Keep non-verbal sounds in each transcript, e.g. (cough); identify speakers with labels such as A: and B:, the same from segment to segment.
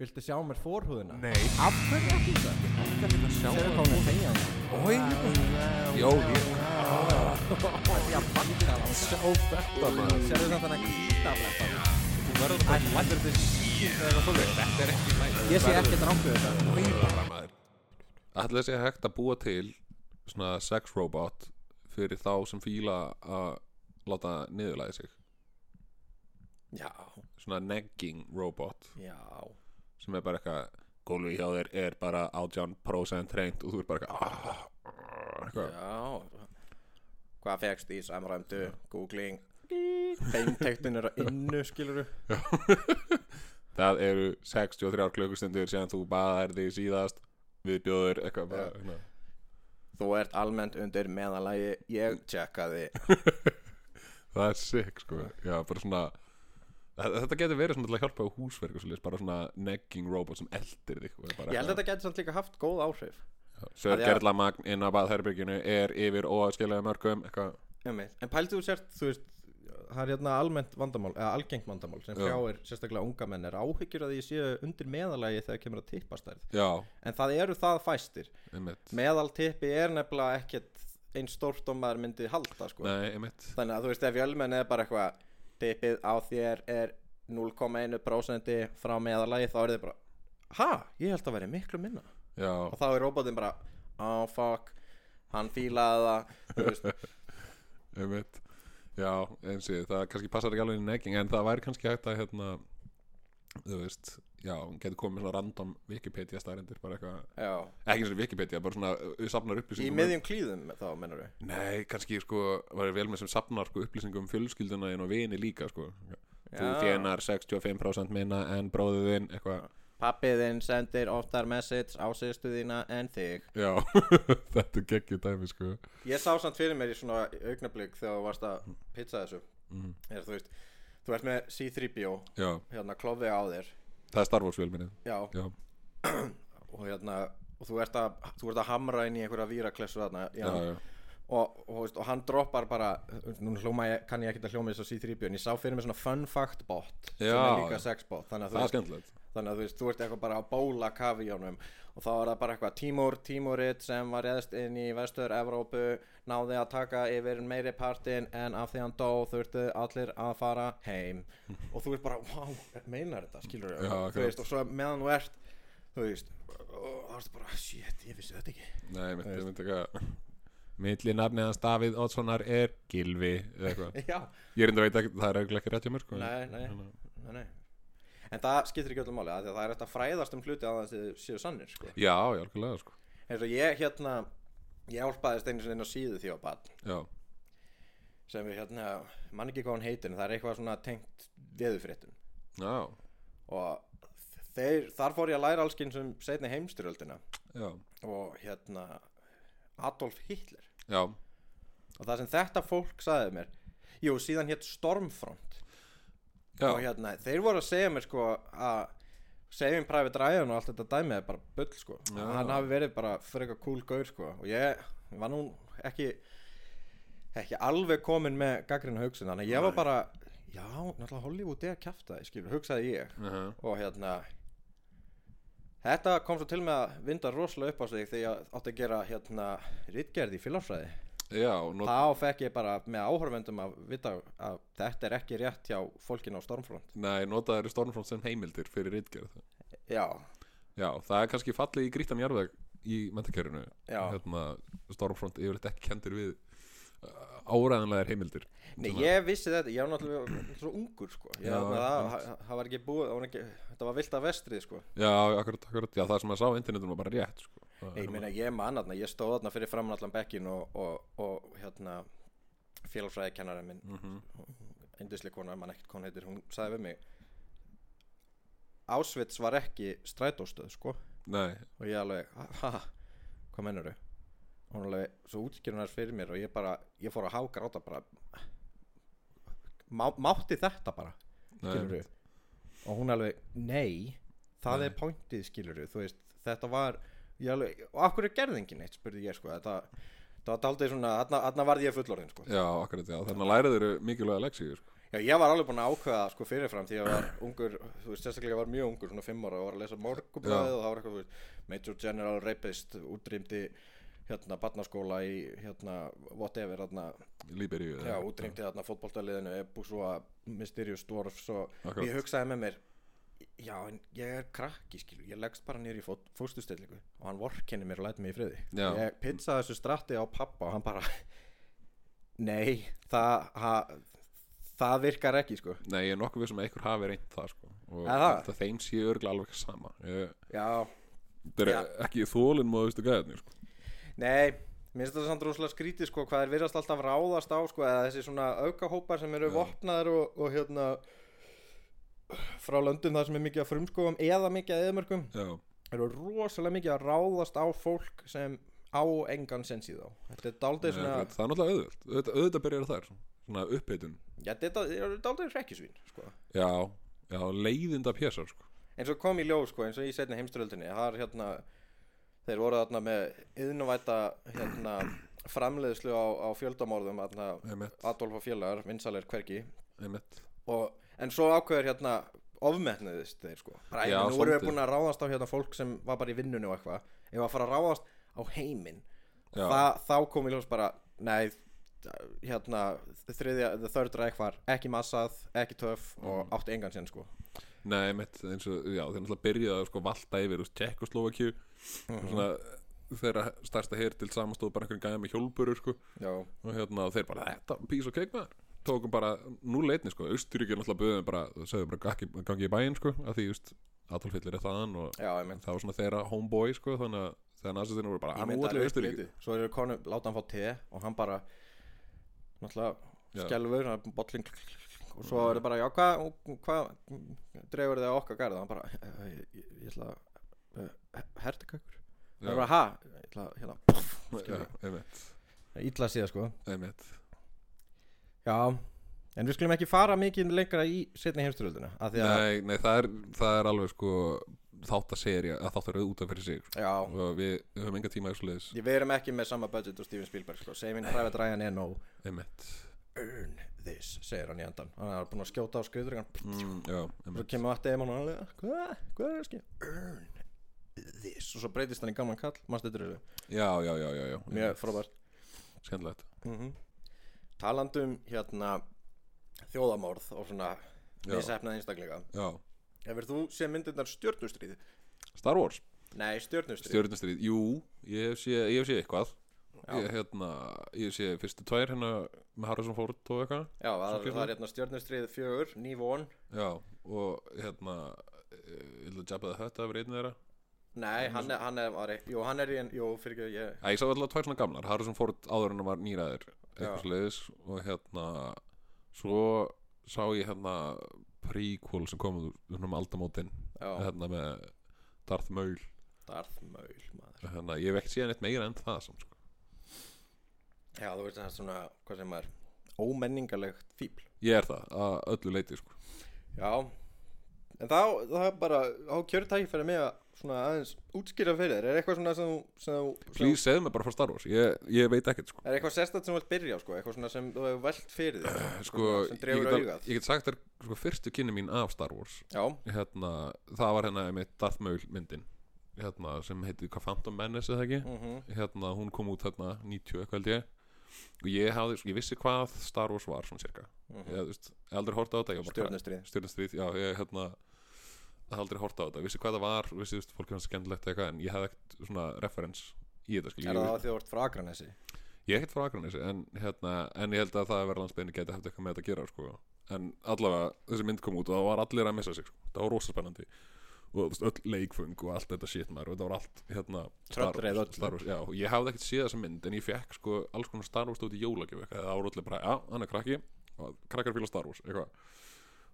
A: Viltu sjá mér forhúðina?
B: Nei
A: Af hverju ekki það? Þegar við komum að tegja hann
B: Oi Jó, ég Sjá þetta maður
A: Serðu þetta hann að gýta þetta?
B: Þú verður bara ekki lættur til síðan eða svolítið Þetta er ekki lættur
A: Ég sé ekkert rangt við þetta
B: Nei bara maður Ætli þessi hægt að búa til svona sex robot fyrir þá sem fíla að láta niðurlæði sig
A: Já,
B: svona negging robot
A: já
B: sem er bara eitthvað gólfi hjá þér er bara 18% reynd og þú er bara eitthvað ah, ah, eitthvað
A: Já Hvað fegst í samræmdu, googling Beintektin er að innu skiluru
B: það eru 63 klukkustundur síðan þú baðar þig síðast við bjóður eitthvað bara, hérna.
A: Þú ert almennt undir meðalagi Ég tjekkaði
B: það er sick sko já, bara svona þa- þetta getur verið svona til að hjálpa á húsverk og svolítið, bara svona negging robot sem eldir þig og er bara
A: Ég held að þetta geti samt líka haft góð áhrif
B: sörgerla magn inn á baðherbygginu er yfir óaskiljaði mörgum eitthvað
A: Einmitt. En pældu þú sért, þú veist Það er hérna almennt vandamál, eða algengt vandamál sem
B: Já.
A: hrjáir sérstaklega unga menn er áhyggjur að því séu undir meðalagi þegar kemur að tippastærð
B: já,
A: en það eru það fæstir
B: einmitt
A: meðaltippi er nefnilega ekkert eins stórt og maður myndi halda sko.
B: nei, einmitt
A: þannig að þú veist ef jölmenn er bara eitthvað tippið á þér er 0,1% frá meðalagi þá er þið bara ha, ég held að vera miklu minna
B: já,
A: og þá er robotin bara oh fuck, hann fílaði það þú veist,
B: einmitt já, eins og ég, það kannski passar ekki alveg inn í negging en það væri kannski hægt að hérna þú veist, já, hún getur komið með svona random Wikipedia stærendir, bara eitthvað
A: já
B: ekki eins og Wikipedia, bara svona uh, safnar
A: í
B: upplýsingum
A: miðjum klíðum þá mennur við
B: nei, kannski sko, var vel með sem safnar sko, upplýsingum um fjölskylduna þín og vini líka sko. þú
A: Já.
B: þénar 65% minna en bróðið þinn, eitthvað
A: pappiðinn sendir oftar message á sýstu þína en þig
B: já, (laughs) þetta er geggjur dæmi sko.
A: Ég sá samt fyrir mér í svona augnablík þegar þú varst að pizza þessu er, þú, veist, þú ert með C3PO
B: já,
A: hérna klofið á þér
B: það er Star Wars fjölminnið
A: já,
B: já,
A: og hérna og þú ert að, þú ert að hamra inn í einhverja víraklessu þarna já,
B: já, já,
A: Og, og, þú veist, og hann droppar bara nú hljóma ég, kann ég ekki að hljóma þess að C3PO en ég sá fyrir mér svona fun fact bot sem
B: Já.
A: er líka sex bot þannig að,
B: það
A: þú
B: er
A: veist,
B: skemmtilegt
A: þannig að þú veist, þú ert eitthvað bara að bóla kafi í honum og þá er það bara eitthvað tímur, tímurit sem var reðst inn í vestur Evrópu náði að taka yfir meiri partin en af því hann dó þurftu allir að fara (laughs) heim og þú ert bara, wow, meinar þetta skilur
B: Já, akkurat.
A: þú veist, og svo meðan þú ert þú veist, og það er bara shit, ég vissi þetta ekki (laughs)
B: Nei, mitt, ég myndi eitthvað Milli nafnið hans Davíð Oddssonar er Gilvi eða eitthvað
A: já,
B: Ég reynda veit ekki, það er eiginlega ekki rétt hjá mér sko.
A: nei, nei, nei, nei en það skiptir ekki öllum máli af því að það er eftir að fræðast um hluti að það séu sannir sko.
B: Já, já, algjörlega sko.
A: eins og ég hérna ég álpaðist einu sinni inn á síðu því að bann
B: Já,
A: sem við hérna, mann ekki hvað hann heitir en það er eitthvað svona tengt veðufréttum
B: já,
A: og þeir, þar fór ég að læra allskinn sem setni heimsturöldina
B: já,
A: og hérna Adolf Hitler
B: já
A: og það sem þetta fólk sagði mér jú, síðan hétt Stormfront og
B: Já,
A: hérna, þeir voru að segja mér sko að Saving Private Ryan og allt þetta dæmið er bara bull sko
B: Já.
A: hann hafi verið bara fyrir eitthvað cool gaur sko og ég var nú ekki ekki alveg komin með gaggrinu hugsun þannig að ég var bara já, náttúrulega Hollywood er að kjafta þig skilur, hugsaði ég
B: uh
A: og hérna þetta kom svo til með að vinda rosalega upp á sig þegar ég átti að gera hérna rittgerð í fylgafræði
B: já og not,
A: þá fekk ég bara með áhörvendum að vita að þetta er ekki rétt hjá fólkinu á Stormfront
B: Nei, notaður Stormfront sem heimildir fyrir ritgerð
A: já,
B: Já, það er kannski fallið í grítan jarðveg í mentakjörinu
A: Já.
B: hérna, Stormfront yfirleitt ekki kendur við uh, áræðanlegar heimildir
A: Nei,
B: Svona-
A: ég vissi þetta, ég var náttúrulega svo ungur sko ég,
B: Hérna, Já,
A: það, það,
B: einmitt.
A: það var ekki búið, það var ekki, þetta var vilt af vestrið sko
B: Já, akkurat, akkurat, já, það sem að sá á internetinu var bara rétt sko. Það
A: Nei,
B: er
A: ég meina ég man aðna, ég stóð aðna fyrir framan allan bekkin og, og, og hérna félagfræði kennarinn minn mm
B: Mhm.
A: kona, mann ekkert kona heitir, hún sagði við mig Ásvits var ekki strætóstöð sko
B: nú- Nei,
A: og ég alveg, ha, ha, hvað mennur þau? Hún alveg, svo útskýrun þess fyrir mér og ég bara, ég fór að hágráta bara Má, mátti þetta bara
B: nei
A: skilur og hún alveg, nei það er pointið skilur þú veist, þetta var ég alveg, og af hverju gerði enginn eitt spurði ég sko, þetta það var daldið svona, þarna, þarna varð ég fullorðin sko.
B: Já, akkurat, já, þannig að læra þeir mikilvæga leksíu sko.
A: já, Já, ég var alveg búinn að ákveða sko fyrirfram því að ég var ungur, þú veist, sérstaklega ég var mjög ungur, svona fimm ára og var að lesa morgublaðið
B: Já.
A: og það var eitthvað, þú veist, Major General Rapist útrýmdi hérna barnaskóla í hérna whatever, hérna,
B: Líberíu
A: já, útrýmdi þarna fótboltaliðinu, ebu svo að Mysterious Dwarfs og
B: Akkurat.
A: ég hugsaði með mér, já, en ég er krakki, skilu, ég leggst bara nýr í fót, fóstustellingu og hann vorkenni mér og læti mig í friði.
B: Já.
A: Ég pizzaði þessu stratti á pappa og hann bara, nei, það, það, það virkar ekki, sko.
B: Nei, ég er nokkuð við sem að einhver hafi reynd það sko. og
A: Er það?
B: það þeim sé örglega alveg sama ég,
A: Já,
B: það er
A: Já.
B: ekki þólinn móðustu gæðinni sko.
A: nei, mér finnst þetta samt rúslega skrítið sko hvað er virðast alltaf ráðast á sko eða þessi svona aukahópar sem eru
B: Já.
A: vopnaðar og, og hérna frá löndum þar sem er mikið af frumskófum eða mikið af eðmörkum
B: Já,
A: eru rosalega mikið að ráðast á fólk sem á engan sens í þá þetta er daldið svona
B: Nei, það er náttúrulega auðvöld auðvitað, auðvitað byrjar þar, svona uppbytun
A: já, þetta eru daldið hrekkjusvín sko
B: Já, já, leiðinda pjessar sko.
A: eins og kom í ljós sko, eins og í setni heimsturöldinni það er hérna þeir voru þarna með yðnvæta hérna framleiðslu á, á fjöldamorðum þarna,
B: Einmitt.
A: Adolf og félagar, vinsalir hvergi
B: Einmitt.
A: og, en svo ákveður hérna ofmetnaðist þeir sko bara,
B: Já,
A: já, nú erum við
B: svolítið.
A: búin að ráðast á hérna fólk sem var bara í vinnunni og eitthvað ef að fara að ráðast á heiminn
B: Já.
A: Þa, þá kom í ljós bara nei, hérna þriðja, the third reich var ekki massað ekki töff
B: Mm.
A: og átti engan sinn sko
B: Nei, einmitt, eins og, já, þeir náttúrulega byrjaði að sko valta yfir, þú veist, Tjekkoslovakju
A: Mhm.
B: svona, þeirra stærsta hér til samanstóð bara einhverjum gæði með hjólburur sko,
A: já,
B: og hérna, þeir bara, þetta, pís og keik maður tókum bara, nú leitni sko Austuríkja náttúrulega böðum bara, sögðu bara gangi, gangi í bæinn sko, að því, þú veist, Adolf Hitler er þaðan og
A: já, ég
B: það var svona þeirra homeboy sko, þannig að þegar nazistinu voru bara,
A: Ég
B: hann
A: myndi
B: útlega
A: alveg
B: Austuríkju
A: uppliti. Svo eru konu, láta hann fá te og hann bara
B: Já.
A: náttúrulega skelfur, hann er bolling og svo er það bara, já, hvað hva, dregur þið á okkar garða hann bara, "Eh, ég, ég, ég ætla að hertekökur hann
B: Já.
A: bara, ha, ég ætla að hérna, puff,
B: Já, einmitt,
A: ítla síða sko
B: einmitt
A: já, en við skulum ekki fara mikið lengra í setni heimsturöldina af því að,
B: Nei, nei það, er, það er alveg sko þáttaserja, að þáttaröð út af fyrir sig sko.
A: já
B: og við, við höfum enga tíma í svoleiðis,
A: ég við erum ekki með sama budget og Steven Spielberg sko. Saving Private Ryan er no
B: einmitt
A: earn this, segir hann í andan hann er búin að skjóta á skriðuringan
B: mm,
A: Svo
B: Já, einmitt
A: kemur vatni eða mann og hann Hvað? Hvað er það að skilja? Earn this Og svo breytist hann í gamlan kall Manst þetta eru
B: Já, já, já, já, já
A: Mjög frábært
B: Skendilegt
A: mm Talandi um hérna Þjóðamorð og svona
B: Já.
A: Mísefnað einstaklega
B: Já,
A: Hefur þú séð myndirnar stjörnustríð?
B: Star Wars,
A: Nei, stjörnustríð
B: stjörnustrið Jú, ég hef séð, ég hef séð eitthvað
A: Já.
B: Ég, hérna, ég hef séð fyrstu tvær hérna með Harrison Ford og eitthvað
A: Já, það,
B: Svo
A: það er hérna stjörnustríð fjögur Ný von
B: Já, og hérna eh, Ég vil að jabba það þetta af reyðin þeirra
A: Nei, hann er, hann er, var, í- jú, hann er í en, jú, fyrir ekki, ég,
B: Já, ég sá alltaf tvær svona gamlar, Harrison Ford áður en hann var nýræður
A: Já.
B: eitthvað sliðis og hérna svo sá ég hérna prequel sem kom út um aldamótin
A: já,
B: hérna með Darth Maul
A: Darth Maul, maður.
B: hérna, ég hef ekki séð neitt meira en það samt, sko.
A: Já, þú veist það er svona, hvað sem er, ómenningalegt fíbl.
B: ég er það að öllu leiti sko.
A: Já En þá, það er bara, þá kjörðu tækifæri mig að svona aðeins útskýra fyrir þér Er eitthvað svona sem þú, sem þú sem,
B: please segðu mér bara frá Star Wars, ég, ég veit ekkert sko.
A: Er eitthvað sérstætt sem þú vilt byrja á, sko, eitthvað svona sem þú hefur velt fyrir
B: (clears throat)
A: þér
B: Sko,
A: sem
B: ég,
A: dregur
B: get al-
A: augað.
B: ég get sagt þér sko, fyrstu kynni mín af Star Wars
A: Já,
B: hérna, það var hérna með Darth Maul myndin hérna, sem heiti hvað Phantom Menace eða ekki
A: mhm,
B: hérna, hún kom út hérna 90 eitthvað held ég og ég, hafði, sko, ég vissi hvað Star Wars var svona cirka
A: Mhm.
B: ég, þú veist, ég aldrei horta á þetta ég bara-
A: stjórnustrið
B: stjörnustrið, já, ég hérna hafði aldrei horta á þetta, vissi hvað það var vissi, þú veist, fólk hefði skemmtilegt eitthvað en ég hafði ekkert svona reference í þetta skil,
A: Er það
B: ég, vissi-
A: af því þú ert frá Akranesi?
B: ég er ekkert frá Akranesi en, hérna, en ég held að það að vera landsbyrni geti haft eitthvað með þetta að gera sko. en allavega þessi mynd kom út og það var allir að missa sig sko. það var rosa spennandi og þú veist, öll leikfung og allt þetta shit maður og þetta var allt hérna, Star
A: Tröllreið
B: Wars-
A: öllu.
B: Star Wars, já, og ég hafði ekkert séð þessa mynd en ég fekk sko, alls konar Star Wars út í jólagjöf eitthvað. það var allir bara, já, hann er krakki og krakkar fíla Star Wars eitthvað.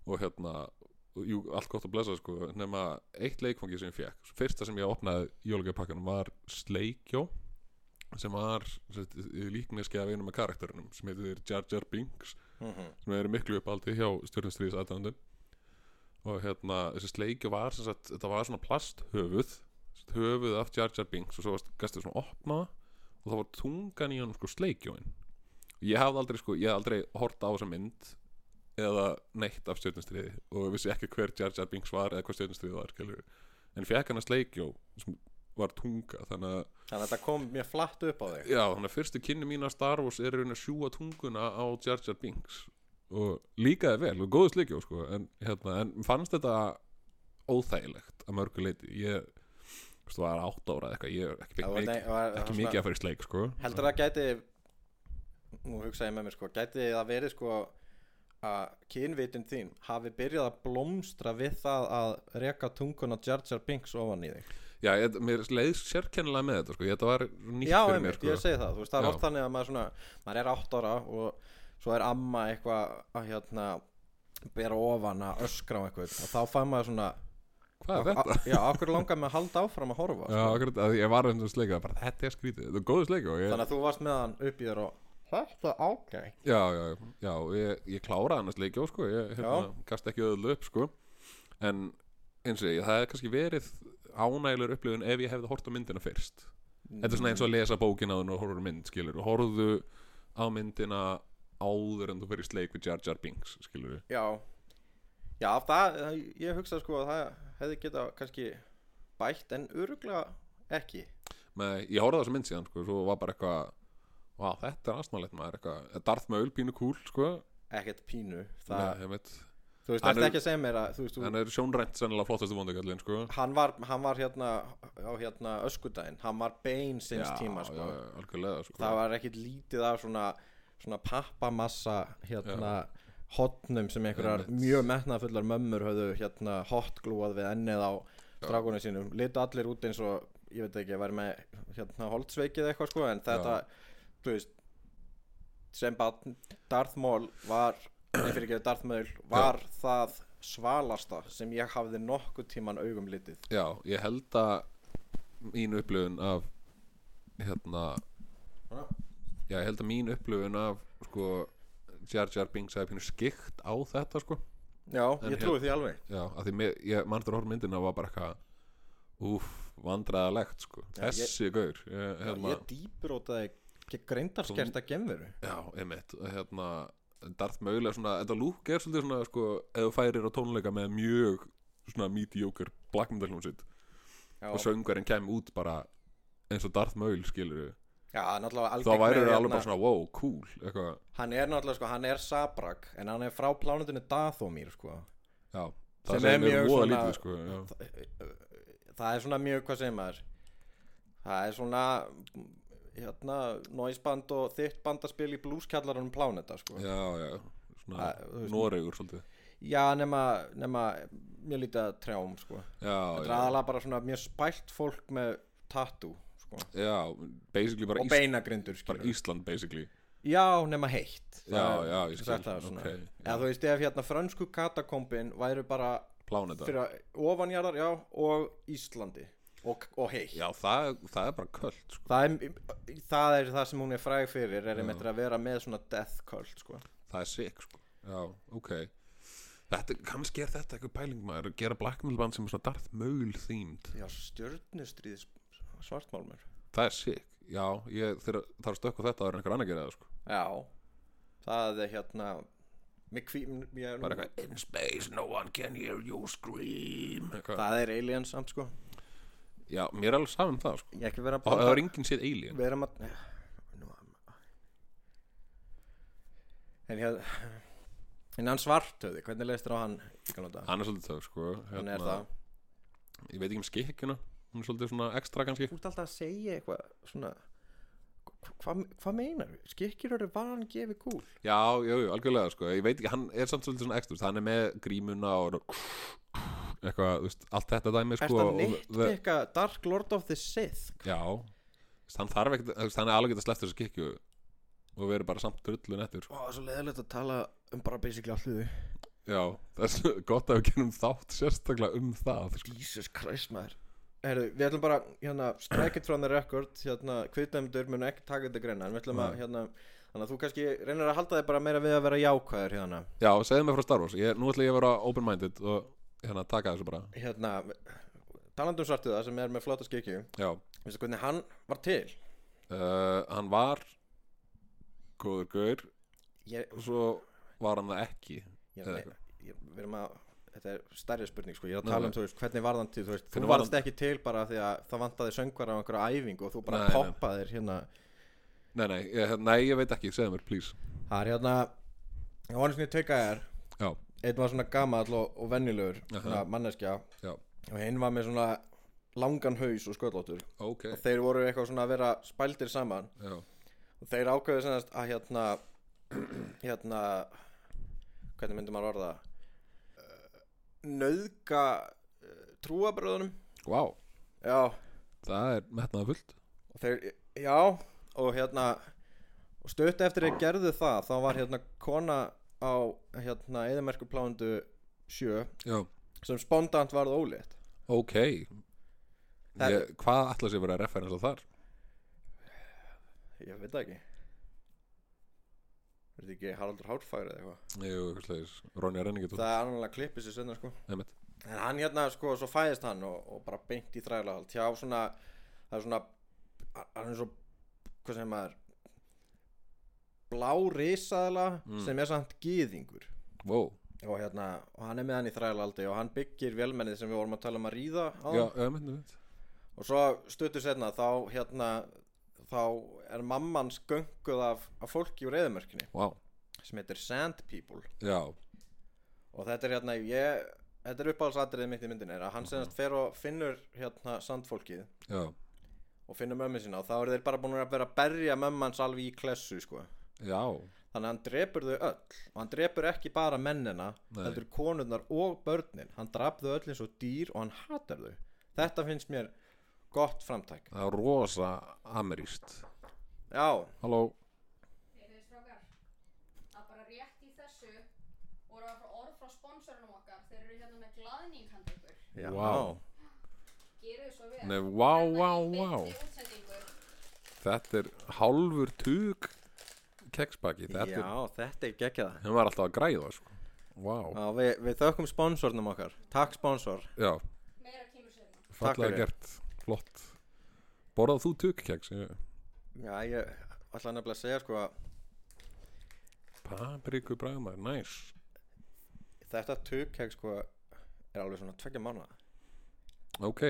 B: og hérna og Jú, allt gott að blessa sko nema eitt leikfangi sem ég fekk fyrsta sem ég opnaði jólagjöfpakkanum var Sleikjó sem var líkneski af einum af karakterinum sem heitir Jar Jar Binks
A: Mhm,
B: sem er í miklu uppaldi hjá stjórnstríðis aðdæðandum og hérna þessi sleikju var sem sagt, þetta var svona plasthöfuð sem sagt, höfuð af Jar Jar Binks og svo varst gæstu svona opna og það var tungan í honum sko sleikjóin og ég hafði aldrei sko, ég hafði aldrei hort á þessa mynd eða neitt af stjórnustriði og vissi ekki hver Jar Jar Binks var eða hvað stjórnustriði var skilur. en fekk hann að sleikjó sem var tunga þannig að
A: Þannig að þetta kom mjög flatt upp á þig
B: Já, þannig að fyrstu kynni mín af Star Wars er í raun að sjúga tunguna á Jar Jar Binks og líkaði vel og góðu slikjó sko, en, hérna, en fannst þetta óþægilegt að mörgu leiti ég þú veist, var átt ára eða eitthvað ég er ekki,
A: Það var-
B: mikið,
A: nei, var- það var
B: ekki
A: svona-
B: mikið að fara í sleik sko.
A: Heldur það gæti Nú hugsa ég með mér sko Gæti það verið sko að kynvitin þín hafi byrjað að blómstra við það að reka tunguna Jar Jar Binks ofan í þig
B: Já, ég, mér leið sérkennilega með þetta sko. ég, þetta var nýtt
A: Já,
B: fyrir
A: einmitt,
B: mér sko.
A: ég segi það, þú veist, það
B: Já.
A: er oft þannig að maður svona maður er átt ára og svo er amma eitthvað að hérna bera ofan að öskra á einhvern og þá fær maður svona
B: Hvað er þetta?
A: á- Já, okkur langar með að halda áfram að horfa
B: Já,
A: sko.
B: akkurat, að ég var um þessu sleik og bara, þetta er skrítið, þetta er góðu sleik og ég,
A: Þannig að þú varst með hann upp í þér og Þetta ágætt
B: já, já, já, ég, ég kláraði annars leikjó sko, ég hérna,
A: Já.
B: gast ekki öðlu upp sko en eins og ég, það hefði kannski verið ánægilegur upplifun ef ég hefði hort á myndina fyrst þetta er svona
A: Mm.
B: eins og að lesa bókina áður og horfður á mynd skilur, og horfðu á myndina áður en þú fyrir sleik við Jar Jar Binks skilur,
A: Já Já, það, það- ég hugsa sko að það hefði getað kannski bætt en öruglega ekki
B: með, ég horfði á þessa mynd síðan sko, svo var bara eitthvað Vá, þetta er aðsmáleitt maður, eitthvað Darth Maul pínu kúl, sko
A: ekkert pínu það,
B: Nei, ég veit.
A: Þú veist,
B: Hann
A: það er
B: er-
A: ekki að segja mér að þú veist, þú,
B: Hann er sjónrænt sennilega flottastu vondagallin, sko
A: hann, var, hann var hérna á hérna öskudaginn, hann var bein sinns tíma sko.
B: já, algjörlega, sko
A: það var ekkert lítið af svona, svona pappamassa hérna hotnum sem einhverjar
B: Einmitt.
A: mjög metnafullar mömmur höfðu hérna hotglúað við ennið á dragunum sínum, litu allir út eins og ég veit ekki, væri með hérna holdsveikið eitthvað sko, en þetta þú veist sem bara Darth Maul var (coughs) nei fyrir ekki Darth Maul, var það svalasta sem ég hafði nokkuð tíman augum litið
B: Já, ég held að mín upplifun af hérna já, ég held að mín upplifun af sko Jar Jar Binks hefði pínu skikt á þetta sko
A: já, ég trúi því alveg
B: já, að því mér, ég manntur horf myndina var bara eitthvað úf, vandræðalegt sko þessi gaur ég, hérna,
A: ég dýbrótaði ekki greindarskerta gemveru
B: já, einmitt hérna, Darth Maul er svona þetta lúk er svolítið svona sko ef þú færir á tónleika með mjög svona mediocre black metal hljómsveit
A: já,
B: og söngurinn kemur út bara eins og Darth Maul skilur við
A: já, náttúrulega
B: þá
A: algengt
B: væri
A: með
B: það
A: hérna-
B: alveg bara svona wow, cool eitthvað,
A: hann er náttúrulega sko, hann er Sabrak en hann er frá plánundinu Dathomir sko.
B: já,
A: Sem
B: það
A: er
B: sem er
A: mjög
B: voða
A: svona-
B: lítið sko, já.
A: það er svona mjög hvað sem er það er svona hérna, noisband og þitt bandaspil í blúskjallarunum pláneta sko.
B: já, já, svona
A: Það- þú veist-
B: Noregur svolítið
A: já, nema, nema mjög lítið að trjám sko. þetta
B: já,
A: er
B: já,
A: aðalega bara svona mjög spælt fólk með tattoo sko.
B: já, basically bara,
A: og
B: Ís
A: beinagrindur
B: bara
A: skilur.
B: Ísland basically
A: já, nema heitt
B: Já, já, ég skil.
A: þetta er svona
B: Ok, já.
A: eða þú veist, ef hérna frönsku katakombin væru bara
B: pláneta
A: fyrir að ofanjarðar, já, og Íslandi og, og heitt
B: já, það, það er bara köld sko.
A: það er, það er það sem hún er fræg fyrir er einmitt að vera með svona death cult sko.
B: það er sick sko. já, ok Þetta, kannski er þetta eitthvað pæling maður að gera blackmailband sem er svona Darth Maul themed
A: já, stjörnustrið svartmálmur
B: það er sick, já, ég þeir, þarf að stökka þetta að vera einhver annar að gera það sko.
A: já, það er hérna mig kví, ég, er nú-
B: bara eitthvað in space no one can hear you scream eitthvað.
A: það er alien samt sko
B: já, mér er alveg saman um það sko.
A: ég ekki vera að
B: og það
A: blanda-
B: er enginn séð alien
A: við erum að nú en hér en hann svartöði, hvernig leist þér á hann í gamla daga?
B: hann er svolítið það sko
A: hann er það
B: ég veit ekki um skikkjuna hún er svolítið svona ekstra kannski
A: þú ert alltaf að segja eitthvað svona hva- hvað hva meinar við? Skikkjur eru van gefið gúl
B: já, jú, jú, algjörlega sko ég veit ekki, hann er samt svolítið svona ekstra þú veist, hann er með grímuna og eitthvað, þú veist, allt þetta dæmi
A: Er
B: sko
A: það
B: og-
A: neitt
B: the-
A: eitthvað Dark Lord of the Sith?
B: já, Þú veist, hann þarf ekkert þú veist, hann er alveg getað sleppt þessu skikkju og verið bara samt drullun eftir sko.
A: Ó, það er svo leðilegt að tala um bara basically allt við
B: já, það er svo (laughs) gott að við gerum þátt sérstaklega um það sko.
A: Jesus Christ maður Herru, við ætlum bara, hérna, strike it from the record hérna, kvittnæmdur mun ekki taka þetta greina en við ætlum að,
B: Nei.
A: hérna þannig að þú kannski reynir að halda þig bara meira við að vera jákvæður hérna
B: Já, segðu mig frá Star Wars ég, Nú ætla ég að vera open-minded og hérna, taka þessu bara
A: hérna, talandum svartuða sem er með flóta skikju
B: Já,
A: veistu hvernig hann var til?
B: uh, hann var góður gaur
A: Ég,
B: og svo var hann það ekki Eh,
A: ég,
B: Eða
A: ég, ég, við erum að þetta er stærri spurning sko, ég er að tala um
B: Nei,
A: þú veist, hvernig var hann til, þú veist, þú
B: Hvernig var
A: varst ekki til bara af því að það vantaði söngvar á einhverja æfingu og þú bara
B: Nei, nei.
A: poppaðir hérna
B: Nei, nei, ég, nei, ég veit ekki, segðu mér, please
A: það er hérna, það var eins og ég tveika þér
B: Já,
A: einn var svona gamall og, og venjulegur
B: Aha.
A: svona manneskja
B: já,
A: og hinn var með svona langan haus og sköllóttur
B: ok
A: og þeir voru eitthvað svona að vera spældir saman
B: Já,
A: og þeir ákveðu sennast að hérna (clears throat) hérna hvernig myndi maður orða nöðga trúabröðunum
B: vá,
A: já,
B: það er metnaða fullt
A: og þeir, já og hérna og stutt eftir þeir gerðu það þá var hérna kona á hérna eðamerkurplándu sjö
B: Já,
A: sem spondant varð ólétt
B: ok
A: Það-
B: ég, Hvað ætla sér verið að referensa þar?
A: ég veit það ekki verði ekki Haraldur Hárfæri eða eitthvað
B: Jú, eitthvað slegis, Ronja Renningi
A: það er annarlega klippið sér senna sko
B: Einmitt.
A: en hann hérna sko svo fæðist hann og, og bara beint í þrælahald hjá svona það er svona hann er svo hvað sem maður blá risaðla
B: Mm.
A: sem er samt gýðingur
B: Wow,
A: og hérna og hann er með hann í þrælahaldi og hann byggir vélmennið sem við vorum að tala um að ríða á
B: já, einmitt, einmitt
A: og svo stuttur setna þá hérna þá er mamman skönguð af, af fólki úr eðumörkinni
B: Vá,
A: sem heitir Sand People
B: já,
A: og þetta er hérna ég, þetta er uppáhaldsatriðið mitt í myndinni er að hann senast fer og finnur hérna sandfólkið
B: já,
A: og finnur mömmu sína og þá eru þeir bara búin að vera að berja mömmans alveg í klessu sko
B: já
A: þannig að hann drepur þau öll og hann drepur ekki bara mennina
B: Nei.
A: heldur konurnar og börnin hann drap þau öll eins og dýr og hann hatar þau þetta finnst mér gott framtæk
B: Það er rosa ameríst
A: já,
B: Halló,
C: Heyrðu strákar, það er bara rétt í þessu voru að fá orð frá sponsorunum okkar, þeir eru hérna með glaðning handa ykkur.
A: já.
B: Vá.
C: Gerið svo vel.
B: nei, vá, vá, vá
C: Þetta er í beinni útsendingu.
B: Þetta er hálfur tug keksbaki, þetta er
A: já, þetta er gekkjað
B: Hún var alltaf að græða, sko Vá,
A: við, við þökkum sponsornum okkar takk sponsor
B: já,
C: Meira kemur sérna.
A: Takk
B: fallega
A: fyrir.
B: gert Flott Borðað þú tug keks?
A: já, ég ætla nefnilega að segja sko að
B: Papriku bræðmaður, næs
A: þetta tukkeg sko er alveg svona tveggja mánuða
B: Ok,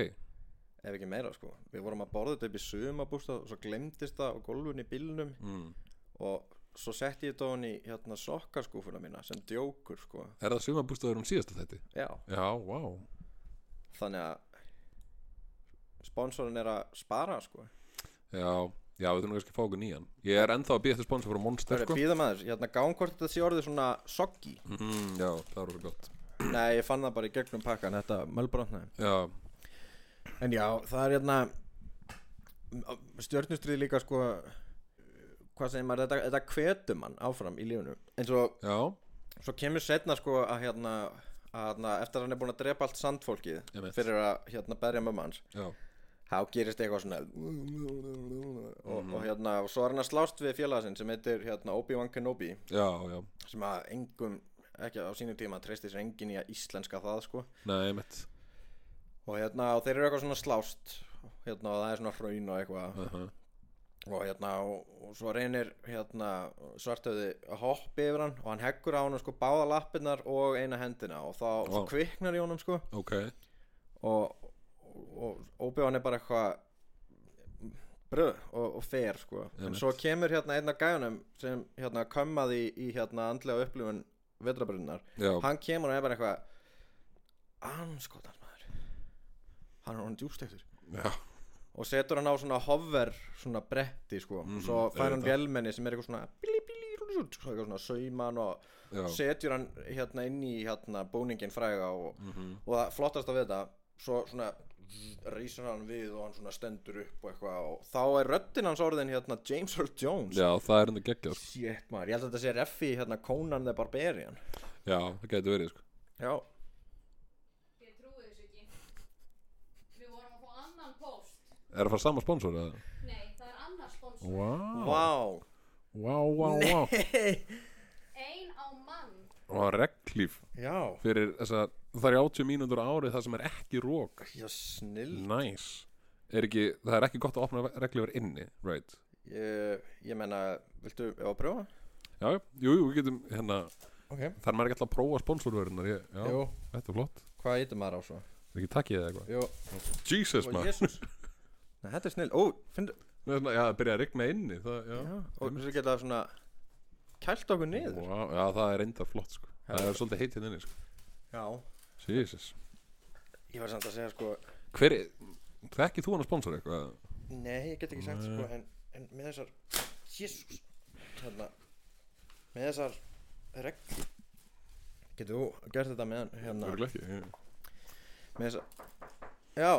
A: ef ekki meira sko við vorum að borða þetta upp í sumabústað og svo glemdist það á gólfun í bílnum
B: mm.
A: og svo setti ég þetta ofan í hérna sokkaskúfuna mína sem djókur sko
B: er það sumabústaður um síðasta þætti?
A: já,
B: Já, vá
A: þannig að sponsorin er að spara sko
B: Já, já, við þurfum kannski að fá okkur nýjan Ég er ennþá að býja eftir sponsor frá
A: það
B: Monster,
A: er
B: sko
A: býða maður, hérna gáum hvort þetta sé orðið svona soggi,
B: mm, Já, það er orðið gott
A: nei ég fann það bara í gegnum pakkan þetta mölbrotnaði,
B: Já,
A: en já það er hérna stjörnustrið líka sko hvað segir maður, þetta, þetta hvetum mann áfram í lífinu, eins og
B: já,
A: svo kemur setna sko að hérna að hérna, eftir að hann er búin að drepa allt sandfólkið
B: Einmitt.
A: fyrir að hérna berja mömmu hans
B: já
A: þá gerist eitthvað svona og, og hérna, og svo er hann að slást við félagasinn sem heitir hérna Obi-Wan Kenobi
B: Já, já,
A: sem að engum, ekki á sínum tíma treysti sér engin í að íslenska það sko
B: nei, mitt
A: og hérna, og þeir eru eitthvað svona slást hérna, og það er svona hraun og eitthvað
B: uh
A: og hérna, og, og svo reynir hérna, svartöði að hoppa yfir hann og hann heggur á hann sko báða lappirnar og eina hendina og þá svo
B: Vá.
A: kviknar í honum sko
B: Ok,
A: og, og, og Obi-Wan er bara eitthvað bröð og, og fer sko. en
B: Einmitt.
A: svo kemur hérna einn af gæjunum sem hérna kömmaði í, í hérna andlega upplifun vetrabrunnar
B: já,
A: hann kemur og er bara eitthvað anskotans maður hann er honum djústektur
B: já
A: og setur hann á svona hover svona bretti sko
B: Mhm,
A: og svo fær hann
B: auðvitað.
A: vélmenni sem er eitthvað svona bíli bíli svo eitthvað svona sauman og
B: Já,
A: setur hann hérna inn í hérna bóningin fræga og
B: mm
A: og það flottast af þetta svo svona reysir hann við og hann svona stendur upp og eitthvað og þá er röddinn hans orðin hérna James Earl Jones
B: já það er enda geggjað, sko
A: Shit maður, ég held að þetta sé reffi hérna Conan the Barbarian
B: Já, það gæti verið, sko
A: Já,
C: Ég trúi þessu ekki. Við vorum að fá annan post.
B: Er það fara sama sponsor, eða?
C: Nei, það er annar sponsor.
B: Vá,
A: vá
B: vá, vá, vá
A: Hey.
C: Ein á mann.
B: Og reglíf
A: (laughs) Já,
B: fyrir þess að það er 80 mínútur á ári það sem er ekki rók
A: já snill
B: Næs er ekki, Það er ekki gott að opna reglífur inni right.
A: Ég, ég menna, viltu, já, prófa?
B: Já, já, jú, jú, við getum hérna
A: ok,
B: Þar maður ekki alltaf að prófa sponsorvörunar ég, Já,
A: jú,
B: þetta er flott
A: hvað ítum maður á svo?
B: Er ekki takkið eða eitthvað
A: Jú,
B: Jesus
A: og
B: maður
A: jésus (laughs) Nei, þetta er snill, ó, finnur
B: Nei, svona, Já, það byrja að rigna inni það, já.
A: Já, og þessu geta svona kælt okkur niður
B: Vá, já, það er enda flott sko. Það er svolítið heitinn inni sko.
A: Já,
B: Jesus
A: ég var samt að segja sko
B: Hver er, þekkið þú hann að sponsora eitthvað?
A: Nei, ég get ekki sagt
B: Nei.
A: sko en, en með þessar Jésús Hérna Með þessar regl Getur þú gert þetta með hann hérna
B: Örugglega ekki, já.
A: Með þessar Já,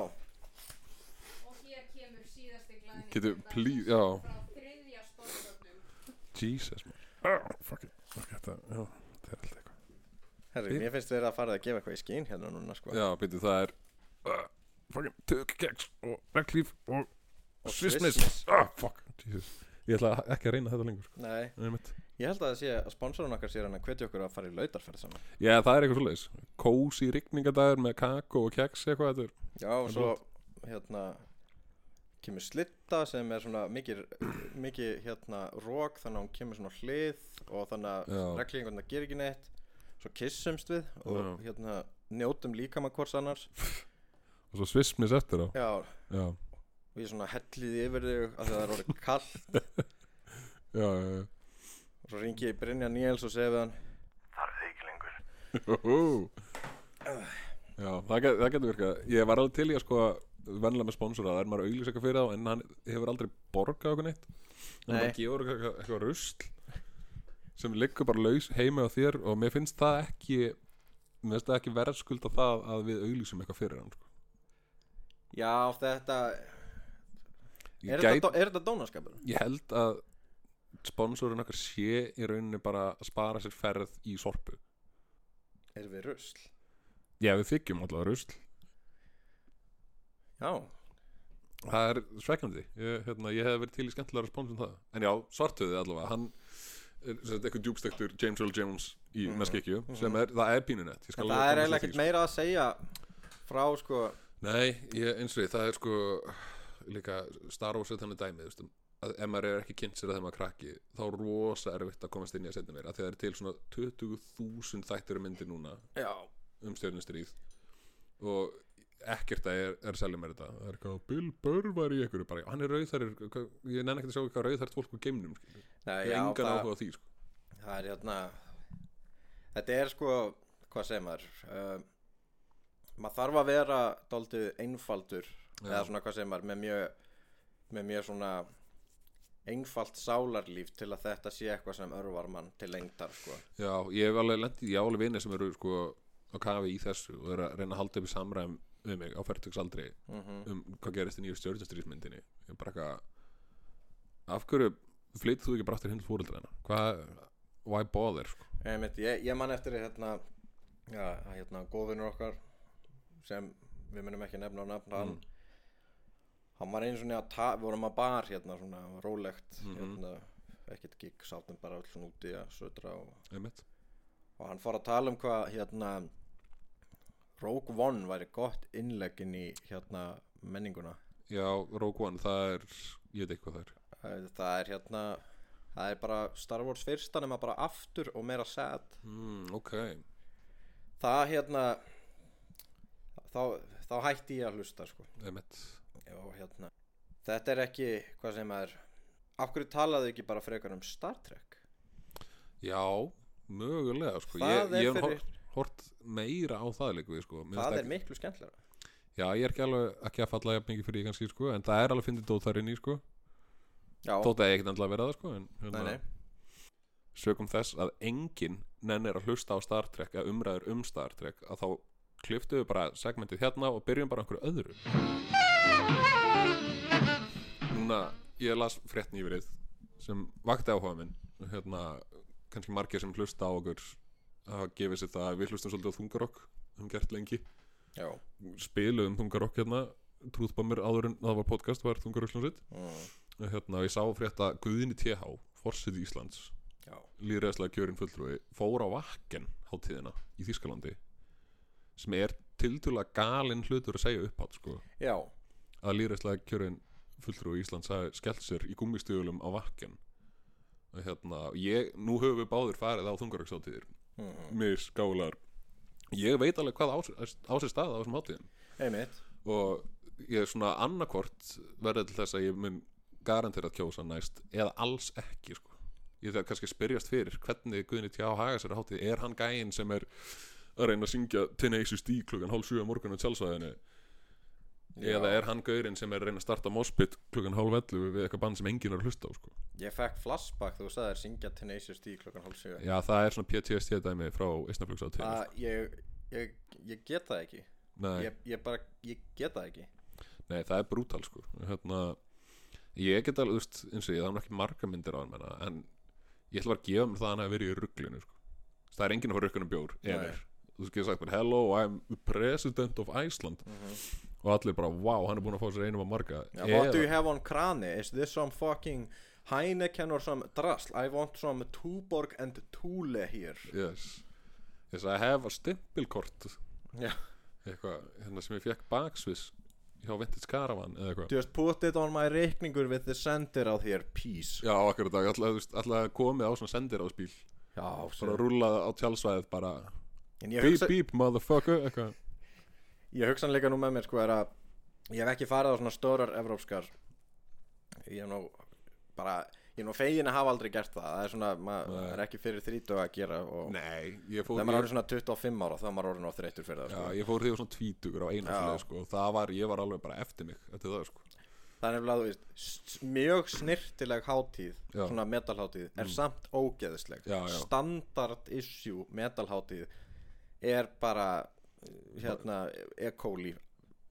C: Og hér kemur síðasti glæðning
B: Getur,
C: dagsins
B: please, já
C: Frá þriðja sponsornum
B: Jesus maður Fuck it, fuck it, það- já, það er alltaf eitthvað
A: herri, mér finnst þeir að fara að gefa eitthvað í skín hérna núna sko
B: Já, býttu, það er uh, fucking tök, keks og reglíf og, og
A: Og
B: svissmiss
A: Swissmiss.
B: ah, fuck, Jesus Ég ætla ekki að reyna þetta lengur sko.
A: Nei,
B: Nei, mitt.
A: ég held að það sé að sponsorun okkar sér hann að hvetja okkur að fara í lautarferð saman
B: Já, það er eitthvað svoleiðis Kósi rigningadagur með kakó og keks eitthvað þetta er
A: Já, og svo hérna kemur slitta sem er svona mikið, mikið hérna rók þannig að hún kemur svona á hlið og þannig
B: Já.
A: að reglíðingurna gerir ekki neitt svo kissumst við og
B: Já.
A: hérna njótum líkama hvors annars
B: Og svo svissmiss eftir á
A: Já,
B: Já,
A: við svona helliði yfir þig af því að það er orðið kall
B: já, já, já.
A: og svo ringi ég í Brynja Níels og segi við hann
B: Hú. Já, það, get, það getur virkað Ég var alveg til í að sko venlega með sponsora, það er maður auglýs eitthvað fyrir þá en hann hefur aldrei borgað okkur neitt en
A: Nei.
B: hann gefur okkur eitthvað, eitthvað rusl sem liggur bara laus heima á þér og mér finnst það ekki mér finnst það ekki verðskulda það að við auglýsum eitthvað fyrir hann sko.
A: Já, þetta
B: ég,
A: Er,
B: gæt,
A: þetta, er þetta dónaskapur?
B: ég held að sponsorinn okkar sé í rauninni bara að spara sér ferð í sorpu
A: Erum við rusl?
B: Já, við þykjum alltaf rusl
A: Já,
B: Það er svekkjandi ég, hérna, ég hef verið til í skemmtilega respons um það En já, svartöði allavega Hann er sem sagt, eitthvað djúbstektur James Earl Jones í mm sem er, það er pínunett
A: Mhm. en það er eiginlega ekkert meira að segja frá sko
B: Nei, ég, eins og því, það er sko líka Star Wars er þannig dæmi þú veist, um, að ef maður er ekki kynnt sér að þeim að krakki þá er rosa erfitt að komast inn í að setja meir að því það er til svona 20.000 þættir um myndir núna
A: Já,
B: um stjörnustríð og ekkert að er, er að selja mér þetta það er eitthvað, Bill Burr var í einhverju bara, hann er rauðþarir, hvað- ég nenni ekkert að sjá hvað rauðþært fólk úr geimnum, skilur.
A: Nei,
B: ég er
A: já,
B: engan
A: það-
B: áhuga á því sko.
A: Það er hérna Þetta er sko, hvað segir maður uh, maður þarf að vera dálítið einfaldur eða svona hvað segir maður með mjög, með mjög svona einfalt sálarlíf til að þetta sé eitthvað sem örvar mann til lengdar sko.
B: já, ég hef alveg lendið, ég á alveg vinni sem eru sko á kafi í þessu og eru að reyna að halda upp í samræðum við mig á færtugsaldri
A: mm
B: um hvað gerist í nýju stjörnustríðsmyndinni ég er bara eitthvað af hverju flyttu þú ekki bara aftur hinn fóröldræna hvað, why bother sko?
A: Einmitt, ég, ég man eftir því, hérna, já, hérna góðvinur okkar sem við munum ekki nefna á nafn hann, hann var einu svona að ta, við vorum að bar hérna svona rólegt hérna, ekkert gig sátum bara öll svona úti að södra og,
B: Einmitt.
A: og hann fór að tala um hvað hérna Rogue One væri gott innlegg inn í hérna menninguna
B: já, Rogue One, það er ég veit ekki hvað það er
A: það það er hérna það er bara Star Wars fyrsta nema bara aftur og meira sad
B: Mm, ok,
A: það hérna þá, þá hætti ég að hlusta sko.
B: emitt
A: og hérna þetta er ekki hvað sem er af hverju talaðu ekki bara frekar um Star Trek
B: Já, mögulega sko.
A: Það
B: Ég,
A: er
B: ég hef
A: fyrir-
B: hort, hort meira á það líka við sko. Mér
A: það
B: finnst
A: er miklu skemmtilega
B: Já, ég er ekki alveg ekki að falla jafn mikið fyrir því kannski sko, en það er alveg fyndið dót þar inn í sko.
A: já,
B: Þótt að ég ekkert endilega vera það sko, en
A: nei, nei.
B: sögum þess að enginn nennir að hlusta á Star Trek að umræður um Star Trek að þá kliftu við bara segmentið hérna og byrjum bara á einhverju öðru Núna, ég las frétt nýverið sem vakti áhuga minn og hérna, kannski margir sem hlusta á okkur hafa gefið sér það að við hlustum svolítið á þungarokk um gert lengi
A: já,
B: spiluðum þungarokk hérna trúðbámir áður en það var podcast var þungarokklum sitt
A: mm,
B: og hérna, ég sá frétt að Guðinni TH, forsið Íslands
A: já,
B: líðræðslega kjörinn fulltrúi fór á vakken hátíðina í Þýskalandi sem er tiltúlega galinn hlutur að segja upphátt sko,
A: já,
B: að líðræðslega kjörinn fulltrúi í Íslands hafi skellt sér í gummistöðulum á vakken og hérna, ég, nú höfum við báðir farið á þungarökshátíðir
A: Mm-hmm.
B: misgálar ég veit alveg hvað á, á sér stað á þessum hátíðum
A: einmitt
B: og ég er svona annarkvort verðið til þess að ég mun garantera að kjósa næst eða alls ekki sko. ég þarf kannski að spyrjast fyrir hvernig Guðni Tjá haga sér á hátíð er hann gæinn sem er að reyna að syngja Tenacious D klukkan hálf 7 á morgun á tjálsvæðinu eða er hann gaurinn sem er að reyna að starta Mospit klukkan hálf 11 við eitthvað band sem enginn er að hlusta á sko.
A: Ég fekk flashback þú sagðir syngja Tenacious D klokkan hálf 7
B: já það er svona PTSD dæmi frá Ísnaflöks á tíð
A: Það, ég, ég, ég get það ekki ég, ég bara, ég get það ekki
B: Nei, það er brútal sko hérna, Ég get alveg, þú veist, eins og ég það er nú ekki marga myndir á hann menna, en ég ætla bara að gefa mér það að hann hafi verið í rugglinu sko. það er enginn að fara rugglinu um bjór
A: Nei.
B: eðir. þú veist, ég sagt mér, hello, I'm president of Iceland og allir bara, wow, hann er búin að fá sér einum að marga
A: yeah, What do you have on krani? Is this some fucking Heineken or some drasl? I want some Tuborg and Thule here
B: yes. yes, I have a stimpilkort
A: Já.
B: eitthvað, hérna sem ég fekk baksvis hjá Vintage Caravan eða eitthvað
A: Just put it on my reikningur with the sender á þér, peace
B: Já, akkurat, allar komið á svona sendir á spíl
A: Já,
B: bara
A: svo
B: rúlað á tjálsvæðið bara
A: En ég
B: Beep
A: hugsa,
B: beep motherfucker eitthvað.
A: ég hugsa hann líka nú með mér sko er að ég hef ekki farið á svona stórar evrópskar ég hef nú bara ég er nú fegin að hafa aldrei gert það það er svona, maður
B: Nei.
A: er ekki fyrir þrítug að gera og
B: Nei, ég fór,
A: þegar maður er
B: ég,
A: orðin svona 25 ára þá er maður orðin á þreytur fyrir það
B: já,
A: sko.
B: ég fór því á svona tvítugur á einu
A: Já.
B: fyrir sko, og það var, ég var alveg bara eftir mig eftir það sko
A: það er nefnilega, þú veist, s- mjög snirtileg hátíð,
B: Já. Mm.
A: svona metalhátíð er samt ógeðisleg
B: Já, já.
A: standard issue metalhátíð er bara hérna, ekóli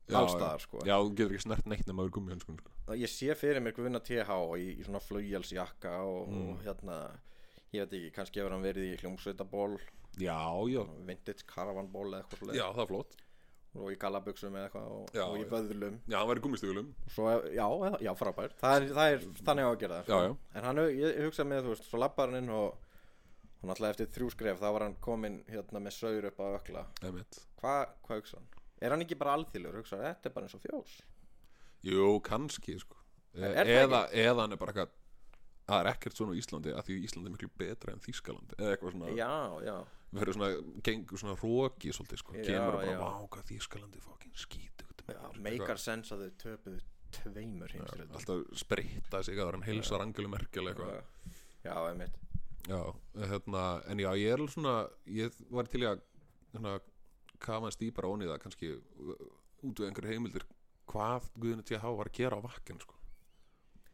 B: Já,
A: allstaðar sko
B: Já, þú getur ekki snert neitt nema úr gummi sko.
A: ég sé fyrir mér Guðna TH í, í svona flögjálsjakka og,
B: Mm.
A: og hérna ég veit ekki, kannski hefur hann verið í hljómsveitaból
B: Já, já,
A: vintage caravanból eða eitthvað
B: já,
A: svoleiðis.
B: það er flott
A: og í gallabuxum eða eitthvað og,
B: Já,
A: og í
B: já.
A: vöðlum
B: Já, hann var í gummistígulum
A: svo, já, eða- já, frábært það er, það er þannig á að gera það sko.
B: Já, já.
A: en hann, hug- ég hugsa með, þú veist, svo labbar hann inn og hann alltaf eftir þrjú skref þá var hann kominn hérna með saur upp á ökla
B: Einmitt.
A: hvað hva hugsa hann? er hann ekki bara alþýlur, hugsa hann, þetta er bara eins og fjós
B: Jú, kannski sko. e
A: Er það
B: eða, eða hann er bara eitthvað Það er ekkert svona á Íslandi að því Íslandi er miklu betra en Þýskalandi eða eitthvað svona,
A: já, já,
B: við verðum svona gengur svona róki svolítið sko,
A: Já,
B: kemur og bara,
A: já.
B: vá, hvað Þýskalandi fokkin skítugt
A: já meikar sense að þau töpuðu tveimur heimsrið
B: alltaf spritta sig að hann hilsar Angelu Merkel eitthvað
A: Já, einmitt
B: já, hérna, en já, ég er alveg svona ég var til í að hérna, kafa hans dýpar ón í það kannski uh, út við einhverju heimildir hvað Guðinu TH var að gera á vakken sko.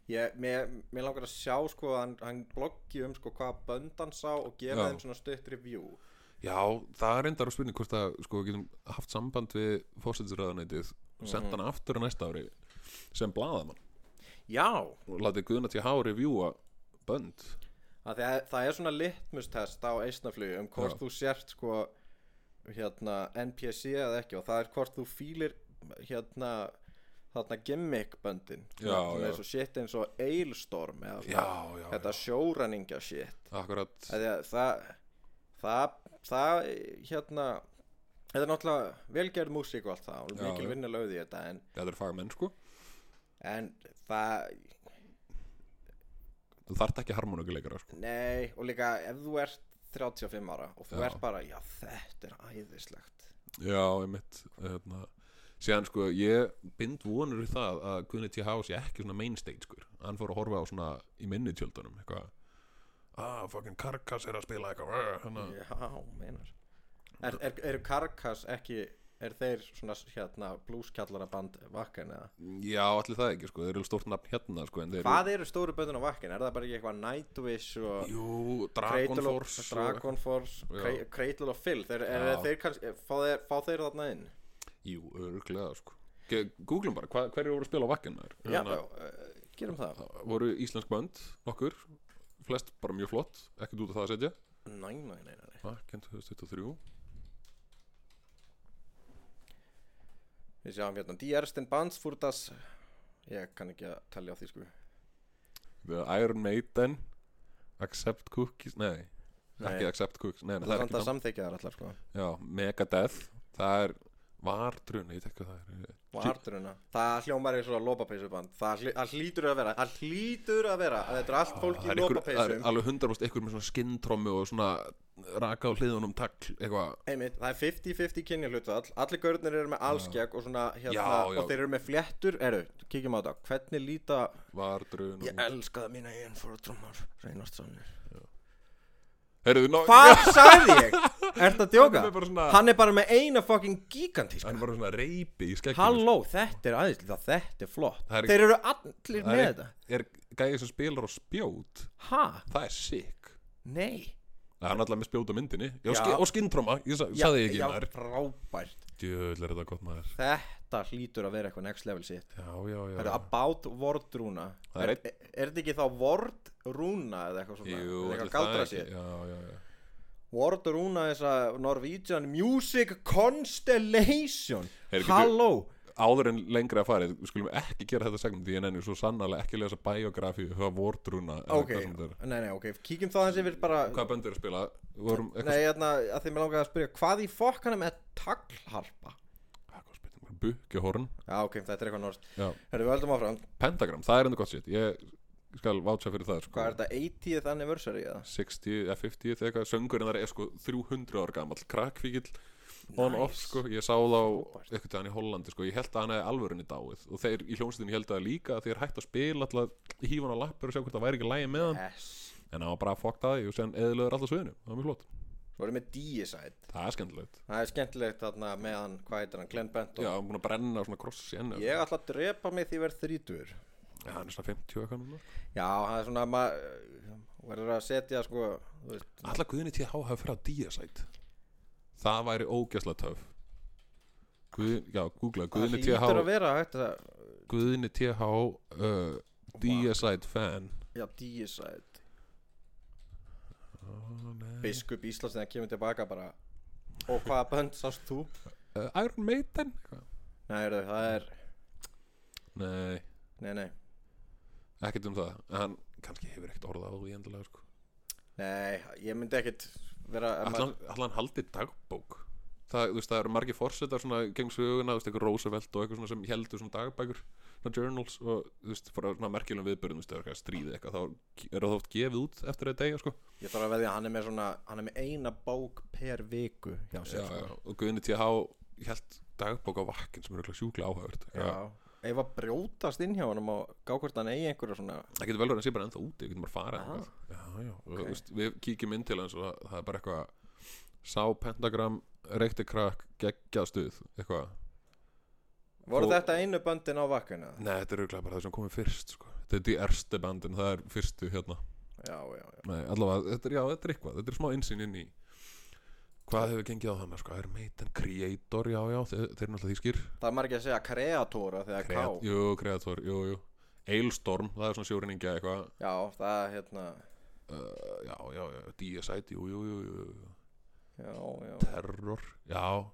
A: Ég, mér, mér langar að sjá sko að hann, hann bloggi um sko hvað bönd hann sá og gefa
B: Já.
A: þeim svona stutt review
B: já, það er endar á spurning hvort að sko, við getum haft samband við fósitsræðanætið og senda hann aftur á næsta ári sem blaðamann
A: Já,
B: og latið Guðinu TH revjúa bönd
A: að að, það er svona litmustest á eisnaflugi um hvort
B: Já.
A: þú sért sko hérna NPC eða ekki og það er hvort þú fýlir hérna þarna gimmick böndin
B: Já, já.
A: eins og shit eins og Ailstorm eða svona
B: já, já,
A: þetta sjóræningja shit
B: akkurat
A: Af því að það það, það hérna þetta er náttúrulega velgerð músík og allt það og
B: Já,
A: mikil
B: já.
A: vinna lögði í þetta en,
B: þetta er fagmenn sko
A: en það,
B: þú þarft ekki harmonökuleikara sko.
A: nei og líka ef þú ert 35 ára og þú
B: Já.
A: ert bara, já þetta er æðislegt
B: já, einmitt hérna. síðan sko, ég bind vonur í það að Gunni T. House er ekki svona mainstage sko. hann fór að horfa á svona í minni tjöldunum eitthvað ah, fucking Karkas er að spila eitthvað rrr, hérna.
A: já, meinar er, er, er Karkas ekki er þeir svona hérna blúskjallaraband vakkan eða
B: já, allir það ekki, sko, þeir eru stórt nafn hérna sko, en þeir
A: hvað eru stóru böndin á vakkan, er það bara ekki eitthvað Nightwish og
B: eru jú, Dragon
A: Cradle of,
B: Force og-
A: Dragon Force
B: Já.
A: Cra- Cradle of Filth er, er,
B: Já.
A: þeir kannski, fá, þeir, fá þeir þarna inn
B: jú, örglega sko. Ge- googlum bara, hva, hverju voru að spila á vakkin
A: já, já, uh, gerum það
B: voru íslensk bönd nokkur, flest bara mjög flott ekkert út af það að setja
A: næ, næ, næ, næ
B: Vakkin 2023
A: við sjáum hérna Die Ersten Bands fyrir das ég kann ekki að tellja á því sko
B: The Iron Maiden Accept Cookies, nei,
A: Nei.
B: ekki Accept Cookies nei, nei,
A: það
B: það
A: er
B: er
A: að
B: ekki samt...
A: samþykja þar allar sko
B: Já, Megadeth, það er Vartrun, ég veit ekki hvað það er eh,
A: og arturuna það hljómar eins og lopapeysuband það hlý- það hlýtur að vera það hlýtur að vera að þetta er allt fólk
B: Það
A: í
B: er, ykkur, það er
A: lopapeysum
B: alveg hundarvast ykkur með svona skinntrommu og svona raka á hliðunum tagl eitthvað
A: Einmitt, það er 50-50 kynjahlutfall Allir görðnir eru með allskegg og svona hérna
B: Já, já.
A: Og þeir eru með fléttur Eru, kíkjum á þetta Hvernig líta
B: vardrun og...
A: Ég elska það mína einn fór að trómar Reynast sannir
B: Herðu, ná...
A: Hvað sagði
B: (laughs)
A: ég? Ertu að djóka?
B: Hann er bara svona-
A: Hann er bara með eina fucking gigantíska
B: Hann er bara svona reypi í skegginu sko.
A: Halló, þetta er aðeinslega, þetta er flott
B: Það er-
A: Þeir eru allir
B: Það
A: með
B: er-
A: þetta
B: Er gæði sem spilar á spjót
A: Ha?
B: Það er sick
A: Nei
B: Það er náttúrulega með spjót á myndinni Já,
A: Já.
B: já. og skintróma, ég sa,
A: Já,
B: saði ekki
A: Já,
B: maður
A: frábært
B: Djöðl er þetta gott maður
A: Þetta hlýtur að vera eitthvað next level sitt
B: Já, já, já
A: Þetta er about vordrúna
B: Það
A: Er
B: er
A: er þetta ekki þá vordrúna eða eitthvað svona? Er
B: Jú, ætli
A: eitthvað
B: það
A: galdra
B: ekki-
A: sér
B: Já, já, já
A: Vordrúna þessa Norwegian Music Constellation
B: Heyrðu, getur-
A: Halló
B: áður en lengra að farið, við skulum ekki gera þetta segmund því en ennur svo sannarlega ekki lesa biografíu hvað vordruna
A: Ok, nei, nei, ok Kíkjum þá þessi við bara
B: hvað böndur er að spila vorum eitthvað
A: Nei, hérna, að því mér langaði að spyrja Hvað í fokkanum er taglharpa?
B: Ah, spilning bukkihorn
A: Já, ok, þetta er eitthvað norst
B: Já.
A: Hörðu, við höldum áfram
B: pentagram, það er enda gott sétt ég skal vátsa fyrir það sko.
A: Hvað er þetta, 80th anniversary eða?
B: 60 eða 50 eða eitthvað söngurinn þar er sko 300 ára gamall krakkfíkil on off sko ég sá þá eitthvað hann í Hollandi sko ég held að hann hefði alvörunni dáið og þeir í hljómsveitinu held að líka að þeir hætt að spila alltaf hífa hann á lappur og sjá hvort það væri ekki lægi með hann
A: Yes
B: en hann var bara að fokta því og sen eðlöður alltaf sviðinu það var mjög flott
A: Svo erum við D-side
B: það er skemmtilegt
A: Það er skemmtilegt þarna með hann, hvað heitir hann, Glenn Benton
B: Já, hann er búin að brenna svona kross í henni
A: Ég ætla að drepa mig því ég verð þrítur
B: Já, hann er svona 50 eitthvað núna
A: Já, það er svona maður verður að setja sko þú veist,
B: Alla Guðni TH hafa fyrir á Díasæt Það væri ógæslega töf Guð, Já, googla
A: Það
B: Guðni
A: hlýtur að
B: TH
A: vera hægt að
B: Guðni TH uh, Díasæt fan
A: Já, D-side Biskup Íslands þegar hann kemur tilbaka bara Og hvaða bönd sást þú?
B: uh, Iron Maiden eitthvað.
A: Nei, heyrðu, það er
B: Nei,
A: Nei, nei
B: ekkert um það En hann kannski hefur ekkert orðað á því endilega sko.
A: Nei, ég myndi ekkit vera ef maður-
B: Allan, allan haldið dagbók Það, þú veist, það eru margir forsetar svona gegn söguna, þú veist, eitthvað Roosevelt og eitthvað svona sem heldur svona dagbækur, svona journals og þú veist, frá svona merkjulegum viðbörðum, þú veist, það er eitthvað stríði eitthvað, þá er það oft gefið út eftir að degja, sko.
A: Ég þarf að veðja að hann er með svona Hann er með eina bók per viku hjá
B: Já,
A: sér sko.
B: já, og Guðni TH held dagbók á vakkin sem er eitthvað sjúklega áhæfurt.
A: Já, ef að brjótast inn hjá honum og gá hvort hann eigi einhverja svona
B: Það getur vel verið að sé bara ennþá úti, við getum bara að fara
A: Ah.
B: eitthvað. Já, já, og, þú veist, við kíkjum inn til hans og það, það er bara eitthvað sá pentagram, reykti krakk, geggjað stuð, eitthvað.
A: Voru
B: Og-
A: þetta einu böndin á vakkuna?
B: Nei, þetta er auðvitað bara það sem komið fyrst, sko. Þetta er því erste bandin, það er fyrstu hérna.
A: Já, já, já
B: Nei, allavega, þetta er, já, þetta er eitthvað, þetta er smá einsinn inn í hvað hefur gengið á þannig, sko, er Maiden Creator, já, já, þeir, þeir eru náttúrulega þýskir.
A: Það er margir að segja kreatóra þegar ká
B: Kreat- Jú, Creator, jú, jú. Eilstorm, það er svona sjóreiningja eitthvað.
A: Já, það er hérna
B: Uh, já, já, já, DSIT, jú, jú, jú, jú, jú.
A: Já, já
B: Terror, já,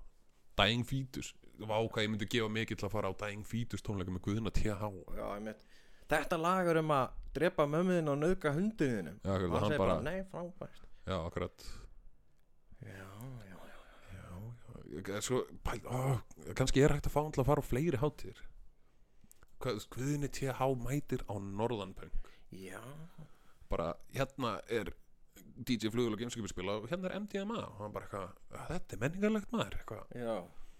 B: Dying Fetus. Vá, hvað ég myndi gefa mikið til að fara á Dying Fetus tónleika með Guðuna TH.
A: Já, ég Þetta lagar um að drepa mömmuðin og nauðka hunduðinum
B: Já, akkurat, hann
A: segir bara,
B: bara-
A: nei, frábært
B: Já, akkurat.
A: Já, já, já
B: Ég- ég- Svo, pæl, ó, kannski er hægt að fá hann til að fara á fleiri hátir. Guðunni TH mætir á Norðanpöng.
A: Já,
B: bara hérna er DJ Flugul og Gameskipur spila og hérna er MDMA og hann bara eitthvað, þetta er menningarlegt maður eitthvað,
A: já,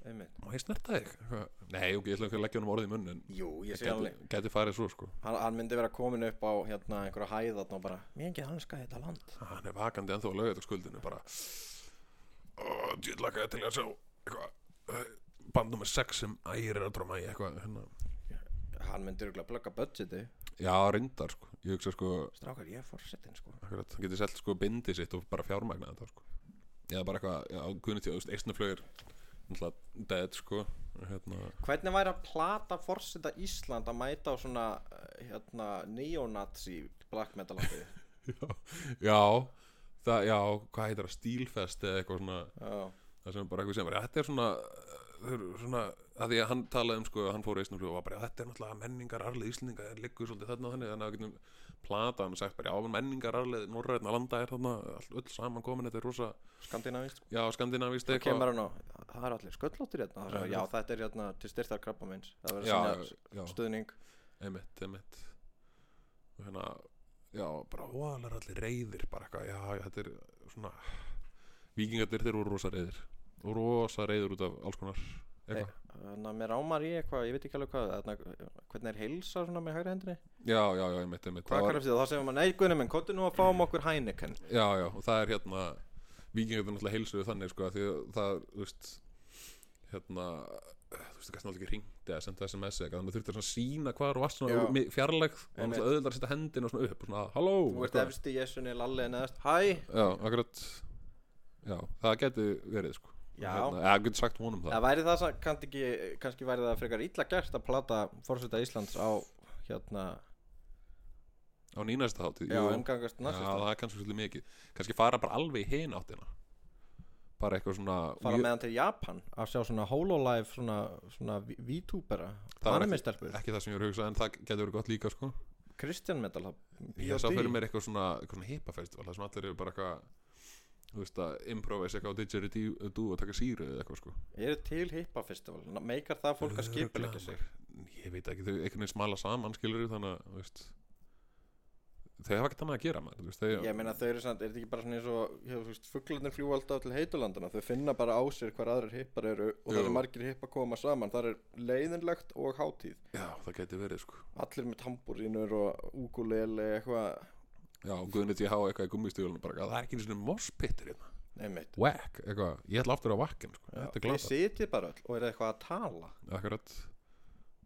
A: einmitt
B: má ég snerta þig eitthvað, nei, ok, ég ætla ekki að leggja honum orðið í munn en
A: Jú, ég sé
B: gæti,
A: alveg
B: gæti farið svo sko
A: hann, hann myndi vera komin upp á hérna einhverja hæðatn og bara Mér engið hanska þetta land
B: hann er vakandi ennþá að lögja þetta skuldinu bara djúðlaka til að sjá eitthvað, eh, band nummer 6 sem ægir er að dróma í eitthvað hérna.
A: Hann myndi örugglega plugga budgeti
B: já, reyndar sko, ég hugsa sko
A: Strákar, ég er forsetin sko
B: akkurat, hann geti selt sko bindi sitt og bara fjármagna þetta sko eða bara eitthvað, já, guðnir tíu, þú veist, eistnaflögir náttúrulega dead sko hérna
A: Hvernig væri að plata forseta Ísland að mæta á svona eh, hérna, neonazi black metal átti? (laughs)
B: Já, það, já, hvað heitir það, stílfest eða eitthvað svona,
A: Já,
B: það sem er bara eitthvað sem, bara, þetta er svona, þau eru svona, að því að hann talaði um, sko, hann fór í Íslandflug og var bara, "Já, þetta er náttúrulega menningar arlið Íslandinga, það liggur svolítið þarna og þannig, þannig að við getum plata hann og sagt bara, já, menningar arlið norrætna landa er þarna, all, öll saman komin, þetta er rosa,
A: skandinavíst
B: já, skandinavíst
A: Það kemur
B: eitthvað.
A: hann á, það er allir sköllóttir hérna Það er- Já, þetta er hérna til styrtar krabba minns Það verður
B: Já,
A: að
B: já,
A: sinna stuðning
B: einmitt, einmitt, og hérna, já, bara, ó, það er allir reyðir, bara eitthvað, já, já, þetta er svona, vikingarnir þeir voru rosa reyðir og rosa reyðir út af alls konar eitthvað
A: Þannig að mér rámar í eitthvað, ég veit ekki alveg hvað þarna, Hvernig er heilsa svona með hægri hendri?
B: já, já, já, ég mitt, ég mitt
A: Hvað var... Það segir maður, nei Guðnum, en kontu nú að fáum okkur Heineken
B: já, já, og það er hérna vikingarnir náttúrulega heilsuðu þannig sko, af því að það, þú veist hérna, þú veist, það gæst náttúrulega ekki hringt eða senda sms eða eitthvað, þannig að þurfti svona að sína hvar og varst
A: Já.
B: svona mi- fjarlægð og
A: Einmitt.
B: náttúrulega auðvitað að setja hendina svona upp og svona, halló
A: Þú ert
B: eitthvað.
A: efst í jessunni, lalli neðast, hæ
B: já, akkurat já, það geti verið sko
A: Já.
B: hérna, eða getur sagt honum það
A: Það væri það, sa- kannski, ekki, kannski væri það frekar illa gert að plata fórseta Íslands á hérna,
B: á nýnæsta þáttið
A: já, um
B: jú.
A: umgangast
B: Já,
A: narsist
B: það er kannski svolítið mikið Kannski fara bara alveg í hin áttina Bara eitthvað svona
A: fara
B: mjög-
A: með hann til Japan að sjá svona hololive svona, svona vi- VTubera,
B: var ekki-
A: animestelpur
B: Ekki það sem ég er að hugsa En það getur verið gott líka sko
A: Christian Metal Hub
B: Ég sá
A: POD.
B: fyrir mér eitthvað svona Eitthvað svona hippafestival Það sem allir eru bara eitthvað Þú veist að improvise eitthvað á didgeridoo og taka síru eða eitthvað sko
A: Eru til hippafestival, Na- meikar það fólk að skipilegja sig
B: Ég veit ekki, þau einhvern veginn smala saman skilur Þannig að, þú veist Þau hafa ekkert annað að gera maður þú veist, þau,
A: Ég meina þau eru samt, er þetta ekki bara svona eins og já, þú veist, fuglarnir fljúa alltaf til heitulandana þau finna bara á sér hvar aðrir hippar eru og það
B: Jú.
A: er margir hippar koma saman það er leiðinlegt og hátíð
B: Já, það getur verið sko
A: allir með tambúrínur og úkulele eitthvað,
B: Já, Guðnir T.H. eitthvað í gummistíðulunum bara eitthvað, Það er ekki einu svona morspittur hérna
A: neymitt
B: Whack, eitthvað, ég ætla aftur á vakkin sko. Þetta er
A: Þið
B: glatað.
A: sitjið bara öll og er eitthvað að tala
B: akkurat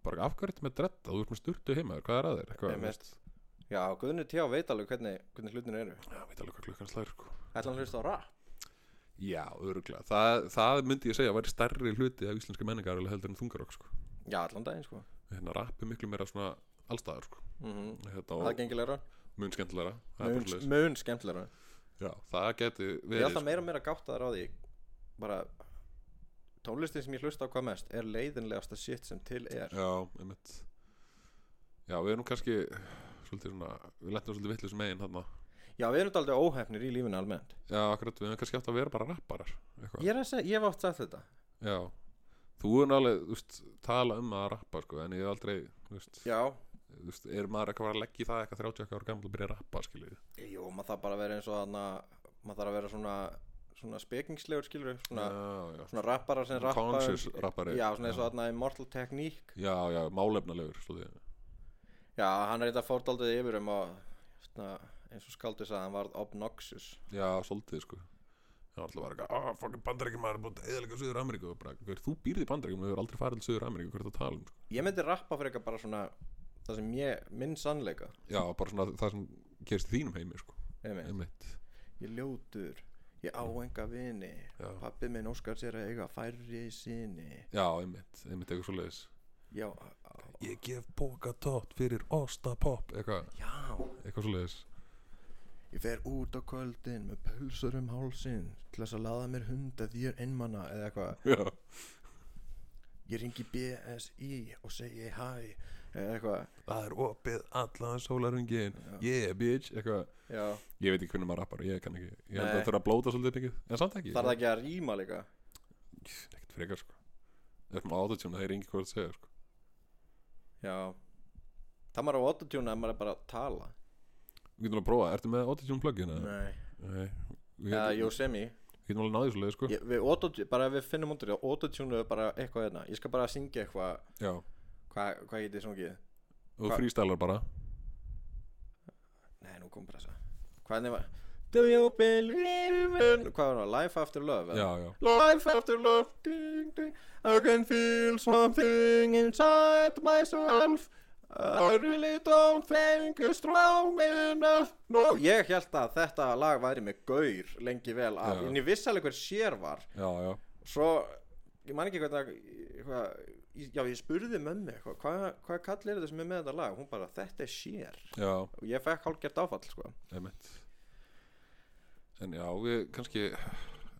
B: bara af hverju ertu með dretta, þú ert með sturtu heima þér, hvað er að þér, eitthvað,
A: Einmitt.
B: veist
A: Já, Guðni Tjá veit alveg hvernig, hvernig hlutin eru
B: já, veit alveg hvað klukkan slæðir, sko
A: Ætla hann að hlusta á rap
B: já, öruglega, það, það myndi ég segja að væri stærri hluti af íslenska menningar heldur en þungarokk, sko,
A: Já, allan daginn sko
B: hérna rappi miklu meira svona allstaðar, sko,
A: mm -hmm.
B: hérna
A: Það
B: og
A: er gengilegra,
B: mun skemmtilegra það er bara
A: mun,
B: svoleiðis.
A: mun skemmtilegra
B: já, það geti
A: Ég er
B: verið,
A: alltaf meira og meira gáttaðar á því bara tónlistin sem ég hlusta á hvað mest er leiðinlegasta shit sem til er
B: já, einmitt já, við erum kannski svolítið svona, við lentum svolítið vitlis megin þarna,
A: Já, við erum þetta aldrei óhefnir í lífinu almennt
B: já, akkurat, við erum kannski átt að vera bara rapparar, eitthvað
A: Ég, er að segja, ég hef átt sagt þetta
B: Já, þú er nálega, þú veist, tala um að rappa, sko, en ég hef aldrei, þú veist,
A: Já,
B: þú veist, er maður eitthvað að leggja í það eitthvað 30 eitthvað ára gamla að byrja að rappa, skiljið?
A: jú, maður þarf bara að vera eins og þarna maður þarf að vera svona, svona spekingslegur skilur við, svona,
B: Já, já,
A: svona rapparar sem rappa um-
B: Conscious rappari.
A: Já, svona eins og
B: Já.
A: þarna Immortal Technique
B: já, já, málefnalegur, svolítið,
A: Já, hann er þetta fórdaldið yfir um að svona, eins og skaldið sagði, hann varð obnoxious
B: já, svolítið, sko. Já, alltaf var eitthvað, ah, fokkin bandarækjum maður er búin að eðalega Suður Ameríku, og bara, hver, þú býrði bandarækjum, þú hefur aldrei farið til Suður Ameríku, hvert að tala um, sko.
A: Ég myndi rappa fyrir eitthvað bara svona það sem ég, minn sannleika
B: Já, bara svona það sem gerist í þínum heimi, sko,
A: Einmitt.
B: einmitt.
A: Ég er ljótur, ég á enga vini
B: Já.
A: Pappi minn óskar sér að eiga færri sinni
B: Já, einmitt, einmitt eitthvað svolítið.
A: Já,
B: Ég gef pókatótt fyrir ostapopp, eitthvað,
A: já
B: eitthvað svolítið.
A: Ég fer út á kvöldin með pulsur um hálsin til þess að laða mér hunda því ég er einmana eða eitthvað.
B: Já.
A: Ég ringi BSI og segi hæ eða eitthvað.
B: Það er opið allan sólarungin Yeah bitch eitthvað.
A: Já.
B: Ég veit ekki hvernig maður rappar, ég kann ekki Ég held að
A: Nei.
B: það þurfa að blóta svolítið mikið En samt ekki sko.
A: Þarf það ekki að rýma líka?
B: Ekkert frekar sko Það er maður autotune, það er engin hvað að segja sko
A: Já. Það maður á autotune ef maður er bara að tala.
B: Við getum alveg að prófa, ertu með autotune plugin? eða?
A: Nei.
B: Nei Við
A: Já,
B: getum,
A: Yosemite.
B: við getum alveg náðið svolítið sko
A: Ég, við autotune, bara ef við finnum undir því, autotune er bara eitthvað hérna. Ég skal bara syngja eitthvað,
B: Já
A: hvað hva getið sungið?
B: Og
A: Hva-
B: freestylar bara
A: Nei, nú kom bara þess Hvernig var? Do you believe in... Hvað var það? Life after love? eða?
B: Já, já
A: Life after love ding, ding. I can feel something inside myself I really don't think it's strong enough no. Ég held að þetta lag væri með gaur lengi vel af
B: Já.
A: en ég vissi alveg hver sér var
B: Já, já
A: svo, ég man ekki hvernig hvað, já ég spurði mömmu eitthvað, hvað, hvað kall er þetta sem er með þetta lag hún bara þetta er sér
B: Já,
A: og ég fekk hálfgert áfall sko
B: einmitt En já, við kannski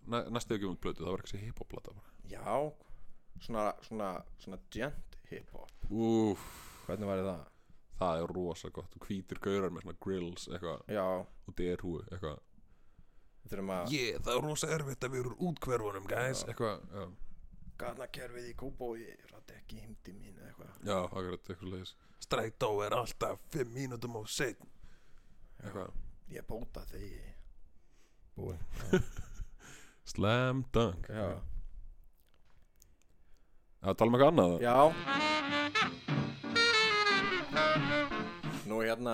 B: næ, Næstu ekki um plötu, það var kannski hip-hop plata bara
A: já, svona, svona, svona gent hiphop
B: Úff
A: hvernig væri það?
B: Það er rosa gott, og hvítir gaurar með svona grills eitthvað
A: Já,
B: og derhúi eitthvað
A: Við þurfum að yeah.
B: yeah, það er rosa erfitt að við erum útkverfunum guys eitthvað, já,
A: garnakerfið í kóbói rætti ekki heimdi mín eða eitthvað
B: já, akkurat, eitthvað leiðis strætó er alltaf 5 mínútum á setn eitthvað,
A: ég bóta þegi búi
B: Slam Dunk
A: Já,
B: Það tala um eitthvað annað
A: já. Nú hérna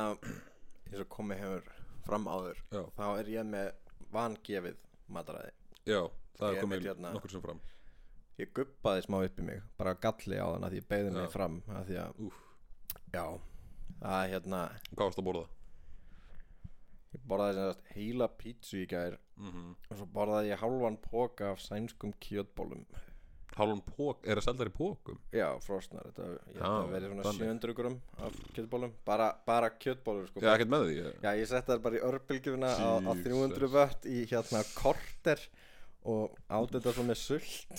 A: eins og komið hefur fram áður
B: Já.
A: þá er ég með vangefið mataræði
B: Já,
A: Ég
B: það er
A: er
B: komið
A: mitt hérna.
B: nokkur sem fram
A: Ég guppaði smá upp í mig, bara galli á þann að ég beigði mig
B: Já.
A: fram að því að,
B: Úf,
A: já, það er hérna
B: hvað varst að borða?
A: ég borðaði sem sagt heila pítsu í gær
B: Mm
A: og svo borðaði ég hálfan póka af sænskum kjötbólum
B: Hálfum pók, er það seldar í pókum?
A: Já, frosnar, þetta ég held
B: Já,
A: að verið svona
B: þannig.
A: 700 grum af kjötbólum, bara, bara kjötbólur sko.
B: Já, ekkert með því ég-
A: Já, ég setti þær bara í örbylgjuna á, á
B: Jesus.
A: 300 vött í hérna korter og átti þetta svo með sult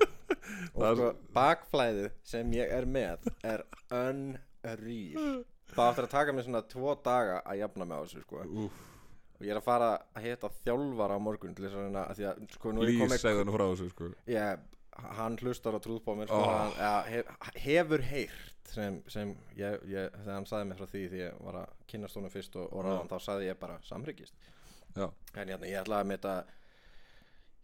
B: (laughs)
A: og
B: Það er-
A: sko bakflæðið sem ég er með er unreal það áttur að taka mig svona tvo daga að jafna mig á þessu sko
B: Úff,
A: og ég er að fara að hitta þjálfar á morgun til þess að reyna að því að sko nú er ég
B: Lís
A: komið
B: segði hann frá þessu sko
A: ég, hann hlustar á trúðbómið sko,
B: Oh.
A: hann, ja, hef, hefur heyrt sem, sem ég, ég, þegar hann sagði mér frá því því ég var að kynast honum fyrst og, og
B: Oh.
A: ráðan þá sagði ég bara samryggist
B: Já,
A: en hérna, ég ætlaði að mitt að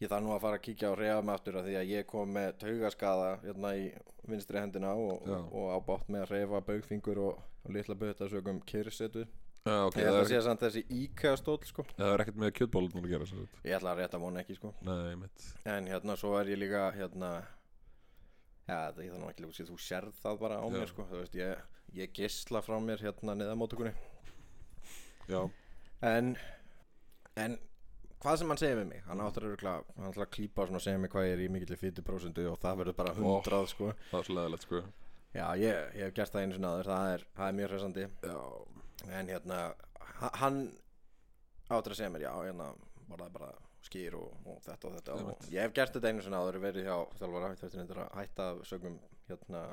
A: ég þarf nú að fara að kíkja á reyðum aftur af því að ég kom með taugaskaða hérna í vinstri hendina og,
B: Já.
A: og, og á bátt með að reyfa baugfingur og, og litla bauta sögum kyrsetu
B: já ok,
A: ég
B: það
A: ætla að
B: er,
A: sé samt þessi íkæða stóll sko
B: það er ekkert með kjötbólun að gera svo
A: ég ætla að rétta vona ekki sko
B: Nei, mitt
A: En hérna svo er ég líka hérna Já, það ég þarf nú ekki líka að þú sérð það bara á
B: Já.
A: mér sko Þú veist, ég, ég gisla frá mér hérna neðamótökunni
B: Já,
A: En, en hvað sem hann segir við mig Hann áttur örgulega, hann ætlar að klípa á svona og segja mig hvað ég er í mikill fyrir prósentu og það verður bara
B: Ó.
A: hundrað sko
B: það er svo leðilegt sko
A: Já, ég, ég hef gert það einu sinni aður, það er, það er mjög hressandi
B: Já,
A: En hérna, ha- hann áttur að segja mér, já, hérna, bara það bara skýr og, og þetta og þetta og
B: Einmitt.
A: ég hef gert þetta einu sinna áður verið hjá þjálfara, þetta er endur að hætta af sögum, hérna,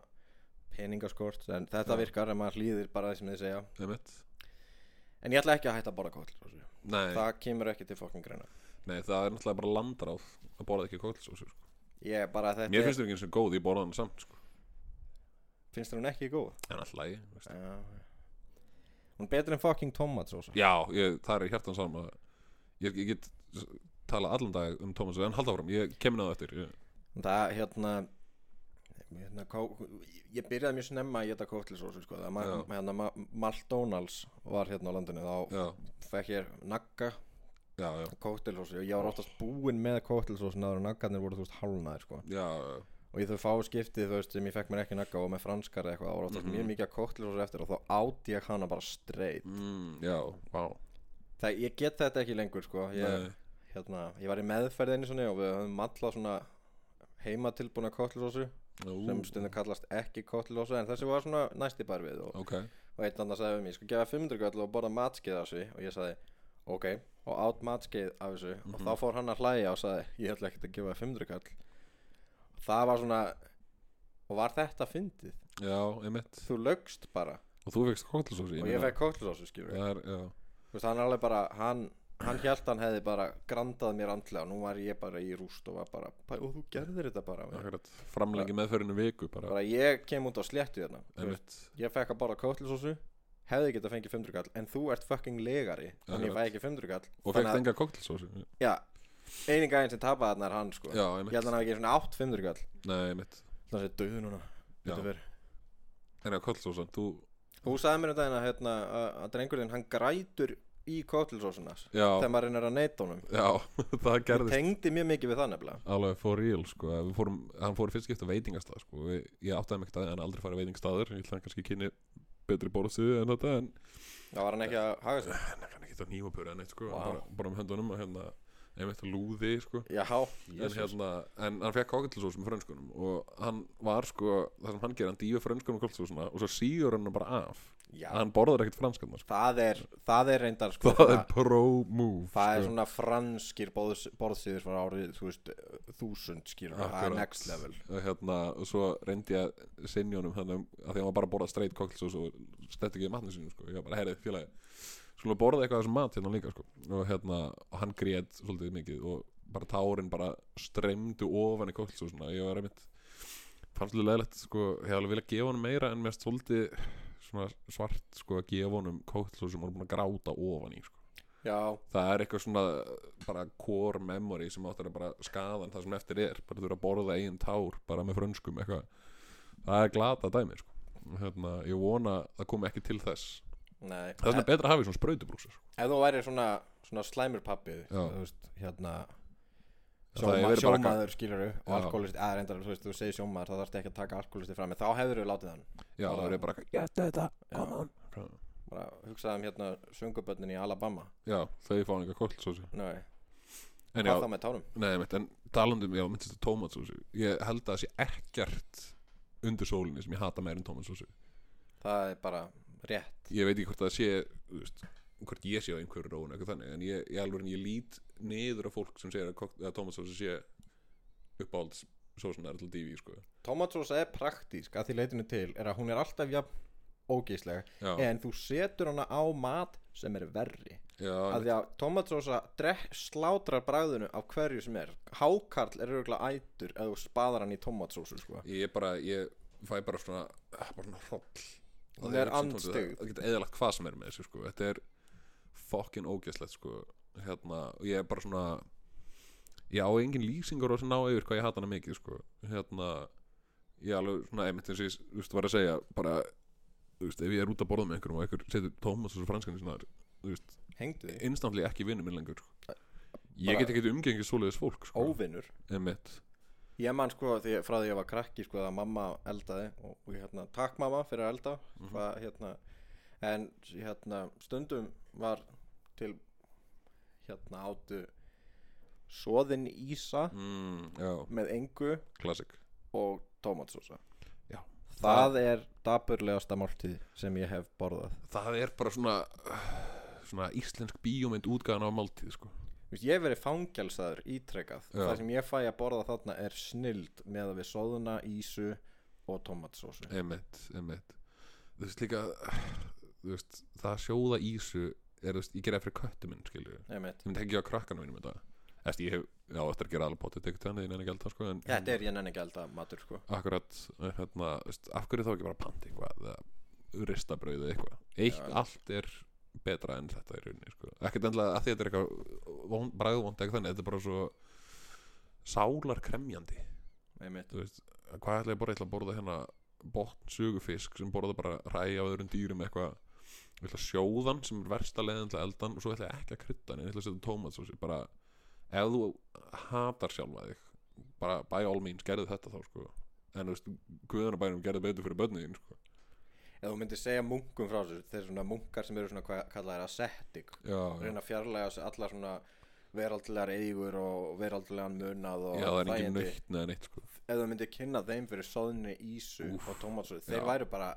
A: peningaskort en þetta
B: Já.
A: virkar en maður hlýðir bara því sem þið segja
B: nei mitt
A: en ég ætla ekki að hætta að borða kóll
B: Nei,
A: það kemur ekki til fokkin greina
B: nei, það er náttúrulega bara landráð að borða ekki kókelsósu sko.
A: ég er bara þetta,
B: Mér finnst það ekki eins og góð, ég borða hann samt sko.
A: finnst þér hún ekki góð?
B: En alltaf lægi, veist
A: Já. hún er betur en fokkin tomatsósa
B: Já, ég, það er hjartan saman að ég, ég get s- talað allan dag um Thomas en halda áfram, ég kemur náðu eftir ég,
A: það hérna, hérna kó, ég byrjaði mjög snemma að geta kóttlisósu sko, það ma,
B: Já.
A: hérna, ma, McDonalds var hérna á landinu þá
B: Já,
A: fekk ég nagga
B: já, já,
A: kóttlisósu og ég var oftast búinn með kóttlisósu náður og naggarnir voru þú veist hálnaðir sko.
B: já, já.
A: og í þau fá skiptið þú veist sem ég fekk mér ekki nagga og með franskar eða eitthvað það var oftast
B: Mhm.
A: mjög mikið að kóttlisósu eftir og þá átt ég hana bara streit
B: Mm, já, vá
A: það, ég get þetta ekki lengur sko. ég,
B: Nei.
A: hérna, ég var í meðferð einu sinni og við höfum mallað svona heimatilbúna kóttlisósu
B: Ú,
A: sem stundum kallast ekki kottlósa en þessi var svona næsti bara við og,
B: Ok,
A: og einn annar sagði við mig, ég sko gefa 500 göll og borða matskeið af þessu og ég sagði, ok og átt matskeið af þessu
B: Mhm.
A: og þá fór hann að hlæja og sagði, ég ætla ekkert að gefa þér 500 göll það var svona og var þetta fyndið
B: já, einmitt
A: þú lögst bara
B: Og þú fegst kókelsósu
A: og ég fekk kottlósu skilur
B: Það er, já
A: þú veist, hann er alveg bara, hann hann held hann hefði bara grandað mér andlega og nú var ég bara í rúst og var bara og þú gerðir þetta bara, maður."
B: Akkurat, framlengi meðferðinu viku bara,
A: bara ég kem út á sléttu hérna. þérna
B: einmitt
A: ég fekk að borða kóttlisósu hefði getað fengið 500 kall en þú ert fucking legari þannig ég fæ ekki 500 kall
B: og fekk
A: Þannig að-
B: þenga kóktelsósu
A: já, eini gæðin sem tapaði þarna er hann sko
B: já,
A: ég held
B: einmitt,
A: hann hafi ekki svona 8 500 kall
B: nei, einmitt
A: þannig að döðu núna
B: Já.
A: þetta verið.
B: þenga kóktelsósan, þú,
A: þú sagði mér um daginn að, hérna, að- að drengurinn hann grætur í kóttlisósuna
B: já,
A: þegar maður reynir að neyta honum
B: já (laughs) það
A: ég
B: gerðist
A: tengdi mjög mikið við það nefnilega
B: alveg for real, sko Við fórum, hann fór í fyrst skipt á veitingastað, sko Við, ég áttaði mig ekki að því, hann aldrei farið veitingastaður ég ætla að hann kannski kynni betri borðsíðu en þetta en
A: þá var hann ekki að haga sig
B: hann ekki þetta nýmapur en eitt, sko
A: Vá.
B: wow. bara, bara um höndunum og hérna, einmitt lúði, sko
A: já,
B: en,
A: Jesus.
B: hérna, en hann fekk kókelsós með frönskunum og hann var, sko, það sem hann gerir hann dýfi frönskunum kókelsósuna og svo síður hann bara af
A: já.
B: hann borðar ekkert franskan, sko
A: það er það er reyndar sko
B: (laughs) það er
A: svona-
B: pro move
A: Það er
B: sko.
A: svona franskir borðs, borðsýður frá árið, þú veist, þúsund skýrur, það er
B: Akkurat.
A: next level.
B: og hérna, og svo reyndi ég að sinni honum þannig að því hann var bara að borða straight cocktails og svo stætti ekki í matnum sínum sko. ég var bara, herri, félagi, skulum borða eitthvað af þessum mat hérna líka, sko. og hérna og hann grét svolítið mikið og bara tárin bara streymdu ofan í cocktails og svona, ég var einmitt fannst þetta leðilegt, sko, ég hefði alveg viljað gefa honum meira en mér finnst svolítið svona svart, sko, að gefa honum cocktails sem hann er búin að gráta ofan í, sko
A: já,
B: það er eitthvað svona bara core memory sem áttur að bara skaðan það sem eftir er, bara þú eru að borða eigin tár bara með frönskum eitthvað það er glata dæmi sko. hérna, ég vona að það kom ekki til þess
A: nei
B: það er svona
A: ef,
B: betra að hafa í svona sprautubrúsur sko.
A: ef þú væri svona, svona slæmur pappi
B: Já.
A: þú veist, hérna
B: Það hefði
A: sjóma,
B: verið bara
A: sjómaður skilur og
B: Já.
A: alkoholist, eða reyndar, þú veist, þú segir sjómaður þá þarfst ekki að taka alkoholisti fram en þá hefur við látið hann
B: já, það er bara eitthvað, ég þetta,
A: Já.
B: come on
A: bara hugsaðum hérna sönguböndin í Alabama
B: já, þau fá hann eitthvað kvöld svo sé
A: nei,
B: en já,
A: hvað þá með tárum
B: Nei, mitt, en talandum, já, myndist að tómatsósu Ég held að það sé ekkert undir sólinni sem ég hata meir en tómatsósu
A: það er bara rétt
B: Ég veit ekki hvort það sé, þú veist, hvort ég sé á einhverju róun eitthvað þannig En ég, ég alveg en ég lít niður á fólk sem segir að, kok- að tómatsósu sé uppáhalds sósunar til divi, sko
A: tomatsósa er praktísk að því leitinu til er að hún er alltaf jafn ógeislega
B: Já,
A: en þú setur hana á mat sem er verri
B: já,
A: að því að tomatsósa drekk- slátrar bræðinu af hverju sem er hákarl er örgulega ætur ef þú spaðar hann í tomatsósu sko.
B: ég bara, ég fæ bara svona, ah, bara svona hroll
A: Hún
B: Það
A: er
B: sem tónlist,
A: andstyggð.
B: Það það geta eðalagt hvað sem er með þessu, sko Þetta er fucking ógæslegt, sko Hérna, og ég er bara svona Ég á engin lýsingar og sem ná yfir hvað ég hata hana mikið, sko Hérna, ég alveg svona einmitt eins og ég, þú veist, var að segja bara, þú veist, ef ég er út að borða með einhverjum og einhver setur Thomas og svo franskan í svona þú veist,
A: hengdu því,
B: instantly ekki vinnu minn lengur, sko Ég
A: Bara-
B: get ekki umgengið svoleiðis fólk, sko
A: óvinnur
B: Einmitt,
A: ég man sko því, frá því ég var krakki sko að mamma eldaði og, og hérna, takk mamma fyrir að elda
B: Mhm.
A: hvað, hérna, en hérna, stundum var til hérna áttu soðin ísa
B: mm, já,
A: með engu
B: classic
A: og tomatsósa
B: Já.
A: það er daburlegasta máltíð sem ég hef borðað
B: það er bara svona svona íslensk bíómynd útgæðan af máltíð sko.
A: Þú veist, ég hef verið fangelsaður ítrekkað
B: Já.
A: það sem ég fæ að borða þarna er snild með að við soðuna, ísu og tomatsósu
B: emitt, emitt þú veist líka þú veist, það að sjóða ísu er, þú veist, ég gera það fyrir köttu minn skilur ég
A: Einmitt.
B: myndi ekki að krakkanum mínum þetta Eftir, ég hef, já, eftir að gera alveg bótið tekið þannig en ekki alltaf sko en
A: þetta er ég nenni ekki elda matur sko
B: akkurat, hérna, þú veist, af hverju þá ekki bara panta eitthvað eða ristabrauð eða eitthvað eitt,
A: Já.
B: allt er betra en þetta í rauninni sko. ekkert endla að því þetta er eitthvað vond, bræðvond ekki þannig, þetta er bara svo sálarkremjandi
A: Einmitt.
B: þú veist, hvað ætla ég að borða, ég ætla að borða hérna botn sugufisk sem borða bara ræ af öðrum dýrum eitthvað ég ætla að sjóðan sem er versta leiðin til að eldan og svo ætla ég ekki að krydda hann, ég ætla að setja tómatsósi bara, ef þú hatar sjálfa þig, bara by all means gerðu þetta þá sko, en þú veist guðanabænum gerðu betur fyrir börnin þín, sko.
A: ef þú myndir segja munkum frá þessu þeir svona munkar sem eru svona hvað kallað er ascetic
B: já, já,
A: reyna að fjarlæga sig allar svona veraldlegar eigur og veraldlegan munað og
B: já, það er ekki
A: þægindi.
B: nöytt neða neitt sko,
A: ef þú myndir kynna þeim fyrir soðinni ísu
B: Úff,
A: og tómatsósu þeir
B: já.
A: væru bara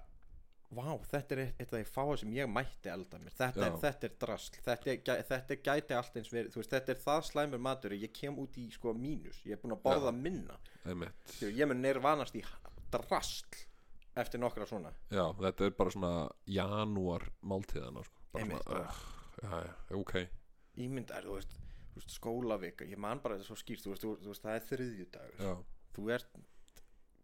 A: Vá, þetta er eitt eitt af því fáa sem ég mætti elda mér Þetta, er,
B: Já.
A: þetta er drasl þetta, er gæ- þetta er gæti allt eins verið þú veist, Þetta er það slæmur matur Ég kem út í sko mínus Ég er búin að borða
B: Já.
A: minna
B: einmitt
A: Þegar Ég mun nirvanast í ha- drasl Eftir nokkra svona
B: já, þetta er bara svona janúar máltíðana sko, bara
A: Einmitt.
B: svona, uh, já, já, ok
A: Ímynd er, þú veist, þú veist skólavika Ég man bara þetta svo skýrt Þú veist, þú, þú veist það er þriðjudagur
B: já,
A: Þú ert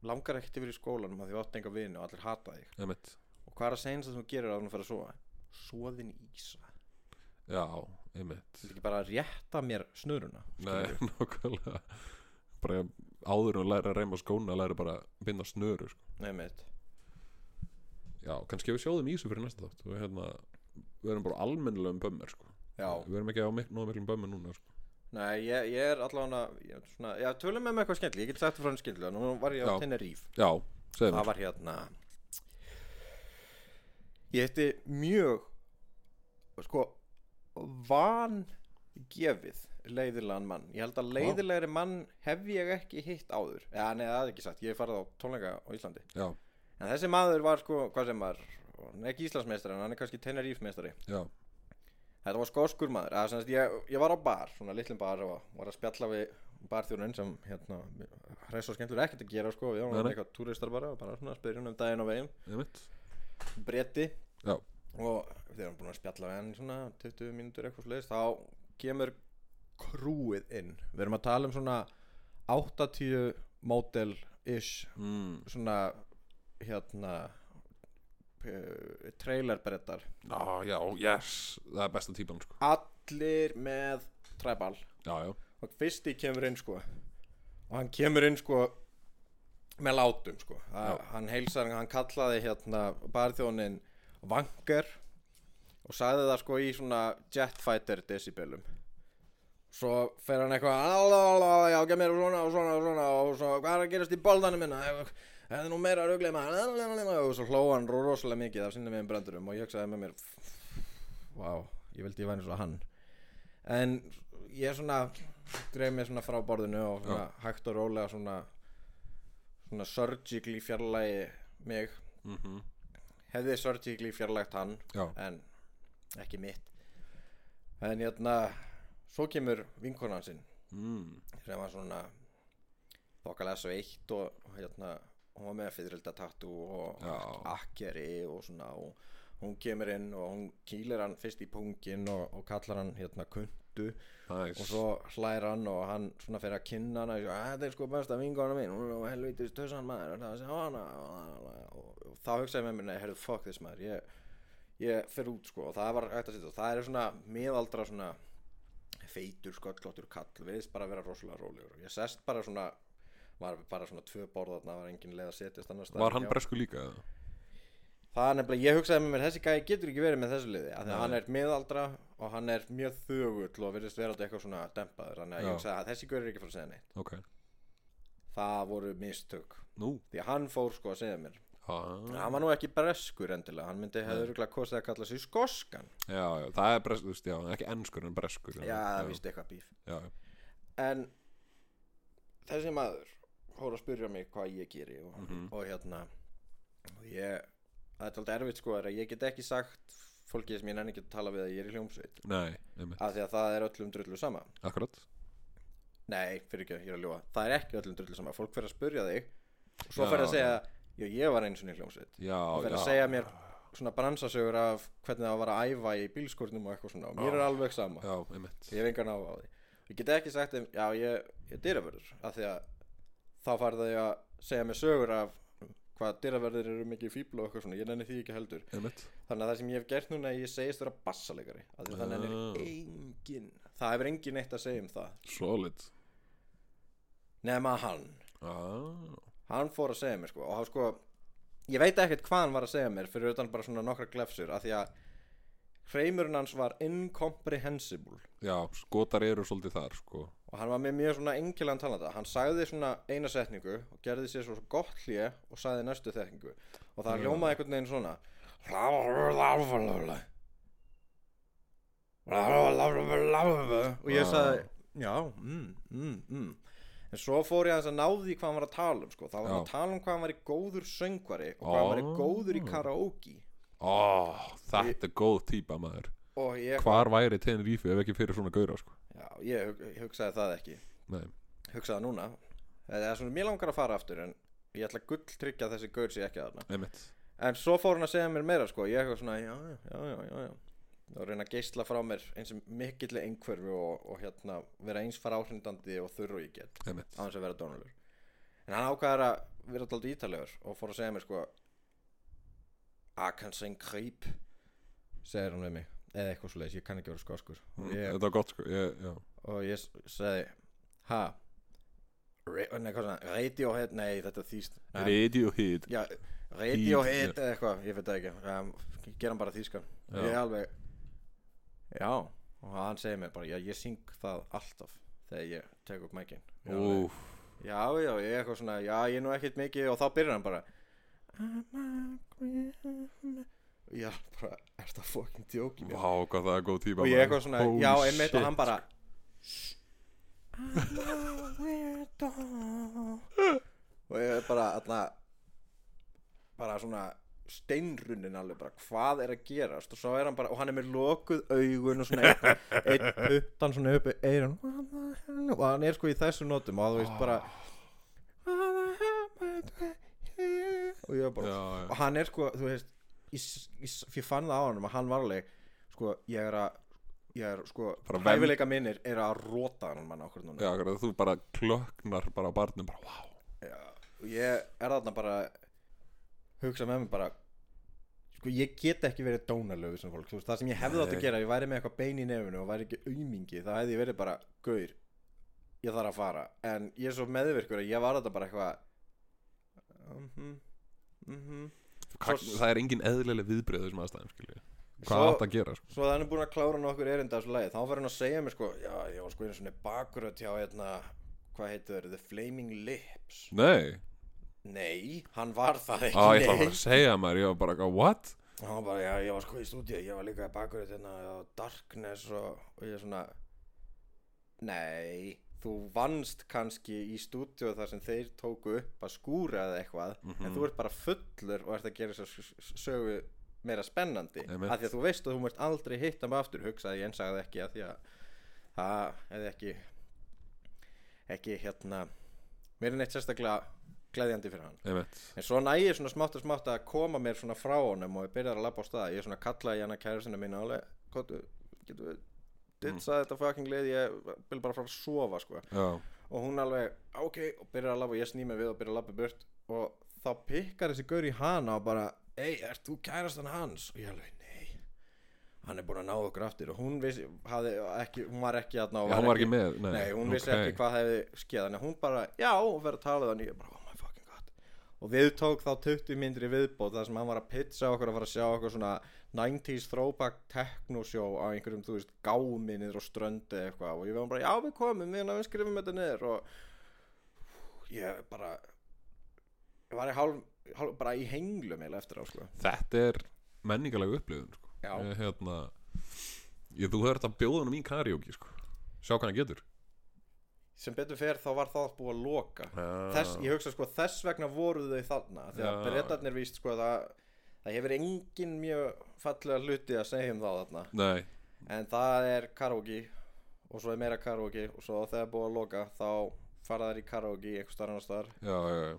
A: langar ekkert yfir í skólanum að Því þú átt enga vini og allir hata þig
B: einmitt
A: Og hvað er að segja sem þú gerir að hún fyrir að sofa? Soðin ísa
B: já, einmitt
A: Þú vil ekki bara rétta mér snuruna
B: Nei, (laughs) nákvæmlega bara áður en að læra að reyma skóna læra bara að binda snöru sko.
A: Nei mitt
B: já, kannski við sjóðum ísu fyrir næsta þátt og hérna, við erum bara almennilega um bömmir sko.
A: Já,
B: við erum ekki á mik nóg miklum bömmir núna sko.
A: nei, ég, ég er allavega ég er svona, Já, tölum með mig eitthvað skemmtilega, ég get sagt frá hann skemmtilega Nú var ég á
B: Já.
A: Teneríf
B: já, segðu
A: Það
B: mér
A: var hérna Ég hitti mjög Sko Vangefið Leiðilegan mann Ég held að leiðilegri mann hef ég ekki hitt áður Já, nei, það er ekki satt, ég hef farið á tónleika á Íslandi
B: já,
A: En þessi maður var sko, hvað sem var Hann er ekki Íslandsmeistari, en hann er kannski Tenerífmeistari
B: já,
A: Þetta var skoskur maður eða, sem sagt, ég, ég var á bar, svona litlum bar og var að spjalla við barþjónun sem hérna, hreis og skemmtilega ekkert að gera sko, við
B: Nei,
A: varum
B: nei.
A: eitthvað túristar bara og bara svona spyrjum um daginn og veginn
B: einmitt
A: bretti
B: Já.
A: og þegar hann búin að spjalla við hann í svona 20 mínútur eitthvað sliðist þá kemur krúið inn við erum að tala um svona 80 model ish
B: mm,
A: svona hérna uh, trailerbrettar
B: á, já, yes, það er besta típan sko.
A: all allir með tribal
B: já, já,
A: og fyrsti kemur inn sko og hann kemur inn sko með látum sko Að- hann heilsar, hann kallaði hérna barþjónin vangar og sagði það sko í svona jetfighter decibelum svo fer hann eitthvað "Halló, halló, já, gef mér svona og svona og svona og svo, hvað er að gerast í boldanum minna það er nú meira ruglið maður og svo hló hann rosalega mikið af sinni meðin brandurum og ég hugsaði með mér vá, ég vildi ég væri eins og hann en ég svona greið mig svona frá borðinu og svona hægt og rólega svona svona surgically fjarlægi mig
B: mhm,
A: hefði surgically fjarlægt hann
B: já,
A: en ekki mitt en hérna svo kemur vinkonan sinn
B: mm,
A: sem var svona þokkalega sveitt og hérna hún var með fyrirlda tattu og
B: Já.
A: akkeri og svona og hún kemur inn og hún kýlir hann fyrst í pungin og, og kallar hann hérna kundu
B: næs
A: og svo hlær hann og hann svona fyrir að kynna hana og ég, þetta er sko besta vingana mín hún er helvitis tössan maður og, það sé hana, og, og, og þá hugsaði ég með mér nei, herrðu, fuck this maður ég, ég fer út sko og það var hægt að sitja og það er svona miðaldra svona feitur sköllóttur kall viðist bara að vera rosalega rólegur ég sest bara svona var bara svona tvö borð þarna var engin leið að setjast annars staðar.
B: var hann
A: Já.
B: bresku líka eða?
A: Það er nefnilega, ég hugsaði með mér, þessi gæði getur ekki verið með þessu liði af því
B: Nei.
A: að hann er miðaldra og hann er mjög þögull og virðist vera alltaf eitthvað svona dempaður þannig að
B: Já.
A: ég hugsaði að þessi gaur er ekki frá að segja neitt
B: ok,
A: Það voru mistök
B: nú
A: Því að hann fór sko að segja mér
B: ah.
A: Hann var nú ekki breskur endilega, hann myndi hefur örugglega kosið að kalla sig skoskan
B: já, já, það er bresku, þú veist, já, ekki ennskur en breskur
A: Já, það víst eitthvað bíf
B: já, já,
A: En þessi maður fór að spyrja mig hvað ég geri og, og hérna og ég, það er alltaf erfitt sko er að ég get ekki sagt fólki sem ég nenni ekki að tala við að ég er í hljómsveit
B: nei, einmitt,
A: af því að það er öllum drullu sama
B: akkurat
A: nei, fyrir ekki, ég er að ljúa það er ekki öllum drullu sama, fólk fer að spurja þig og svo
B: Já,
A: fer að segja, já, ég var eins og nýr hljómsveit
B: já,
A: og fer
B: já,
A: að segja mér svona bransasögur af hvernig það var að æfa í bílskórnum og eitthvað svona og mér er alveg sama,
B: já, einmitt
A: ég hef engan áhuga á því ég get ekki sagt þeim, já, ég, ég dyraförður af því að þá farið þau að segja mér sögur af hvað dyraförður eru mikið fíbl og eitthvað svona, ég nenni því ekki heldur
B: einmitt,
A: þannig að það sem ég hef gert núna er að ég segist vera bassalegari af því að þannig að
B: Ah.
A: er engin það hefur engin eitt að segja um það
B: solid
A: nema hann
B: ah,
A: hann fór að segja mér sko og hann sko ég veit ekkert hvað hann var að segja mér fyrir utan bara svona nokkra glefsur af því að hreimurinn hans var incomprehensible
B: já, skotar eru svolítið þar, sko
A: og hann var með mjög svona engilan talanda hann sagði svona eina setningu og gerði sér svo gott hlje og sagði næstu þekkingu og það
B: Já.
A: hljómaði einhvern veginn svona og ég sagði já, mm, mm, mm en svo fór ég aðeins að náði því hvað hann var að tala um sko. þá var hann
B: Já.
A: að tala um hvað hann var í góður söngvari og hvað hann var í góður í karaoke
B: ó, þetta er góð típa, maður
A: og ég,
B: hvar væri Tenerife ef ekki fyrir svona gauðra, sko
A: já, ég hug- hugsaði það ekki
B: nei,
A: hugsaði núna eða svona mér langar að fara aftur en ég ætla að gulltryggja að þessi gaur sér ekki þarna
B: einmitt
A: en svo fór hann að segja mér meira sko ég eitthvað svona já já já já, já, já. og reyna að geisla frá mér eins og mikill einhverfu og, og hérna vera eins fara áhrindandi og þurr og ég get
B: einmitt,
A: á þess að vera dónalur en hann ákvaðar að vera alltaf ítalegur og fór að segja mér sko Akansen Kreip segir hann við mig eða eitthvað svo leiðis, ég kann ekki vera skoskur og ég
B: þetta var gott, sko ég, já,
A: og ég s- sagði ha Ra- nei, hvað svona, Radiohead, nei þetta er þýst Nei,
B: Radiohead
A: já, Radiohead eða eitthvað, ég veit það ekki um, gera hann bara þýskan
B: Já.
A: ég er alveg já, og hann segir mér bara já, ég syng það alltaf þegar ég tek upp mækin já,
B: Úf,
A: já, já, ég er eitthvað svona já, ég er nú ekkert mikið og þá byrjar hann bara já, bara, er það fucking djóki mér
B: vá, hvað það er góð típa
A: og ég eitthvað svona,
B: Holy
A: já einmitt og
B: shit.
A: hann bara "Shh, I'm a weirdo." (laughs) og ég er bara allna, bara svona steinrunin alveg bara hvað er að gerast og svo er hann bara og hann er með lokuð augun og svona einn ein puttan svona uppi eyrun og hann er sko í þessu notum og þú veist bara
B: Ah.
A: og ég er bara
B: Já, já.
A: og hann er sko, þú veist ég, ég, ég fann það á hann að hann var alveg sko, ég er að ég er sko,
B: Bara vem-
A: hæfileika minnir er að róta hann mann okkur núna
B: Já, akkurat, þú bara klöknar bara á barnum bara, vá
A: Já, og ég er þarna bara hugsa með mér bara sko, ég get ekki verið dónalögu sem fólk, þú veist, það sem ég hefði átt
B: Nei.
A: að gera ef ég væri með eitthvað bein í nefnu og væri ekki aumingi þá hefði ég verið bara, gaur ég þarf að fara, en ég er svo meðvirkur að ég var þetta bara eitthvað mhm, mhm
B: Kak,
A: Svo-
B: það er engin eðlileg viðbröð á þessum aðstæðum skilju hvað
A: Svo-
B: átt að gera sko?
A: Svo að hann er búin að klára nokkur erinda af þessu lagi Þá var hann að segja mér sko Já, ég var sko einu svona bakröð hjá hérna Hvað heitir þeir, The Flaming Lips
B: nei,
A: Nei, hann var það
B: á,
A: ekki
B: ég ætla
A: Nei,
B: bara að segja maður ég var bara, eitthvað, what?
A: hann var bara, já, ég var sko í stúdíu Ég var líka í bakröð hérna á Darkness og, og ég svona Nei, þú vannst kannski í stúdíu þar sem þeir tóku upp að skúra eða eitthvað En
B: Mhm.
A: þú ert bara fullur og ert að gera þess að sögu meira spennandi
B: Einmitt.
A: af því að þú veist að þú mörst aldrei hitta mig aftur hugsaði ég en sagði ekki að því að það hefði ekki ekki hérna mér er neitt sérstaklega gleðjandi fyrir hann
B: einmitt
A: en svo nægir svona smátt og smátt að koma mér svona frá honum og ég byrjar að labba á stað ég svona kallaði hérna kærusinu mín alveg "Komdu, getum við ditsa þetta fucking lið ég vil bara fara að sofa sko
B: já,
A: og hún alveg "Ah, ok og byrjar að labba og ég sný mig við og byrjar að labba burt og þá pikkar þessi gaur í hana og bara ei, ert þú kærastan hans? og ég alveg, nei hann er búin að ná okkur aftur og hún vissi, hafði ekki, hún var ekki aðna
B: já, hann var ekki með nei,
A: nei, hún vissi
B: ok.
A: ekki hvað hefði skeð þannig að hún bara, já, og verið að tala við hann ég bara, oh my fucking god og við tók þá 20 myndri viðbót þar sem hann var að pitcha okkur að fara að sjá okkur svona 90s throwback technosjó á einhverjum, þú veist, gáminir og ströndi eða eitthvað og ég var bara, já við komum við, við skrifum þetta niður og ég bara ég var í hálf, hálf bara í henglum eiginlega eftir á, sko
B: þetta er menningalega upplifun sko.
A: Já.
B: ég, hérna, ég, þú þurft að bjóða hann í karaoke sko. sjá hvað hann getur
A: sem betur fer þá var það búið að loka þess, ég hugsa sko þess vegna voru þau þarna þegar
B: Já.
A: ja. breytarnir víst sko það, það hefur engin mjög fallega hluti að segja um þá þarna
B: nei,
A: en það er karaoke og svo er meira karaoke og svo þegar búið að loka þá fara þær í karaoke einhver starf annars þar
B: já, já, já.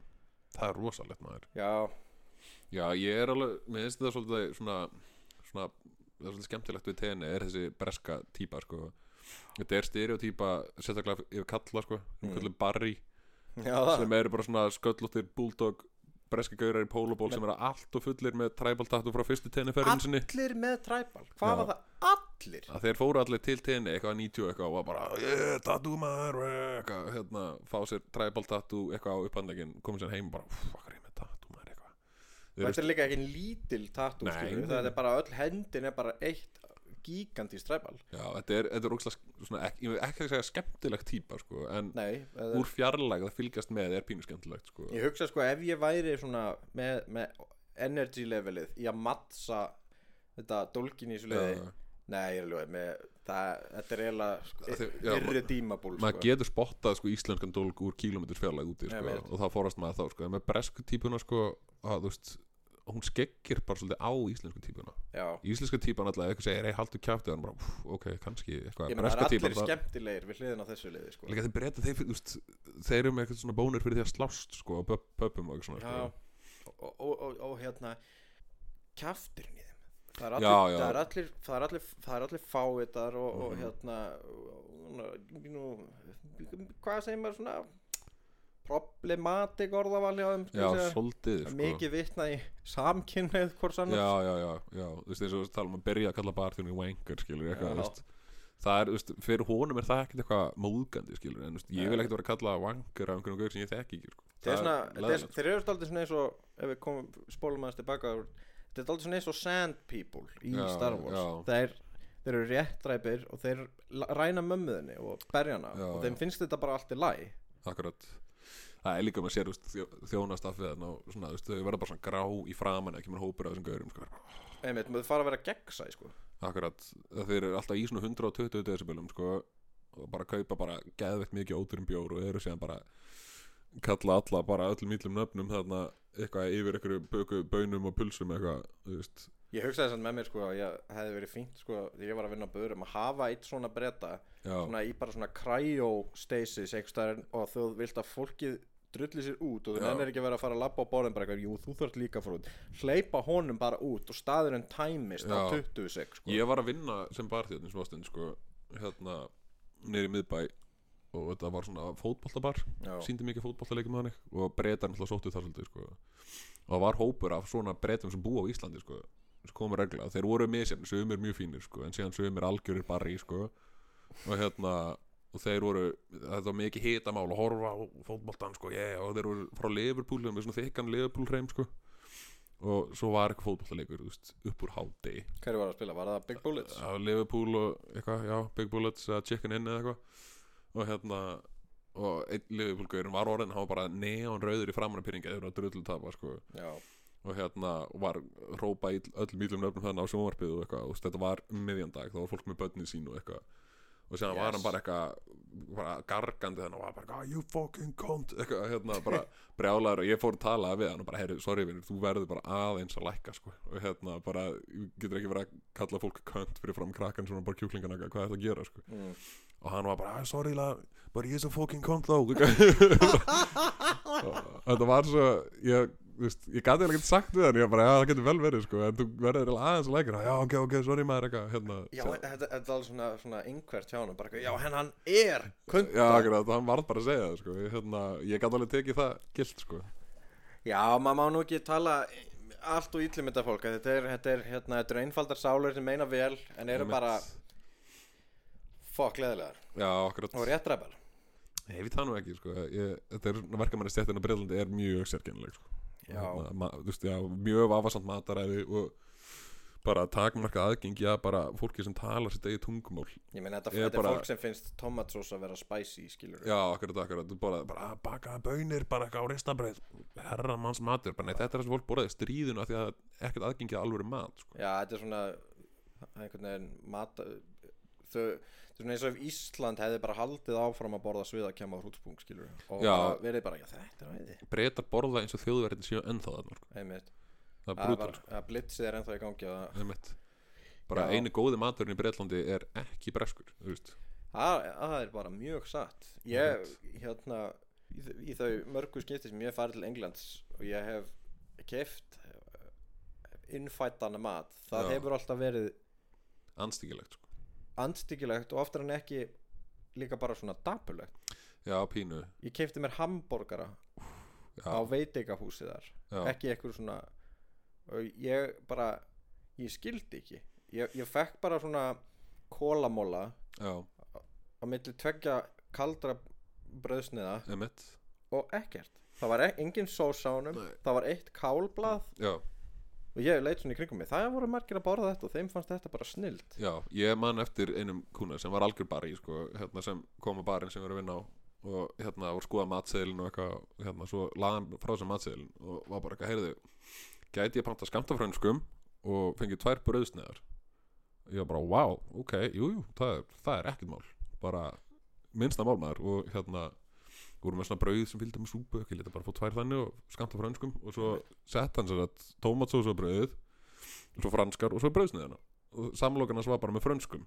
B: það er rosalegt maður (laughs)
A: já,
B: já, ég er alveg, mér finnst það svolítið svona, svona það er svolítið skemmtilegt við tenni er þessi breska típa sko. þetta er stereotýpa sérstaklega yfir kalla sko, um
A: Mm.
B: kallum barri
A: já það
B: sem eru bara svona sköllóttir bulldog breski gaurar í póluból sem eru allt og fullir með træbaltattu frá fyrstu tenniferðin sinni
A: allir með træbal hvað
B: Já.
A: var það allir
B: að þeir fóru allir til tenni eitthvað 90 og eitthvað og var bara "Yeah, tattoo maður eh," eitthvað, hérna, fá sér tribal tattoo eitthvað á upphandlegin komið sér heim og bara, "Úff, hvað er ég með tattoo maður eitthvað Þeir
A: þetta er líka ekki lítil tattoo
B: Nei,
A: skilur
B: nei,
A: það er bara öll hendin er bara eitt gigantist træbal
B: Já, þetta er, þetta er ógslag, svona, ekki, ég vil ekki segja skemmtileg típa, sko, en
A: nei, það er-
B: úr fjarlæg að fylgjast með er pínu skemmtilegt, sko.
A: Ég hugsa sko ef ég væri svona með, með energy levelið í að mattsa þetta dólkin í þessu liði
B: Já.
A: Nei, ég er alveg með það, þetta er eiginlega sko,
B: Þið- já,
A: fyrri tímaból
B: Maður
A: sko.
B: getur spottað, sko, íslenskan dólg úr kílómeturs fjarlæg úti, sko,
A: Einmitt.
B: og það fórast maður þá, sko, en með bresku típuna, sko, að, þú veist, hún skeggir bara svolítið á íslensku típuna.
A: Já,
B: Íslenska típan alltaf, ef eitthvað segir, ei, haldu kjáftið, hann bara, "Úff, ok, kannski, eitthvað,
A: ég meina það er
B: breska
A: allir
B: típan, það,
A: skemmtilegir við hliðin á þessu liði sko.
B: líka þeir breyta, þeir, þú veist, þeir eru með eitthvað svona bónir fyrir því að slást, sko, á pöp- pöppum og eitthvað svona,
A: Já,
B: sko.
A: og, og, og, og hérna kjafturinn í þeim Það er
B: Já,
A: allir,
B: já. Mhm.
A: Það er allir, það er allir, það er allir fávitar og, og hérna og- nú, hvað segir maður svona problematik orðavali á þeim skal ég
B: Já,
A: segja.
B: svolítið,
A: Það er
B: sko.
A: mikið vitna í samkynneið hvort sannar
B: já, já, já, já, þú veist eins og tala um að byrja að kalla barþjónu wanker, skilur eitthvað,
A: Já.
B: þú veist það er, þú veist, fyrir honum er það ekkert eitthvað móðgandi, skilur, en þú veist, ég vil ekkert vera að kalla wanker af einhverjum gaur sem ég þekki ekki, sko
A: Þeir,
B: Það
A: svona, þeir,
B: leiðinlegt,
A: þeir eru alltaf svona eins og ef við komum, spólum aðeins tilbaka úr- þetta er alltaf svona eins og sand people í
B: Já,
A: Star Wars
B: já.
A: þeir, þeir eru réttræpir og þeir la- ræna mömmuðinni og berjana
B: Já,
A: og þeim
B: já.
A: finnst þetta bara allt í læ
B: sko. akkurat það er líka maður sér, þú veist, þjó- þjónast af við og svona, þú veist, þau verða bara svona grá í framan ekki með hópur af þessum gaurum, sko
A: einmitt, maður fara að vera gegnsæ sko.
B: akkurat, þeir eru alltaf í svona 120 decibelum, sko og bara kaupa bara geðveitt mikið óturum bjór og eru síðan bara kalla alla bara öllum ítlum nöfnum þarna eitthvað yfir einhverju böku bönum og pulsum eitthvað, þú veist
A: ég hugsaði þess með mér sko, að ég hefði verið fínt sko, þegar ég var að vinna á börum að hafa eitt svona breyta
B: Já,
A: svona í bara svona cryostasis einhvers staðar og þú vilt að fólkið drulli sér út og þú
B: Já.
A: nennir ekki að vera að fara að labba á borðin bara eitthvað, jú þú þarft líka að fara út hleypa honum bara út og staðurinn tæmist á
B: Já.
A: 26 sko.
B: ég var að vinna sem barþjóðn í smástund sko, hérna, niður í miðbæ og þetta var svona fótboltabar
A: Já.
B: síndi mikið fótboltaleikum þannig og breytar náttúrulega sóttu þar svolítið sko. og það var hópur af svona breytum sem búa á Íslandi sko. komu regla, þeir voru misjafn sögum er mjög fínir sko, en síðan sögum er algjörir barri sko, og hérna og þeir voru, þetta var mikið hitamál að horfa á fótboltan sko, yeah, og þeir voru frá Liverpool, þeir voru með svona þykkan Liverpool hreim sko, og svo var eitthvað fótboltaleikur, þú veist, upp úr hádegi
A: Hverju var að spila? Var það Big Bullets?
B: Já, Liverpool og eitthvað, já, Big Bullets eða Chicken Inn eða eitthvað og hérna, og einn Liverpool-gaurin var orðin, hann var bara neon rauður í framann pyrringa þegar hann drullu tapa, sko
A: Já,
B: og hérna var rópa í öllum ílum nöfnum þannig á sjónvarpið og eitthvað og þetta var um miðjandag, þá var fólk með börnin sín og eitthvað og síðan var
A: Yes.
B: hann bara eitthvað bara gargandi þannig og var bara eitthvað, "Ah, you fucking cunt eitthvað, hérna bara brjálaður og ég fór að tala við hann og bara, heyri, sorry vinur, þú verður bara aðeins að lækka sko og hérna bara, ég getur ekki verið að kalla fólk cunt fyrir fram krakkan svona bara kjúklinganaka, hvað er það að gera sko
A: Mm.
B: og hann var bara, "Ah, sorry la, but he is a fucking cunt though (laughs) og þetta var svo ég, þú veist, ég gæti ekkert sagt við hann ég var bara, já það getur vel verið sko en þú verður eiginlega aðeins lækir já ok, ok, sorry maður eitthvað hérna,
A: já
B: sem-
A: þetta, þetta er alveg svona, svona yngvert hjá hann bara, eitthvað, Já, henn hann er kund
B: já akkurat, hann varð bara að segja það sko ég, hérna, ég gæti alveg tekið það gilt sko
A: Já, maður má nú ekki tala allt og ítlum þetta fólk að þetta er, þetta er, hérna, þetta er einfaldar sálur sem meina vel en eru
B: Einmitt.
A: bara fokk leðilegar
B: já akkurat,
A: og réttræpar
B: ég veit það nú ekki sko ég, þetta er, verkamann í stjættinu Breitlandi er mjög sérkennileg sko
A: Já.
B: Hérna, ma- þú veist, já, mjög vafasamt mataræði og bara takmarka aðgengi að bara fólki sem talar sitt eigi tungumál
A: Ég meina þetta,
B: Ég er
A: þetta
B: bara-
A: er fólk sem finnst tomatsós að vera spicy skilur
B: Já, akkurat, akkurat, þú bara, bara að baka bönir, bara eitthvað á ristabreið herra manns matur, bara nei, þetta er það sem fólk borðaði í stríðinu af því að ekkert aðgengið að alvöru mat sko.
A: Já, þetta er svona einhvern veginn mat þau þetta er svona eins og ef Ísland hefði bara haldið áfram að borða sviða kemur á hrútspung skilur og
B: Já.
A: bara verið bara, já þetta er veiði
B: breytar borða eins og þjóðverðin séu ennþá þarna sko.
A: einmitt,
B: það er
A: að,
B: brútal,
A: var, að blitzið er ennþá í gangi og það-
B: sko. einmitt bara
A: Já.
B: einu góði maturinn í Breitlandi er ekki breskur, þú veist
A: það það er bara mjög satt ég, hérna í, þau- í þau mörgu skipti sem ég hef farið til Englands og ég hef keft innfættan mat það
B: Já.
A: hefur alltaf verið
B: anstíkilegt, sko.
A: andstyggilegt og oftar en ekki líka bara svona dapulegt
B: já, pínu
A: ég kefti mér hambúrgara á
B: já,
A: veitingahúsið þar
B: já,
A: ekki eitthvað svona og ég bara, ég skildi ekki ég, ég fekk bara svona kólamóla
B: já,
A: á milli tveggja kaldra bröðsniða
B: einmitt
A: og ekkert það var e engin sós á honum
B: Nei.
A: það var eitt kálblað
B: já,
A: og ég leit svona í kringum mig, það voru margir að borða þetta og þeim fannst þetta bara snild
B: Já, ég man eftir einum kuna sem var algjör bari sko, hérna, sem kom á barinn sem við erum vinna á og hérna voru skoða matseðilin og eitthvað og hérna, svo laðan frá sem matseðilin og var bara eitthvað, heyrðu gæti ég panta skamtafrönskum og fengið tvær brauðsneðar ég var bara, wow, ok, jú, jú það er, það er ekkert mál, bara minnsta mál maður og hérna voru með svona brauð sem fylgdi með súpu ekki lítið bara fór tvær þannig og skamtafrönskum og svo sett hann sér að tómatsós og brauð svo franskar og svo brauðsneðana og samlokarnas var bara með frönskum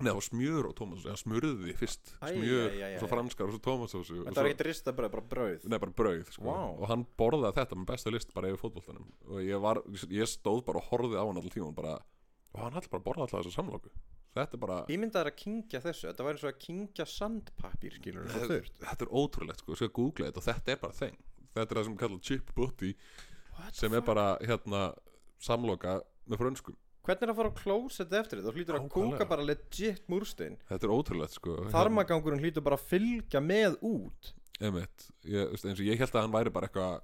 B: Nei, það var smjör og tómatsósu, hann smurði fyrst
A: Æ,
B: smjör
A: æ, æ, æ,
B: og svo
A: æ.
B: franskar og svo tómatsósu og
A: þetta
B: svo-
A: var ekki drista bröð, bara bröð
B: Nei, bara brauð sko.
A: Vá.
B: og hann borðaði þetta með bestu list bara yfir fótboltanum og ég, var, ég stóð bara og horfði á hann allir tíma bara, og hann ætla bara að borða alltaf þessa samlóku þetta er bara,
A: Ímyndað er að kingja þessu, þetta var eins og að kingja sandpappír skilur
B: Eh,
A: við, svo þurrt
B: þetta er ótrúlegt sko, ég skal googla þetta og þetta er bara þeng þetta er það sem kallar chip booty sem er bara hérna samloka með frönskum
A: Hvernig er að fara á klóset eftir þetta? Þú hlýtur að
B: Nákvæmlega.
A: kúka bara legit múrstein
B: þetta er ótrúlegt sko Hérna-
A: Þarmagangurinn hlýtur bara að fylgja með út
B: Einmitt, ég, þú veist, eins og ég held að hann væri bara eitthvað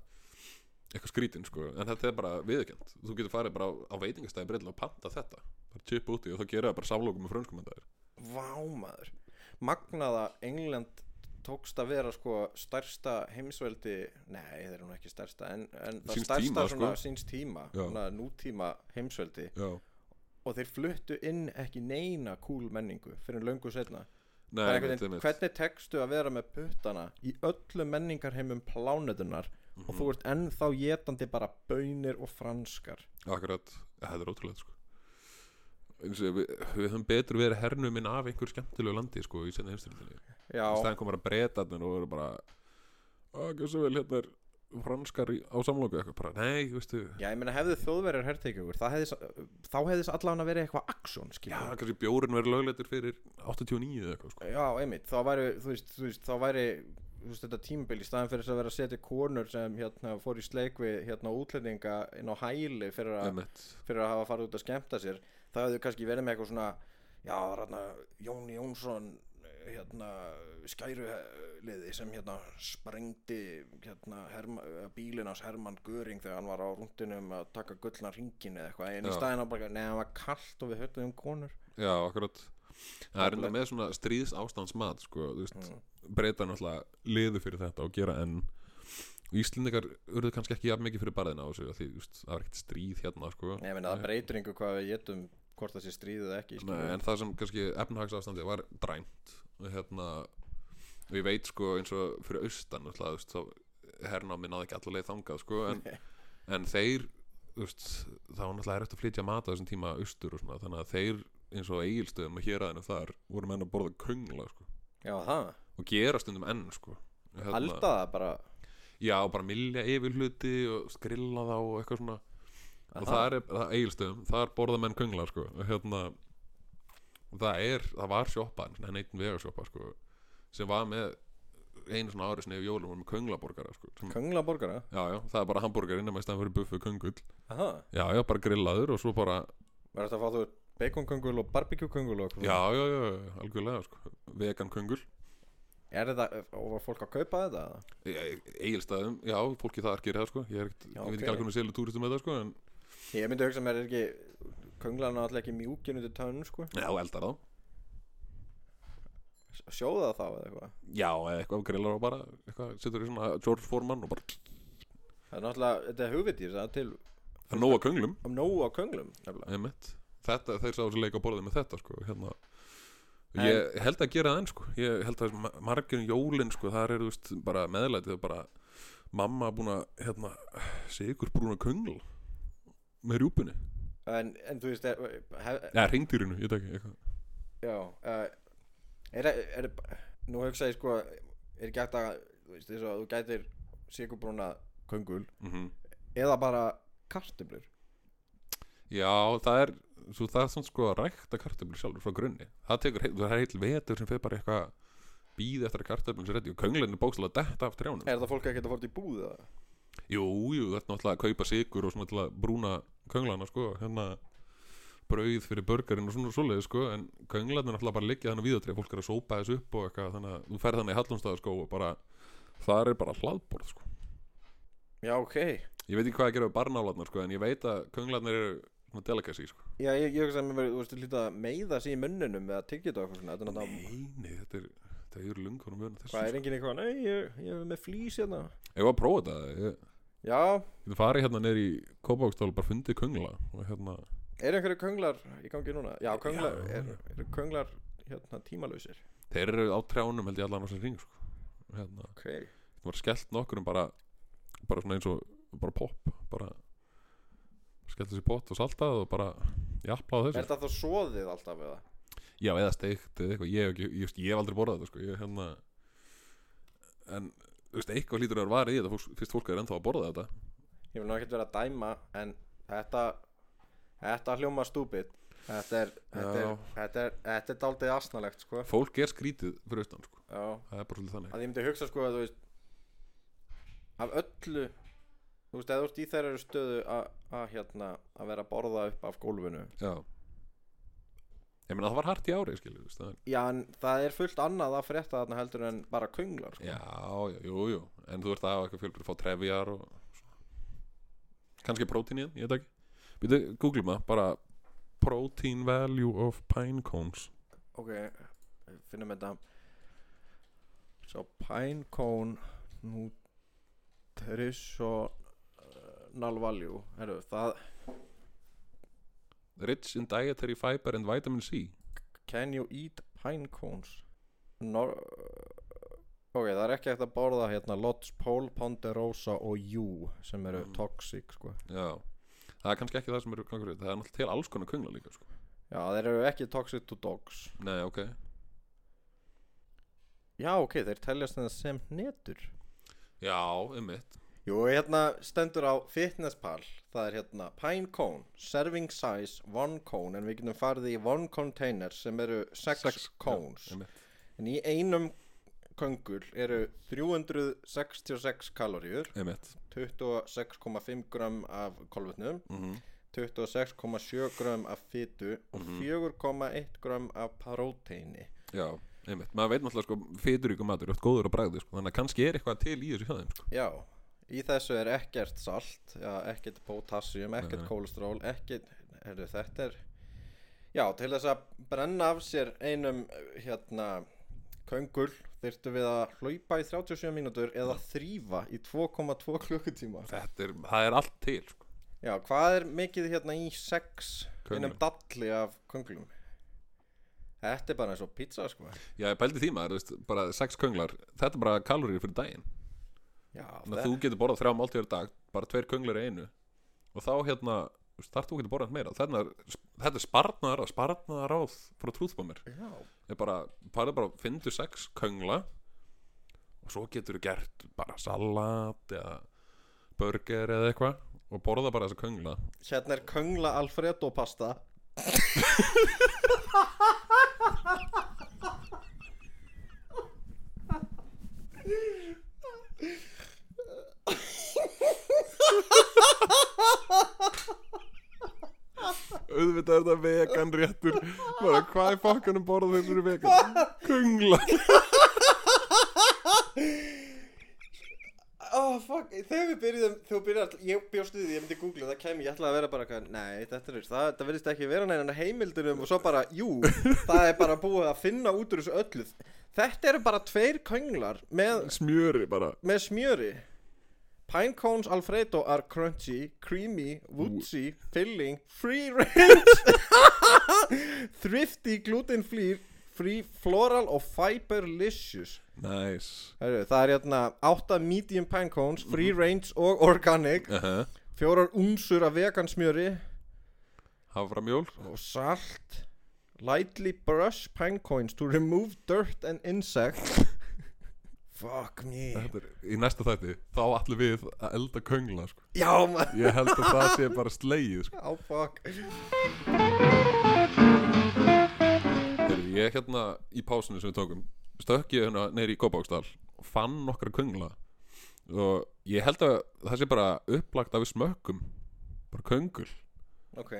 B: eitthvað skrítinn sko, en þetta er bara viðurkjönd þú getur farið bara á, á veitingastæði breytilega og panta þetta, bara chip úti og þá gera það bara sálokum með frönskum en það er
A: Vá maður Magnaða England tókst að vera sko stærsta heimsveldi Nei, þeir eru nú ekki stærsta En, en það
B: Síns
A: stærsta
B: tíma,
A: svona
B: sko.
A: síns tíma
B: Já.
A: svona Nútíma heimsveldi
B: Já.
A: Og þeir fluttu inn ekki neina kúl menningu Fyrir löngu setna
B: Nei,
A: Það er
B: einmitt,
A: einhvern veginn,
B: einmitt,
A: hvernig tekstu að vera með puttana í öllum menningarheimum plánetunar og
B: Mhm.
A: þú ert ennþá getandi bara bönir og franskar
B: akkurat þetta er ótrúlega sko eins og við, við höfum betur verið hernumin af einhver skemmtilegu landi sko í senni heimstyrðinni
A: já,
B: í staðan komar að breyta og eru bara að gjör svo vel hérna er franskar í, á samlóku eitthvað, bara nei, veistu
A: já, ég meina hefðu þjóðverjar hertegjur þá hefði þá hefðis allan að vera eitthvað aksjón
B: já,
A: skilur
B: kannski bjórin verið lögleitur fyrir 89 eða eitthvað sko
A: já, einmitt, þá væri þú veist, þú veist, þá væri þú veist, þetta tímabil í staðan fyrir að vera að setja konur sem hérna, fór í sleik við hérna, útlendinga inn á hæli fyrir, a,
B: Emmett
A: fyrir að hafa farið út að skemmta sér það hefðu kannski verið með eitthvað svona já, það var hérna Jón Jónsson hérna skæruliði sem hérna sprengdi hérna herma, bílinn hans Hermann Göring þegar hann var á rúndinum að taka gullna ringin eða eitthvað en í
B: Já.
A: staðin á bara, neða, það var kalt og við höllum um konur
B: Já, akkurat Það er enda með svona stríðs ástandsmat sko, þú veist,
A: Mm.
B: breyta náttúrulega liðu fyrir þetta og gera en Íslendingar urðu kannski ekki jafn mikið fyrir barðina á þessu af því, þú veist, það var ekkert stríð hérna sko.
A: Ég meina, það breytir einhver hvað við getum hvort það sé stríðið eða ekki
B: Nei,
A: skilur.
B: en það sem kannski efnahagsástandi var dræmt og hérna og ég veit sko eins og fyrir austan ætla, veist, þá hernámi náði ekki allaveg þangað sko en, en þeir þú veist, það var náttúrulega erft að flytja mat á þessum tíma austur og svona þannig að þeir eins og á eigilstöðum og héraðinu þar voru menn að borða köngla sko
A: Já, það,
B: og gera stundum enn sko hérna,
A: halda það bara
B: Já, bara milja yfir hluti og skrilla þá og eitthvað svona og
A: Aha.
B: það er, það er eigilstöðum, þar borða menn könglar sko, og hérna og það er, það var sjoppa en einn vegarsjoppa sko sem var með einu svona ári sinni yfir jólum var með könglaborgara sko sem,
A: Köngla borgara
B: já, já, það er bara hambúrgar innan með stæðan fyrir buffu köngull
A: Aha.
B: já, já, bara grillaður og svo bara
A: Verður þetta að fá þú baconköngul og barbecue-köngul og eitthvað?
B: já, já, já, já, algjörlega sko vegan köngull,
A: Er þetta, og var fólk að kaupa þetta? eða?
B: eigilstöðum E, já, fólki þar gerir það sko ég, er ekkert,
A: Já,
B: ég veit
A: ok.
B: ekki alveg hvernig selur túristum með það sko en
A: Ég myndi hugsa mér er ekki Könglan er alltaf ekki mjúkin undir tönn sko
B: já, eldar þá
A: Sjóða þá eða eitthvað
B: Já, eða eitthvað grillar og bara eitthvað, setur í svona George Foreman og bara
A: Það er náttúrulega, þetta er hugvitið það til
B: það er nóga könglum
A: um nógu á könglum nefnilega.
B: einmitt. þetta, þeir sá þessi leik á borðið með þetta sko, hérna
A: En-
B: ég held að gera það enn sko ég held að ma- margir um jólin sko þar er þú veist bara meðlætið og bara mamma búin að hérna sigur brúna köngl með rjúpunni,
A: en, en þú veist er, hef,
B: eða hringdýrinu ég teki, eitthvað,
A: Já uh, er, er, Nú hugsa ég sko Er ekki hægt að Þú veist þess að þú gætir Sigurbrúna köngul
B: mm
A: Eða bara kartöflur
B: já það er svo það er svona sko að rækta kartöflur sjálfur frá grunni, það tekur, heil- það er heill vetur sem fer bara í eitthvað býð eftir að kartöflun sér rétti og könglinn er bókslega detta af trjánum
A: Er það fólk ekki að fórt í búð eða?
B: Jú, jú, þetta er náttúrulega að kaupa sigur og svona til að brúna könglana sko, hérna brauð fyrir börgarinn og svona svoleiði sko, en könglarnir náttúrulega bara liggja þannig viðatri að fólk er að sópa þessu upp og eitthvað, þannig að þú ferð þannig í Hallumstaða sko og bara, þar er bara hlaðborð sko.
A: Já ok
B: Ég veit ekki hvað að gera við barnálarnar sko, en ég veit að könglarnir eru svona delicacy sko.
A: Já ég, ég hugsa að mér verið Þú veist lítið að meiða sér í munnunum Eða tyggja þetta og eitthvað svona Þetta er náttúrulega
B: Nei, nei, þetta er, þetta er lungur og mjög þessu.
A: Hvað er enginn eitthvað Nei ég, ég er með flýs hérna
B: Ég var að prófa þetta, ég,
A: Já
B: ég farið hérna neyri í Kópavókstól bara fundið köngla og hérna,
A: Er einhverju könglar í gangi núna? Já könglar
B: Já.
A: Er, er könglar hérna tímalausir
B: þeir eru á trjánum held ég allan á sér ring sko. Hérna,
A: Ok
B: það var skellt nokkur um bara bara svona eins og bara pop bara skellt þessi pott og saltað og bara japlað
A: Er
B: þessu
A: þetta þá soðið alltaf eða?
B: já eða steikt eða eitthvað ég, hef ekki, ég, veist, ég hef aldrei borðað þetta sko ég hérna en þú veist eitthvað hlýtur að vera varið í þetta fólks- fyrst fólk er ennþá að borða þetta
A: Ég vil nú ekkert vera að dæma En þetta Þetta hljóma stúpid Þetta er Þetta er,
B: Já.
A: þetta er, þetta er daldið asnalegt sko
B: fólk er skrítið fyrir austan sko
A: Já
B: það er bara svolítið þannig
A: Að ég myndi hugsa sko að þú veist Af öllu Þú veist, eða þú ert í þeirra stöðu að- að hérna að vera að borða upp af gólfinu
B: já ég meina það var hart í ári skilur þú veist það er-
A: Já, en það er fullt annað að frétta þarna heldur en bara könglar sko.
B: já já jú jú en þú ert að hafa eitthvað fjölbrið að fá trefjar og kannski prótín í hann, ég veit ekki Býtu, googlum það, bara Protein value of pine cones
A: Ok, finnum þetta Svo pinecone nutritional value Heru, það,
B: Rich in dietary fiber and vitamin C
A: Can you eat pinecones? Nor Ok, það er ekki eftir að borða hérna Lodge, Pole, Ponderosa og Jú sem eru
B: Mm.
A: toxic sko.
B: Já, það er kannski ekki það sem eru konkurrið Það er náttúrulega til alls konar kungla líka sko.
A: Já, þeir eru ekki toxic to dogs
B: Nei, ok
A: Já, ok, þeir teljast þetta sem hnetur
B: Já, einmitt
A: Jú, hérna stendur á fitnesspal Það er hérna pinecone, serving size, one cone En við getum farið í one container sem eru sex,
B: Sex, já,
A: cones
B: einmitt.
A: En í einum köngul eru 366 kaloríur
B: einmitt
A: 26,5 grömm af kolvetnum
B: mm
A: 26,7 grömm af fytu og
B: Mhm.
A: 4,1 grömm af próteini
B: Já, einmitt, maður veit náttúrulega sko fyturíkum matur, oft góður á bragði sko, þannig að kannski er eitthvað til í þessu hjá þeim sko.
A: Já, í þessu er ekkert salt, já, ekkert potassium, ekkert
B: nei.
A: kólestról, ekkert, heyrðu þetta er, já, til þess að brenna af sér einum, hérna, köngul þyrftum við að hlaupa í 37 mínútur eða þrýfa í 2,2 klukkutíma.
B: Þetta er, það er allt til sko.
A: Já, hvað er mikið hérna í 6
B: Köngulum.
A: einum dalli af köngulum? Þetta er bara eins og pizza, sko.
B: Já, ég pældi því maður, þú veist, bara sex könglar Þetta er bara kaloríur fyrir daginn
A: Já,
B: Þannig að þú getur borðað þrjá máltíður dag, bara tveir könglar í einu Og þá hérna, þú veist, þar þú getur borðað meira Þarna er, Þetta er sparnaðar, sparnaðaráð frá trúðbómir
A: já,
B: er bara, bara, bara fyndu sex köngla og svo getur þú gert bara salat eða burger eða eitthvað og borða bara þessa köngla
A: hérna er köngla Alfredo pasta.
B: auðvitað er þetta vegan réttur bara hvað er fokkanum borða þeir eru vegan köngla
A: oh, fuck, þegar við byrjuðum þú byrjar, ég bjóst við því, ég myndi googla það kæmi, ég ætlaði að vera bara eitthvað, nei, þetta er það, það verðist ekki vera neina heimildunum og svo bara, jú, það er bara búið að finna út úr þessu öllu þetta eru bara tveir könglar með,
B: smjöri bara
A: með smjöri Pinecones Alfredo are crunchy, creamy, woodsy, filling, free range, (laughs) thrifty, gluten free, free, floral og fiberlicious.
B: nice
A: Heru, það er hérna 8 medium pine cones, free
B: Mhm.
A: range og organic
B: uh -huh.
A: Fjórar unsur af vegan smjöri
B: haframjól
A: og salt Lightly brush pine cones to remove dirt and
B: (laughs)
A: insects Fuck me
B: Þetta er, í næsta þætti þá allir við að elda köngla sko.
A: Já maður
B: ég held að það sé bara slegið sko.
A: Já fuck
B: Heyrðu, ég hérna í pásinu sem við tókum stökk ég hérna neyri í Kópáksdal og fann nokkra köngla og ég held að það sé bara upplagt af við smökkum bara köngul
A: Ok,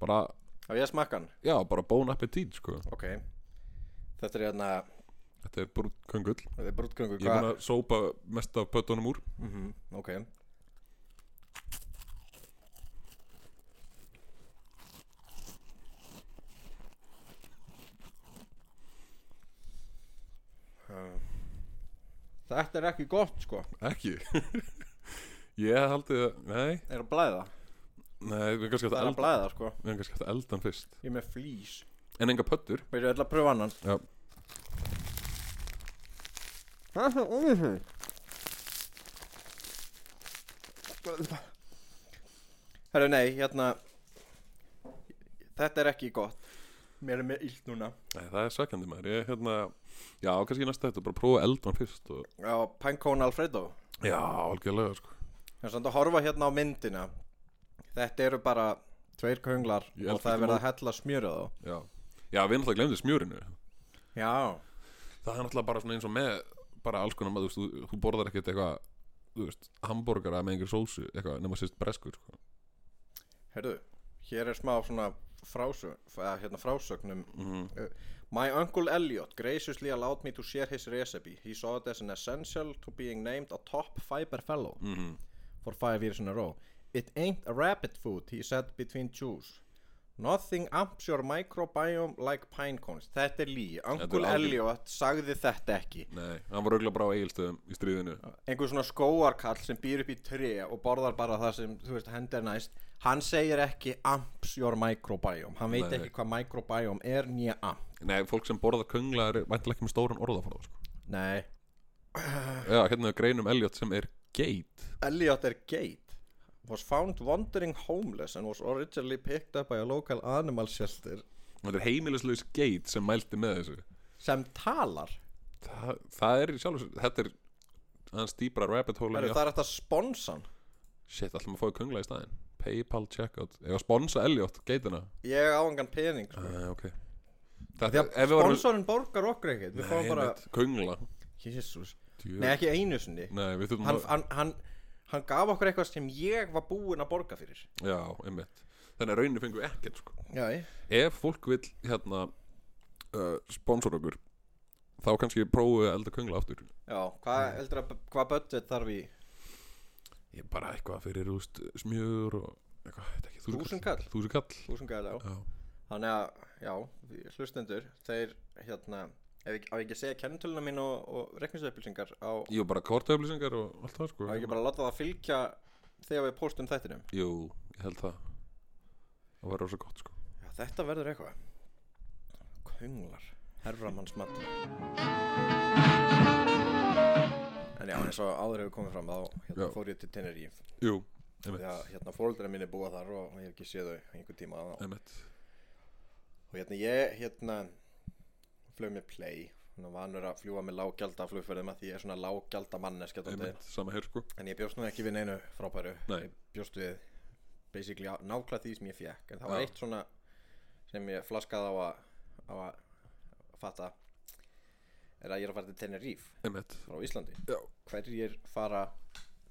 B: bara,
A: á ég að smakka hann
B: já, bara bón appetít sko.
A: Ok Þetta er hérna,
B: þetta er bara köngul ég
A: þetta er brútköngu
B: er búin að sópa mest af pötunum úr
A: Mhm, Ok Um, Þetta er ekki gott sko
B: ekki (laughs) ég haldi að, nei,
A: Er að blæða
B: nei við erum kannski
A: Það
B: aftur
A: er að
B: elda
A: blæða sko
B: við erum kannski aftur eldan fyrst
A: Ég er með flýs
B: en enga pötur
A: Við erum að pröfa annan
B: já,
A: Það er svo ómið þau Herru nei, hérna Þetta er ekki gott Mér er með illt núna
B: nei, það er sækjandi maður ég hérna, já, kannski í næsta þetta bara prófa eldan fyrst og,
A: Já, Pankón Alfredo
B: já, algjörlega sko
A: En samt að horfa hérna á myndina Þetta eru bara tveir könglar
B: Ég
A: og
B: elska
A: það er
B: þetta
A: verið að hella smjörið á þá.
B: Já, já við náttúrulega glemdi smjörinu
A: Já,
B: Það er náttúrulega bara svona eins og með bara alls konar maður, þú, veist, þú, þú borðar ekkert eitthvað þú veist, hambúrgara með einhver sósu eitthvað, nema sérst breskur sko.
A: heyrðu Hér er smá svona frásögn, eða, hérna, frásögnum Uh,
B: mm.
A: My uncle Elliot graciously allowed me to share his recipe. He saw it as an essential to being named a top fiber fellow for five years in a row. It ain't a rabbit food, he said between chews. Nothing amps your microbiome like pine cones. Þetta er lí. Uncle
B: algjör-
A: Elliot sagði þetta ekki.
B: Nei, hann var auðvitað bara á eigilstöðum í stríðinu
A: einhver svona skóarkall sem býr upp í tré og borðar bara það sem, þú veist, hendi er næst hann segir ekki amps your microbiome hann veit
B: Nei.
A: ekki hvað microbiome er nýja amp
B: Nei, fólk sem borðar köngla er væntilega ekki með stóran orðaforða sko.
A: nei,
B: Já, hérna er grein um Elliot sem er geit
A: Elliot er geit was found wandering homeless and was originally picked up by a local animal shelter
B: Þetta er heimilislaus geit sem mælti með þessu
A: sem talar
B: Þa, Það er í sjálf Þetta er aðeins dýbra rabbit hole en
A: Heru,
B: ég
A: það er þetta sponsan
B: Shit, ætlum að fóða köngla í staðinn Paypal checkout Ef að sponsa Elliot, geitina
A: ég á engan pening sko.
B: uh, ok
A: því
B: Þetta,
A: að
B: ef við varum
A: sponsorinn borgar okkur ekkert við fáum bara
B: Köngla
A: Jésús
B: Djöfull.
A: Nei, ekki einu sinni
B: Nei, við þurfum
A: hann,
B: að
A: hann, hann, hann gaf okkur eitthvað sem ég var búinn að borga fyrir
B: Já, einmitt Þannig að rauninu fengum við ekkert sko
A: Já,
B: Ef fólk vil hérna uh, sponsor okkur þá kannski prófum við að elda köngla aftur
A: já hvað heldur að hvað budget þarf í
B: Ég er bara eitthvað fyrir úst smjör og eitthvað, þetta ekki
A: Þúsund kall?
B: Þúsund kall
A: húsungæðið á
B: Já,
A: Þannig að, já, hlustendur þeir, hérna ef ég, á ég ekki að segja kennitöluna mín og, og rekningsupplýsingar á, á
B: ég var bara kortöflýsingar og allt það sko
A: ég ekki bara að láta það fylgja þegar við póstum þættinum
B: Jú, ég held það Það var rosa gott sko
A: Já, þetta verður eitthvað Kunglar Herramannsmatt En já, eins og áður hefur komið fram þá hérna
B: Já.
A: fór ég til Tenerife
B: Jú,
A: því
B: einmitt,
A: að hérna fóreldra minni búa þar og ég hef ekki séð þau einhver tíma og,
B: einmitt.
A: og hérna ég hérna flög með play Þannig vanur að fljúa með lágjalda flugferðum að því ég er svona lágjalda manneskja dálítið.
B: einmitt Sama hér sko
A: En ég bjóst nú ekki við neinu frábæru
B: Nei.
A: Ég bjóst við basically á- nákvæmlega því sem ég fekk En það var
B: Já.
A: eitt svona sem ég flaskaði á að, á að fatta Er að ég er að fara til Tenerife
B: Einmitt,
A: frá Íslandi
B: Já.
A: Hverjir fara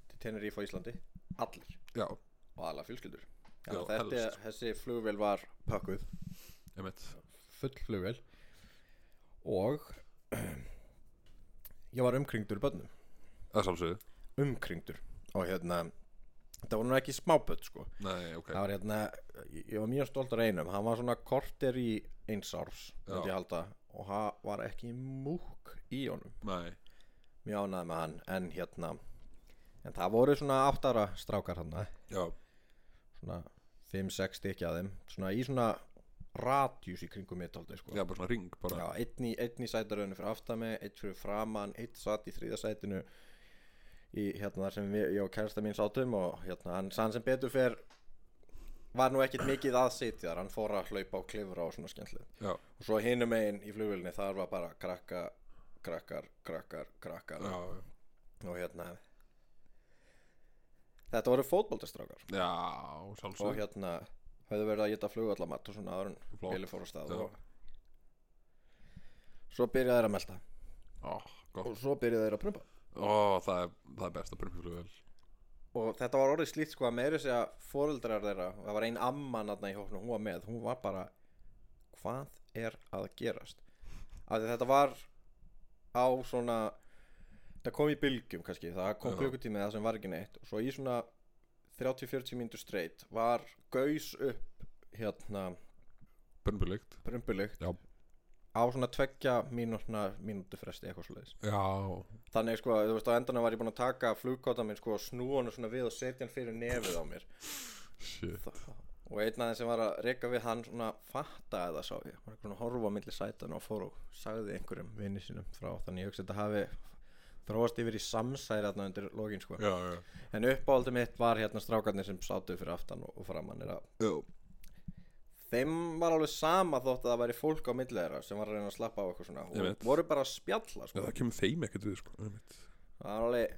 A: til Tenerife á Íslandi? Allir
B: já,
A: og alla fjölskyldur
B: Já,
A: Þannig að þetta,
B: helst.
A: þessi flugvél var pökkuð
B: einmitt
A: Full flugvél Og (clears throat) ég var umkringdur bönnum
B: Það er sálsöðu
A: Umkringdur Og hérna Þetta voru nú ekki smábött sko
B: Nei, ok
A: það var hérna, ég ég var mjög stoltur af einum hann var svona korter í eins árs myndi
B: Já.
A: ég halda og hann var ekki múk í honum
B: Nei,
A: mjög ánæði með hann en hérna en það voru svona áttara strákar hann
B: já,
A: svona 5-6 stykki að þeim svona í svona radjús í kringum mitt aldrei sko
B: já, bara svona ring bara.
A: Já, einn í, einn í sætaröðinu fyrir aftami, einn fyrir framann, einn satt í þriðasætinu í hérna þar sem við, ég og kærasta mín sátum og hérna hann, hann sem betur fer var nú ekkert mikið að sitja þar, hann fór að hlaupa og klifra og svona skemmtlu
B: Já,
A: og svo hinum megin í flugvölinni þar var bara krakka, krakkar, krakkar, krakkar
B: já,
A: og hérna þetta voru fótboltastrákar
B: já,
A: og
B: sjálfsög
A: hérna höfðu verið að geta flugvallamatt og svona áður en
B: Flott.
A: bíli fór á stað
B: Já.
A: og svo byrjaði þeir að melta
B: Ó, gott
A: og svo byrjuðu þeir að prumpa
B: Ó, það er, það er best að prumfjölu vel
A: og þetta var orðið slíkt sko að meiri segja fóreldrar þeirra, og það var ein amman aðna í hóknum, hún var með, hún var bara hvað er að gerast af því þetta var á svona þetta kom í bylgjum kannski, það kom
B: Já.
A: klukkutími það sem var ekki neitt, og svo í svona 30-40 mínútur streitt var gaus upp hérna
B: Prumfjölugt
A: prumpulikt
B: Já.
A: á svona tveggja mínútna mínútu fresti eitthvað svoleiðis
B: Já,
A: þannig sko, þú veist, á endanum var ég búinn að taka flugkóta minn sko, snúa hann svona við og setja hann fyrir nefið á mér
B: shit
A: og einn af þeim sem var að reyka við hann svona fattaði það sá ég, var eitthvað svona að horfa á milli sætan og fór og sagði einhverjum vini sínum frá, þannig ég hugsa að þetta hafi þróast yfir í samsæri þarna undir lokin sko,
B: Já, já,
A: en uppáhaldið mitt var hérna strákarnir sem sátu fyrir aftan og, og framann er að
B: já
A: þeim var alveg sama þótt að það væri fólk á milli þeirra sem var að reyna að slappa á eitthvað svona
B: Ég veit.
A: og voru bara að spjalla
B: Já,
A: sko.
B: það kemur þeim ekkert við, sko einmitt.
A: það var alveg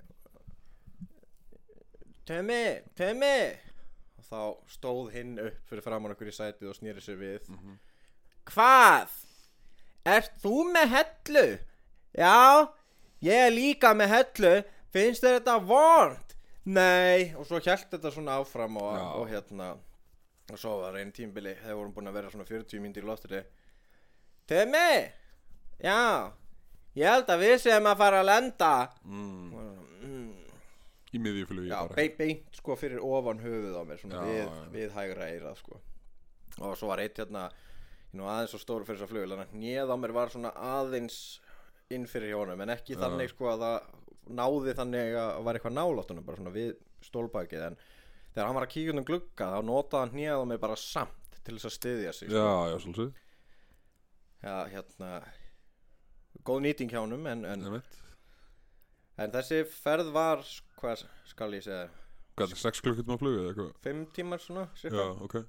A: Tömmi, Tömmi og þá stóð hinn upp fyrir framann okkur í sætið og snýri sér við
B: Mhm.
A: Hvað? Ert þú með hellu? Já, ég er líka með hellu finnst þér þetta vond? Nei, og svo hjælt þetta svona áfram og,
B: Já.
A: og hérna og svo var einn tímbili, þegar vorum búin að vera svona 40 myndir í loftri Tömmi, já ég held að við séum að fara að lenda
B: mm,
A: mm,
B: Í miðjufjölu
A: Já, beint, beint sko fyrir ofan höfuð á mér svona
B: Já,
A: við,
B: já.
A: við hægra eirað sko og svo var eitt hérna ég nú aðeins svo stóru fyrir þess að flugil þannig að hnið á mér var svona aðeins inn fyrir hjá honum en ekki
B: Já.
A: þannig sko að það náði þannig að var eitthvað náláttunum bara svona við stólbakið en þegar hann var að kíkja um glugga þá notaði hann hnið á mér bara samt til þess að styðja sig
B: Já, já, svolítið,
A: Já, hérna góð nýting hjá honum en, en,
B: einmitt
A: en þessi ferð var hvað skal ég segja
B: Hvað, er sex klukkutum að fluga eða eitthvað?
A: fimm tímar svona cirka.
B: Já, ok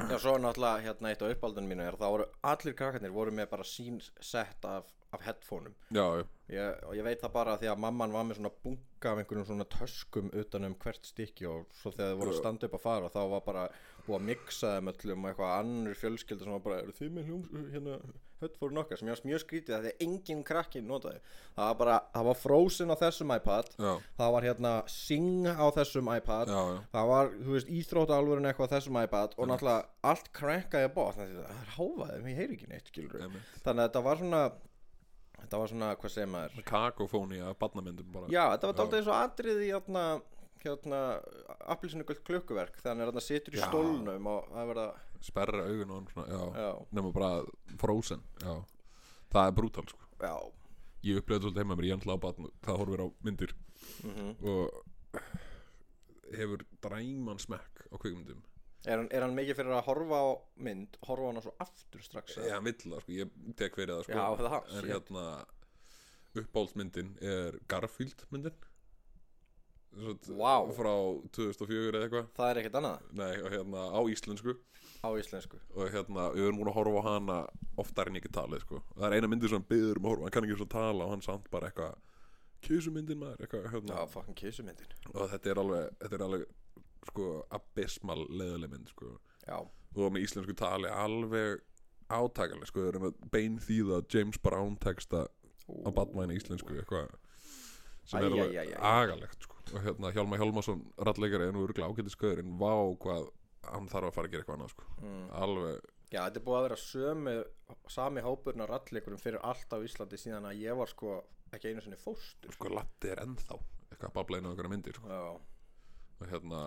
A: Já, svo náttúrulega hérna eitt á uppáldunum mínu er að það voru allir krakkarnir voru með bara sín sett af af headphoneum
B: já, já,
A: ég, og ég veit það bara því að mamman var með svona bunga af einhverjum svona töskum utan um hvert stykki og svo þegar þau voru að standa upp að fara þá var bara búið að mixa þeim öllum og eitthvað annur fjölskylda sem var bara eru þið með hljum hérna headphone okkar sem ég var mjög skrítið af því að engin krakkin notaði það var bara, það var frozen á þessum iPad
B: já,
A: það var hérna Sing á þessum iPad
B: já, já.
A: það var, þú veist, íþróta alvörin eitthvað á þessum iPad og náttúrulega allt krenkaði að bótt, þannig að það er háfaðið, mér heyri ekki neitt, skilur
B: Einmitt.
A: þannig að þetta var svona þetta var svona, hvað segir maður
B: kakofóni af barnamyndum bara
A: já, þetta var dálítið eins og atrið í hérna, hérna, appilsinu gult klukkuverk þannig að þarna situr í
B: Já.
A: stólnum og það verða,
B: sperra augun og svona, já,
A: já,
B: nema bara frozen, já það er brútal, sko
A: já
B: ég upplegaði svolítið heima mér, ég er náttúrulega á batn það horfir á myndir
A: Mhm.
B: og hefur dræman smekk á kvikmyndum
A: er hann, er hann mikið fyrir að horfa á mynd horfa á hana svo aftur strax eða?
B: Já, hann vill það, sko, ég tek fyrir það, sko
A: Já, það er
B: er
A: shit.
B: hérna uppáhaldsmyndin er Garfield myndin
A: Vá.
B: frá 2004 eða eitthvað
A: það er ekkert annað
B: Nei, og hérna á íslensku
A: á íslensku
B: og hérna, við erum múin að horfa á hana oftar en ég get talið, sko það er eina myndin sem hann byður um að horfa, hann kann ekki svo tala og hann samt bara eitthvað kísumyndin maður, eitthvað, hérna
A: já, fucking kísumyndin
B: og þetta er alveg, þetta er alveg sko, abysmal leðileg mynd, sko
A: já,
B: og með íslensku tali alveg átakalega sko, við erum að bein þýða James Brown texta á badmæna íslensku eitthvað sem
A: Æ, æ,
B: er
A: æ,
B: alveg
A: æ.
B: agalegt sko. og hérna Hjálma Hjálmarsson rallegari en við erum ágæti skoður en vá hvað hann þarf að fara að gera eitthvað annað sko.
A: Mm.
B: alveg,
A: já, þetta er búið að vera sömu sami hópurinn á rallikurum fyrir allt á Íslandi síðan að ég var sko ekki einu sinni fóstur
B: sko Latti er ennþá eitthvað að babla inn á einhverja myndir sko.
A: já,
B: og hérna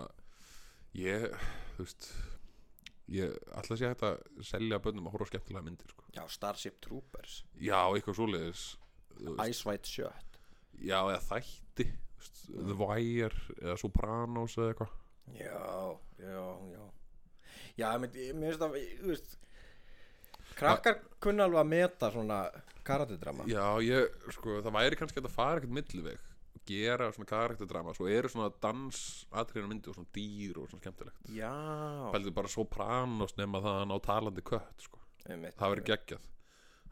B: ég, þú veist ég ætla að sé hægt að selja bönnum að horfa á skemmtilega myndir sko.
A: já Starship Troopers
B: já, eitthvað svoleiðis þú veist.
A: Ice White Shirt
B: Já, eða þætti þú veist, The Wire eða Sopranos eða eitthvað
A: já, já, já já, ég mynd- ég- mér finnst að þú veist, krakkar kunna alveg að meta svona karatidrama
B: Já, ég, sko, það væri kannski hægt að fara ekkert milliveg og gera svona karakterdrama svo eru svona dans atriðinu myndi og svona dýr og svona skemmtilegt
A: já,
B: Pældu bara Sopranos nema það að hann á talandi kött sko.
A: einmitt
B: það væri geggjað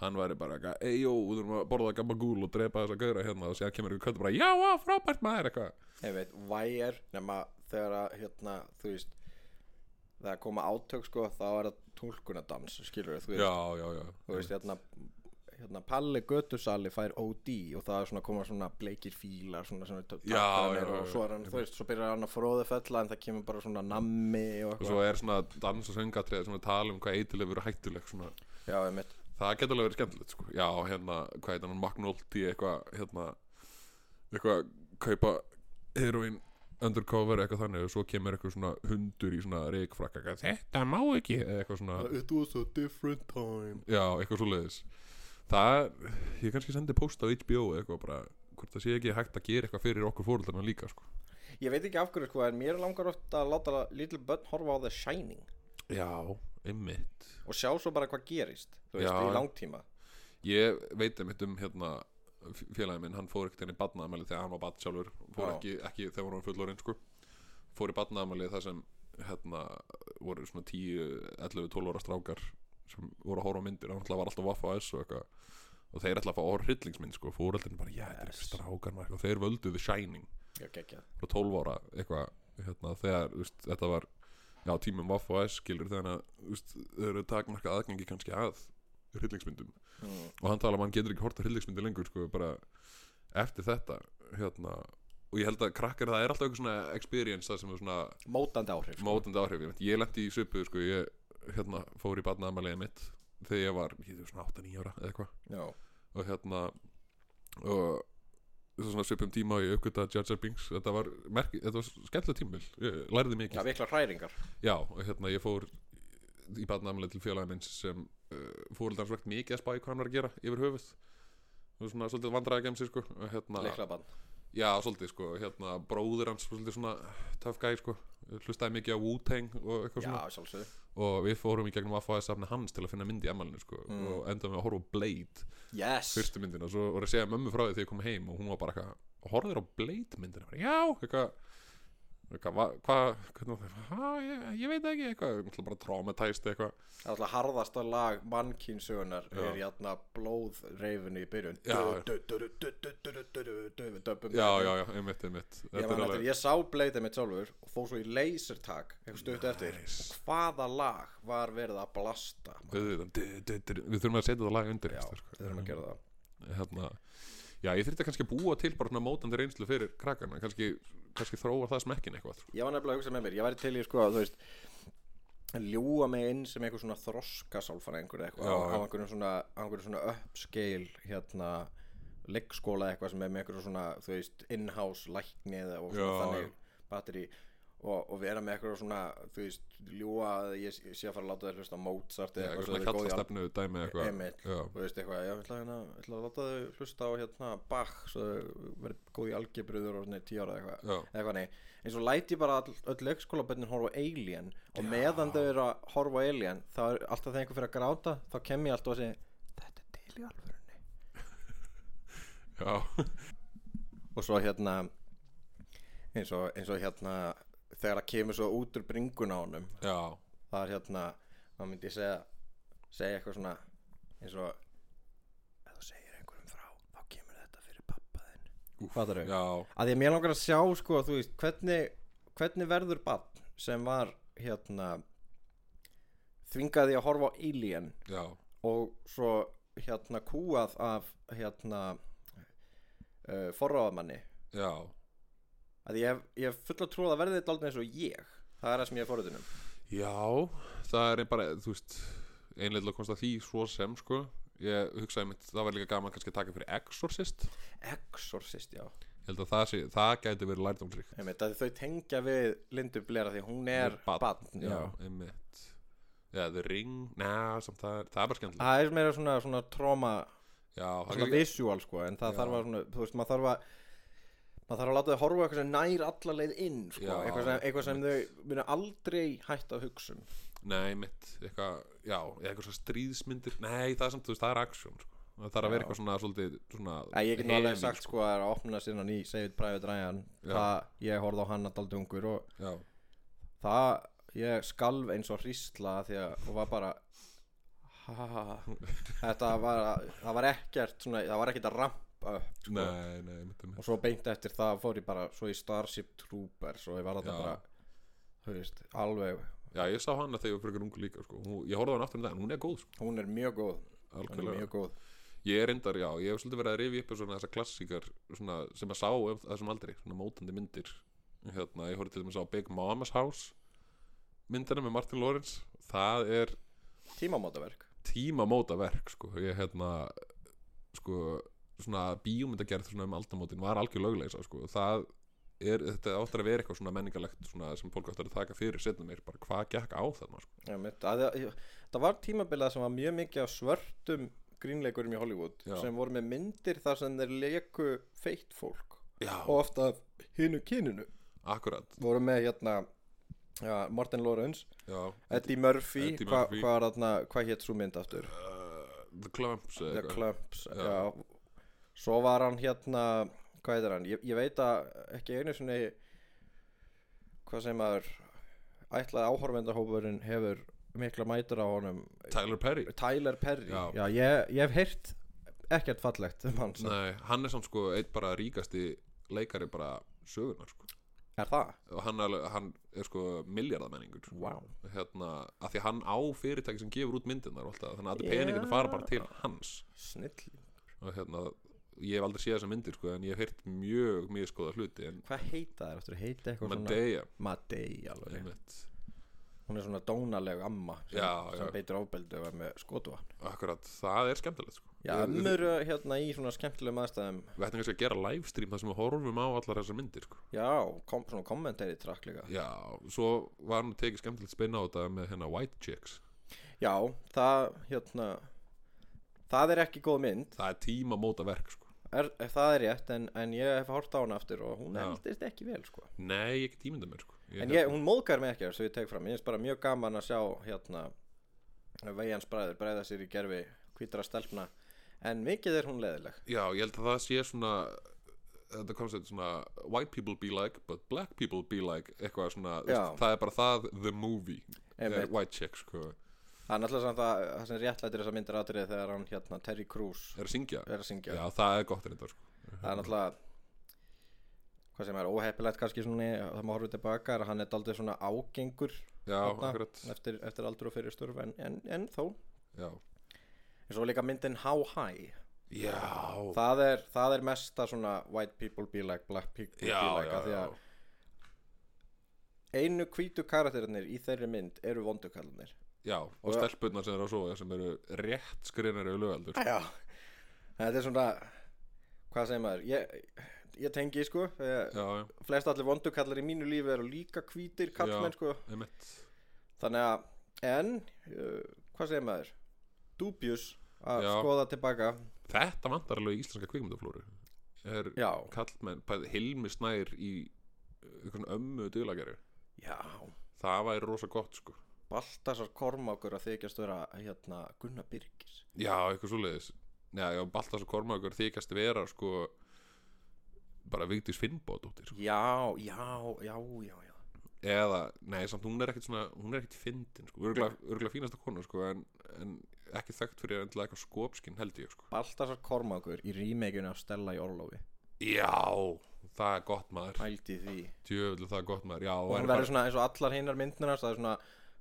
B: hann væri bara eitthvað, ei jó, þú þurfum að borða gamma gúl og drepa þess að gauðra hérna og séðan kemur ykkur kött og bara, já, á, frábært maður eitthvað
A: einmitt, vægir nema þegar að hérna, þú veist þegar koma átök sko þá er það tólkunadans, skilur þú veist
B: Já, já, já,
A: þú veist hérna, hérna Palli Götusali fær OD og það er svona koma svona bleikir fílar svona svona
B: Já,
A: takranir
B: já,
A: og
B: já,
A: svo er hann, þú veist, svo byrjar hann að fróðu fella en það kemur bara svona nammi og
B: og
A: eitthvað
B: svo er svona dans og söngatrið svona tala um hvað eitilefur er hættuleg svona
A: já, einmitt,
B: Það getur alveg verið skemmtilegt sko Já, hérna, hvað heitir hann, Magnolti eitthvað, hérna eitthvað, kaupa heroin undercover eitthvað þannig og svo kemur eitthvað svona hundur í svona reikfrakka eitthvað, Þetta má ekki eða eitthvað svona
A: it was a different time
B: Já, eitthvað svoleiðis Það, ég kannski sendi post á HBO eða eitthvað bara hvort það sé ekki hægt að gera eitthvað fyrir okkur fóröldarna líka sko
A: ég veit ekki af hverju sko, en mér langar oft að láta little börn horfa á The Shining
B: Já, einmitt
A: og sjá svo bara hvað gerist þú veist,
B: Já.
A: í langtíma
B: Ég veit einmitt um hérna f- félagi minn, hann fór ekkert inn í badnaðamæli þegar hann var bad sjálfur, fór
A: Já.
B: ekki, ekki þegar hann var fullorinn sko, fór í badnaðamæli þar sem hérna voru svona 10, 11, 12 ára strákar sem voru að horfa á myndir, hann alltaf var alltaf vaffa á S og eitthvað og þeir ætla að fá orðhryllingsmynd sko, fóröldin bara, já, þetta er
A: Yes.
B: eitthvað strákar maður, eitthvað." þeir völdu The Shining
A: já, geggjað
B: frá 12 ára eitthvað hérna, þegar þú veist, þetta var já, tímum Vaff og S skilur þannig að þú veist, þau eru takmarkað aðgengi kannski að hryllingsmyndum
A: Mm.
B: og hann tala um að hann getur ekki horta hryllingsmyndir lengur sko, bara eftir þetta hérna, og ég held að krakkar það er alltaf eitthvað svona experience það sem er svona
A: mótandi áhrif sko.
B: mótandi áhrif, ég, veit, ég lendi í söpu sko, ég hérna, fór í badnaðamælega mitt þegar ég var, ég þú svona 8-9 ára eða eitthvað
A: já,
B: og hérna og svo svona svipum tíma og ég uppgötaði Jar Jar Binks þetta var, merki, þetta var skemmtilega tímil ég læriði
A: já,
B: mikið já,
A: vikla hræringar
B: og hérna ég fór í badnamlega til félagin minns sem uh, fóreldar hans vekt mikið að spá í hvað hann var að gera yfir höfuð og svona svolítið vandræða gemsi sko og hérna,
A: leikla bann
B: já svolítið sko hérna bróðir hans svolítið svona töff gæ sko, hlustaði mikið á Wu-Tang og eitthvað
A: já,
B: svona
A: sjálfsögðu
B: og við fórum í gegnum AFS safni hans til að finna mynd í ammælinu sko
A: Mm.
B: og endaðum við að horfa á Blade
A: yes,
B: fyrstu myndina svo voru að segja mömmu frá því þegar ég kom heim og hún var bara eitthvað horfður á Blade myndina bara, já, eitthvað Hvað, hva, hva- hvernig var það? Ha, ég, ég veit það ekki eitthvað, ég ætla bara að traumatæst eitthvað
A: Það er alltaf harðasta lag mannkynsugunar
B: Já.
A: er jætna blóðreifinu í byrjun
B: Já.
A: Du- du- du- du- du- du- du- du- du- du- við döbbum
B: Já, já, já, einmitt, einmitt
A: Ég,
B: Þetta er
A: man eftir,
B: alveg,
A: ég sá bleitið mitt sjálfur og fór svo í lasertag eitthvað stutt eftir
B: Nice.
A: og hvaða lag var verið að blasta
B: auðvitað du- du- du- Við þurfum að setja þetta lag undir
A: Já,
B: veist það, sko.
A: við þurfum að gera það
B: hérna, Já, ég þyrfti kannski að búa til bara svona mótandi reynslu fyrir krakkana kannski, kannski þróa það smekkin eitthvað sko.
A: Ég var nefnilega að hugsa með mér, ég væri til í sko að þú veist ljúa mig inn sem einhver svona þroskasálfræðingur eða
B: Já,
A: eitthvað á- á
B: já.
A: einhverjum svona, á einhverjum svona uppskeil hérna leikskóla eitthvað sem er með einhverjum svona þú veist in-house lækni eða og svona
B: Já, já.
A: þannig batteri og, og vera með eitthvað svona þú veist ljúa að ég sé- sé að fara að láta þér hlusta á Mozart
B: Já,
A: eða
B: eitthvað
A: eitthvað svo
B: svona
A: þau góð í al-
B: kallastefnu dæmi eitthvað
A: Einmitt.
B: Sko, Já,
A: þú veist eitthvað, ég ætla, hérna, ætla að láta þau hlusta á hérna Bach svo þau verið góð í algebruður og svona tíu ára eða eitthvað
B: já,
A: eða eitthvað nei, eins og læti bara all, öll leikskólabönnin horfa á Alien og meðan þau eru að horfa á Alien þá er alltaf þegar einhver fyrir að gráta þá kem ég alltaf að segja þetta er til í alvörunni
B: já,
A: og svo hérna eins og, eins og hérna þegar það kemur svo út úr bringun á honum
B: já
A: það er hérna, þá myndi ég segja segja eitthvað svona eins og ef þú segir einhverjum frá þá kemur þetta fyrir pappa þinn
B: Úff,
A: Fattarðu?
B: Já,
A: að því að mér langar að sjá sko þú veist hvernig, hvernig verður bann sem var hérna þvingaði að horfa á Alien
B: já,
A: og svo hérna kúað af hérna uh, forráðamanni
B: já
A: að ég hef, ég hef fulla trúið að verði þetta aldrei eins og ég það er það sem ég er forritunum
B: Já, það er bara, þú veist einlega að komst að því svo sem sko ég hugsaði mitt, það var líka gaman kannski að taka fyrir Exorcist ég
A: Exorcist, já
B: held að það, sé, það gæti verið lærdómsríkt
A: Einmitt, að þau tengja við Lindu Blair af því að hún er
B: Barn,
A: bann
B: já, einmitt Já, The Ring, neða, samt það er, það er bara skemmtilega
A: það er meira svona, svona tróma Ah,
B: Já, það
A: svona
B: er líka,
A: visual sko en það
B: Já.
A: þarf að svona, þú veist, maður þarf að maður þarf að láta þau horfa á eitthvað sem nær alla leið inn sko,
B: Já,
A: eitthvað sem, eitthvað sem þau munu aldrei hætta að hugsa um
B: nei, mitt eitthvað, já, eða eitthvað svona stríðsmyndir nei, það er samt, þú veist, það er action sko. það þarf að vera
A: Já.
B: eitthvað svona, svolítið, svona
A: Æ, ég get nú alveg
B: hemil,
A: sagt sko að er að opna sinna ný Save Private Ryan
B: Já.
A: það ég horfði á hann að daldi ungur og
B: Já,
A: það ég skalf eins og hrísla af því að og var bara ha, ha, ha.
B: (laughs)
A: þetta var það var ekkert svona, það var ekkert að rampa upp sko.
B: nei, nei, mitt, mitt
A: og svo beint eftir það fór ég bara svo í Starship Troopers og ég var þetta
B: Já.
A: bara þú veist, alveg
B: Já, ég sá hana þegar ég var frekar ungu líka sko. Hún- Ég horfði á hana aftur um daginn, hún er góð sko.
A: hún er mjög góð hún er
B: Algjörlega
A: mjög góð
B: Ég er reyndar, já, ég hef svolítið verið að rifja upp svona þessar klassíkar svona, sem að sá um þessum aldrei, svona mótandi myndir hérna, ég horfði til dæmis á Big Mama's House myndina með Martin Lawrence það er
A: tímamótaverk
B: tímamóta verk sko, ég hérna sko, svona bíómyndagerð svona um aldamótin var algjör lögleisa sko, það er, þetta áttur að vera eitthvað svona menningalegt svona sem fólk áttur að taka fyrir setna meir, bara hvað gekk á þarna sko.
A: Einmitt, að, að, það var tímabilað sem var mjög mikið af svörtum grínleikurum í Hollywood
B: Já.
A: sem voru með myndir þar sem þeir leku feitt fólk
B: Já,
A: og ofta af hinu kyninu
B: akkurat
A: voru með hérna ja, Martin Lawrence,
B: já.
A: Eddie Murphy,
B: Eddie
A: hva-
B: Murphy.
A: hvað hva, hva hétt svo mynd aftur
B: Uh, The Clumps eða
A: The
B: eitthvað.
A: Clumps
B: Já.
A: já. Svo var hann hérna Hvað heitir hann? Ég, ég veit að ekki einu sinni Hvað sem maður Ætlaði áhorvendahópurinn hefur mikla mætur á honum
B: Tyler Perry
A: Tyler Perry
B: Já.
A: ég, ég hef heyrt ekkert fallegt um hans
B: Nei, hann er samt sko eitt bara ríkasti leikari bara sögunar sko.
A: Er það?
B: og hann, alveg- hann er sko miljardamenningur sko.
A: Vá.
B: hérna, að því að hann á fyrirtæki sem gefur út myndirnar og allt það, þannig að allir
A: Já.
B: peninginu fara bara til hans
A: Snill
B: og hérna, ég hef aldrei séð þessa myndir sko, en ég hef heyrt mjög, mjög skoða hluti en
A: Hvað heita þær? Áttu heita eitthvað
B: Madea
A: svona Madei alveg
B: einmitt,
A: Hún er svona dónaleg amma sem,
B: Já, já.
A: sem beitir ábeldu og er með skotuvan
B: akkurat, það er skemmtilegt sko.
A: Já,
B: Við- við-
A: ömmur hérna í svona skemmtilegum aðstæðum
B: við ættum kannski að gera livestream þar sem við horfum á allar þessar myndir sko.
A: Já, kom, svona kommentari trakk líka
B: já, svo var hann tekið skemmtilegt spinna á þetta með hérna White Chicks
A: Já, það, hérna Það er ekki góð mynd
B: það er tíma móta verk sko.
A: er, Það er rétt, en, en ég hef hort á hana aftur og hún
B: Já.
A: eldist ekki vel, sko
B: Nei, ég get ímyndað mér sko ég,
A: En ég, hún móðgar mig ekki, þess að ég tek fram Ég finnst bara mjög gaman að sjá, hérna Veians bræður bræða sér í gerfi Hvítra stelpna En mikið er hún leðileg
B: Já, ég held að það sé svona þetta koncept svona white people be like but black people be like eitthvað svona, þú
A: Já.
B: veist, það er bara það the movie,
A: Einmitt.
B: er white chick sko,
A: Það er náttúrulega samt að það sem réttlætir þessa myndir atrið þegar hann hérna Terry Crews
B: er að syngja
A: er að syngja
B: já, það er gott reynda sko.
A: það er náttúrulega hvað sem er óheppilegt kannski svona það má horfa tilbaka er að hann er daldið svona ágengur
B: já,
A: þarna,
B: akkurat
A: eftir, eftir aldur og fyrir störf en, en, en þó en
B: já,
A: svo líka myndin How High
B: já,
A: það er, það er mesta svona white people be like, black people
B: já,
A: be like
B: já,
A: af því
B: já.
A: að einu hvítu karakterinir í þeirri mynd eru vondukallinir
B: já og stelpunnar sem eru að sofa sem eru rétt skrinari og lögaldur
A: já þetta er svona hvað segir maður ég, ég tengi sko ég,
B: já, já,
A: flest allir vondukallar í mínu lífi eru líka hvítir kallmenn
B: Já.
A: sko
B: einmitt
A: þannig að en uh, hvað segir maður dubjus að
B: Já.
A: skoða tilbaka
B: þetta vantar alveg í íslenska kvikmyndaflóru er
A: já,
B: kallmenn, bæði Hilmi Snær í eh, einhvern ömmu dýlagerju
A: já
B: það væri rosa gott sko
A: Baltasar Kormákur að þykjast vera hérna Gunnar Birgis
B: já, eitthvað svoleiðis já, já, Baltasar Kormákur þykjast vera sko bara Vigdís Finnbóðdóttir sko.
A: já, já, já, já, já
B: eða, nei, samt hún er ekkit svona hún er ekkit fyndin, sko, örgulega, örgulega fínasta konu sko, en, en ekki þekkt fyrir endilega eitthvað skopskinn held ég, sko
A: Baltasar Kormákur í rímeikinu af Stella í Orlofi
B: já, það er gott maður
A: hældi því
B: djöfullu það er gott maður, já,
A: og
B: er
A: hún
B: bara-
A: verður svona eins og allar hinnar myndnir hans það er svona,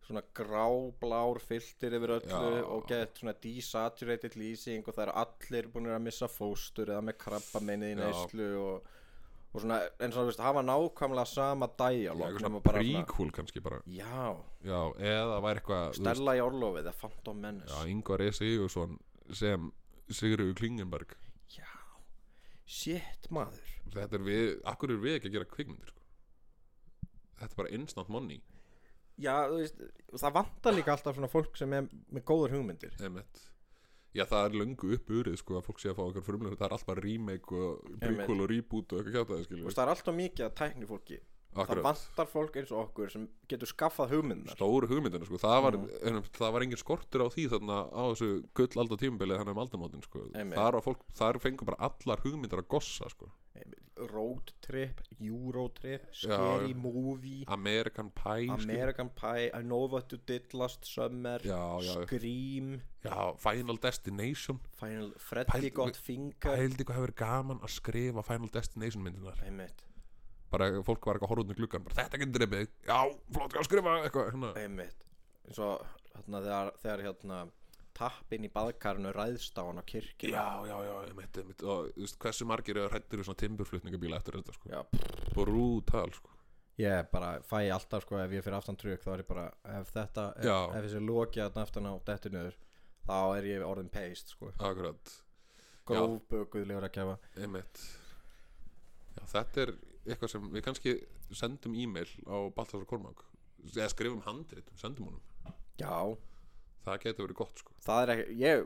A: svona gráblár filtir yfir öllu
B: Já.
A: og gett svona desaturated lýsing og það eru allir búinir að missa fóstur eða með krabba meinið í
B: Já.
A: neyslu og, og svona, en svona, veist, hafa nákvæmlega sama
B: já,
A: dæjalog
B: eitthvað svona príkúl kannski bara
A: já,
B: já, eða væri eitthvað þú veist,
A: Stella í orlofið eða Phantom Menace
B: Já, Ingvar E. Sigursson sem Sigurður Klingenberg
A: já, shit maður
B: Þetta er við, akkur er við ekki að gera kvikmyndir sko? Þetta er bara instant money
A: já, þú veist, það vantar líka alltaf svona fólk sem er með góður hugmyndir
B: Emmett Já, það er löngu uppurið sko að fólk sé að fá okkar frumlega Það er allt bara remake og prequel
A: Einmitt.
B: og reboot og eitthvað kjátt að það
A: Þú
B: skilur
A: veist, það er alltaf mikið að tækni fólki það
B: Akkurat,
A: vantar fólk eins og okkur sem getur skaffað hugmyndar
B: stóru hugmyndina sko Það var, mm. það var engin skortur á því þarna á þessu gull alltaf tímabilið hann um aldamótin sko
A: Einmitt.
B: Þar, var fólk, þar fengur bara allar hugmyndar að gossa sko
A: road trip, euro trip
B: Já,
A: scary
B: já.
A: movie
B: American Pie skilur.
A: American Pie, I know what you did last summer
B: Já, já.
A: Scream
B: Já, Final Destination
A: Final, Freddy
B: Pældi-
A: got finger
B: Pældi hvað hefur verið gaman að skrifa Final Destination myndinar
A: einmitt,
B: bara fólk var eitthvað horfðunni gluggan bara þetta getur dreipið, já, flott að skrifa eitthvað hérna,
A: einmitt eins og hérna, þegar, þegar hérna tappinn í baðkarinu ræðst á hann á kirkju
B: já, já, já, ég mitt, ég mitt og þú veist, hversu margir eru hrættir við svona timburflutningabíla eftir þetta, sko,
A: Já,
B: brútal sko.
A: ég bara fæ alltaf sko ef ég fyrir aftan trygg þá er ég bara ef þetta, ef,
B: Já.
A: ef þessi loki að aftan á dettu niður þá er ég orðin paste sko
B: akkurat,
A: grófbökuðlegur að gefa
B: ég mitt já, þetta er eitthvað sem við kannski sendum e-mail á Baltasar Kormák, eða skrifum handrit sendum honum,
A: já,
B: það getur verið gott, sko
A: það er ekki ég,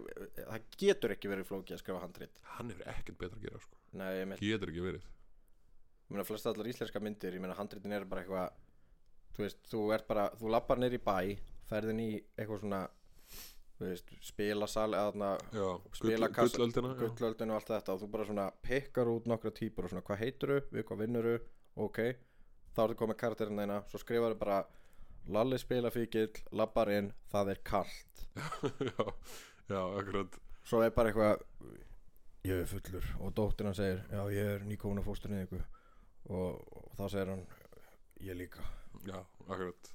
A: það getur ekki verið flókið að skrifa handrit
B: hann er ekkert betra að gera, sko,
A: nei, ég meina,
B: getur ekki verið
A: ég meina flest allar íslenska myndir ég meina handritin er bara eitthvað þú veist, þú ert bara, þú lappar nýr í bæ ferðin í eitthvað svona þú veist, spilasal eða þarna
B: já,
A: spilakassa-
B: gullöldina, já.
A: gullöldin og allt þetta og þú bara svona pikkar út nokkra típur og svona hvað heitirðu, við hvað vinnurðu ok, þá ertu komið karakterinn þeina svo skrifarðu bara Lalli spilafíkil, lappar inn, það er kalt
B: já, (laughs) já, akkurat
A: svo er bara eitthvað ég er fullur og dóttir hann segir já ég er nýkóna fósturinn ykkur og, og þá segir hann ég líka
B: Já, akkurat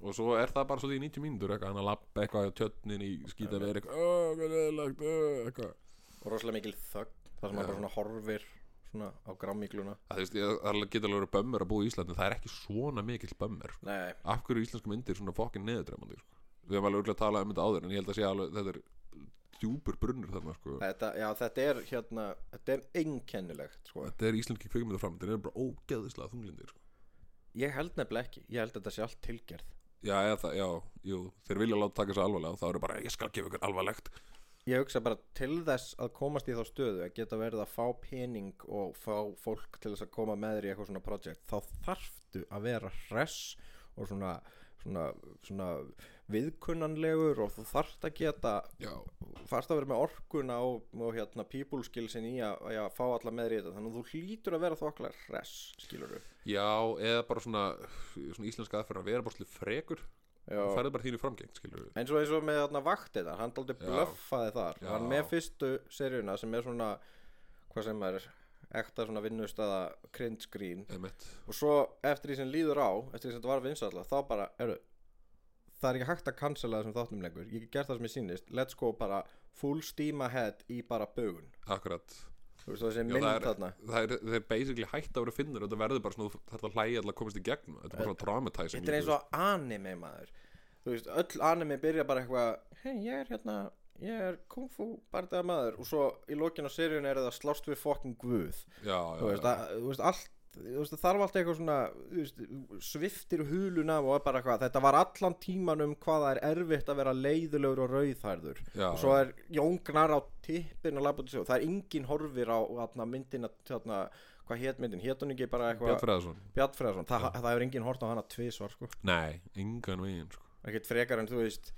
B: Og svo er það bara svo því í 90 mínútur eitthvað, hann að lappa eitthvað á tjötnin í skýta verið eitthvað, "Ó, hvað er lagt, eitthvað
A: og rosalega mikil þögn þar sem hann bara svona horfir svona á grammíkluna
B: Það þú veist, ég- það er- getur alveg verið bömmur að búa í Íslandi, það er ekki svona mikill bömmur sko.
A: nei,
B: Af hverju eru íslenska myndir svona fokkin neðutrefandi, sko Við hefum alveg örgulega að tala um þetta áður, en ég held að sé alveg, þetta er djúpur brunnur þarna, sko
A: þetta, já, þetta er hérna þetta er einkennilegt sko.
B: Þetta er íslenski kvikmyndaframöndir, þetta er bara ógeðislega þunglindir, sko
A: ég held nefnilega ekki, ég held að þetta sé allt tilgerð
B: Já, eða það, já, jú, þeir vilja láta taka þessu alvarlega og þá eru bara, ég skal gefa ykkur alvarlegt
A: ég hugsa bara til þess að komast í þá stöðu að geta verið að fá pening og fá fólk til þess að koma með þér í eitthvað svona project þá þarftu að vera hress og svona, svona, svona viðkunnanlegur og þú þarft að geta
B: Já,
A: þarfst að vera með orkuna og, og hérna people skillsin í að, að fá alla með í þetta þannig að þú hlýtur að vera þokklega hress skilur du
B: Já, eða bara svona, svona íslenska aðferð að vera bara svolítið frekur og
A: eins
B: færði bara þínu framgeng, skilur við
A: og eins og með þarna vaktina hann aldrei
B: Já.
A: blöffaði þar
B: Já.
A: hann með fyrstu seríuna sem er svona hvað sem er ekta svona vinnustada cringe screen
B: Emmett
A: og svo eftir því sem líður á eftir því sem þetta var vinsalla þá bara eru, það er ekki hægt að cancela þessum þáttum lengur ég get gert það sem ég sýnist let's go bara full steam ahead í bara bugun
B: Akkurat
A: þú veist þessi
B: Já,
A: mynd
B: það er,
A: þarna
B: það er, þeir basically hætt að vera finnur þetta verður bara svona, þetta hlægi alltaf komist í gegn þetta er bara svona dramatizing
A: þetta er eins og anime maður þú veist öll anime byrja bara eitthvað hei ég er hérna ég er kung fu bardaða maður og svo í lokinu á seríun er það slást við fucking guð
B: já, já,
A: þú veist,
B: já.
A: að, þú veist allt þú veist, það þarf allt eitthvað svona þú veist, sviftir huluna og er bara eitthvað þetta var allan tíman um hvað það er erfitt að vera leiðulegur og rauðhærður
B: Já,
A: og svo er jóngnar á tippin að labba til sig og það er engin horfir á atna, myndina atna, hvað hétt myndin, hétt hún ekki bara
B: Björn
A: eitthvað
B: Freðarsson
A: Bjartfræðarsson, Þa, það hefur engin hort á hana tvisvar sko,
B: Nei, engan veginn sko.
A: ekkert frekar en þú veist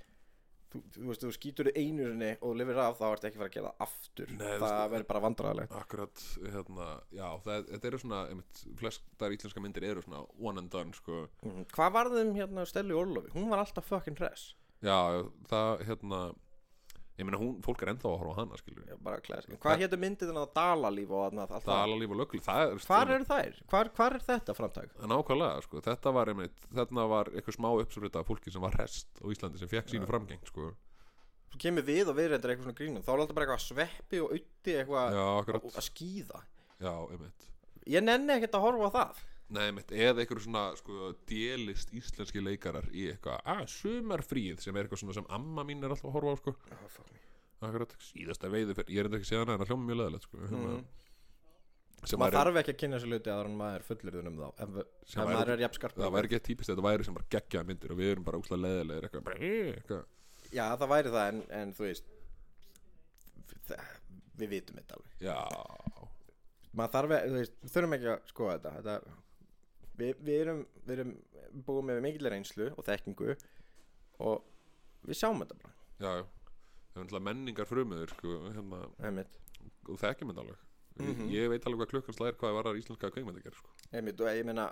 A: Þú, þú veist, þú skýtur þig einu sinni og þú lifir af þá ertu ekki að fara að gera það aftur
B: Nei, þú
A: það
B: veist-
A: verður bara vandræðilegt
B: Akkurat, hérna, já, það, þetta eru svona einmitt, flestar íslenska myndir eru svona one and done, sko
A: Mhm. Hvað varðum hérna Stelli Orlofi? Hún var alltaf fucking hress
B: Já, það, hérna ég meina, hún, fólk er ennþá að horfa á hana, skilur
A: Já, bara klassik. Hvað hétu myndið þannig að Dalalíf og annað allt það?
B: Dalalíf og lögli, það er
A: Hvar eru þær? Hvar, hvar er þetta framtak?
B: Nákvæmlega, sko, þetta var einmitt, þarna var eitthvað smá uppsvölda af fólki sem var rest á Íslandi sem fekk sínu framgeng, sko
A: Svo kemur við og við reyndir eitthvað svona grínum. Þá er alltaf bara eitthvað sveppi og utti eitthvað
B: Já,
A: að,
B: akkurat,
A: að skýða.
B: já, einmitt
A: Ég nenni ekkert að horfa á það.
B: Nei, einmitt, eða einhver svona, sko, délist íslenski leikarar í eitthvað, að, sumarfríð sem er eitthvað svona sem amma mín er alltaf að horfa á, sko
A: Oh, fuck me.
B: Akkurat, síðasta veiði fyrir, ég er enda ekki séð hana en að hljóma mjög leðilegt, sko
A: Mhm. Maður
B: sem væri,
A: þarf ekki að kynna sér luti aðra en maður fullir þunum þá. Ef, ef
B: Sem væri-
A: maður er jafnskarp.
B: það væri ekki típist þetta væri sem bara geggjaða myndir og við erum bara úslega leðilegir eitthvað, bara, eh, eitthvað
A: Já, það væri það en, en þú veist, það, við vitum þetta alveg.
B: Já,
A: maður þarf að, þú veist, við þurfum ekki að skoða þetta, þetta við, við erum, við erum búið með mikil reynslu og þekkingu og við sjáum þetta bara,
B: já, já Það er náttúrulega menningar frumöður, sko, hérna
A: einmitt
B: og þekkjum þetta alveg
A: Mhm.
B: ég, ég veit alveg hvað klukkan slæðir hvað var að íslenska kveikmyndagerð sko.
A: einmitt og ég meina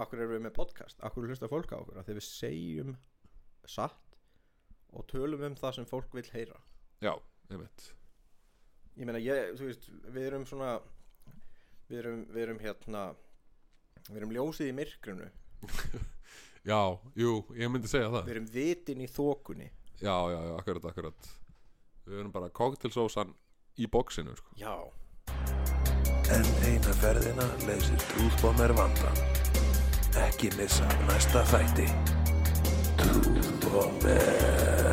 A: okkur erum við með podcast, okkur hlusta fólk á okkur af því við segjum satt og tölum um það sem fólk vil heyra
B: já, einmitt
A: ég meina, ég, þú veist, við erum svona við erum, við erum hérna við erum ljósið í myrkrinu
B: já, jú, ég myndi segja það
A: við erum vitin í þokunni
B: já, já, já, akkurat, akkurat við erum bara cocktailsósan í bóksinu sko.
A: já,
D: En eina ferðina leysir trúðbomber vandan. Ekki missa af næsta þætti. Trúðbomber.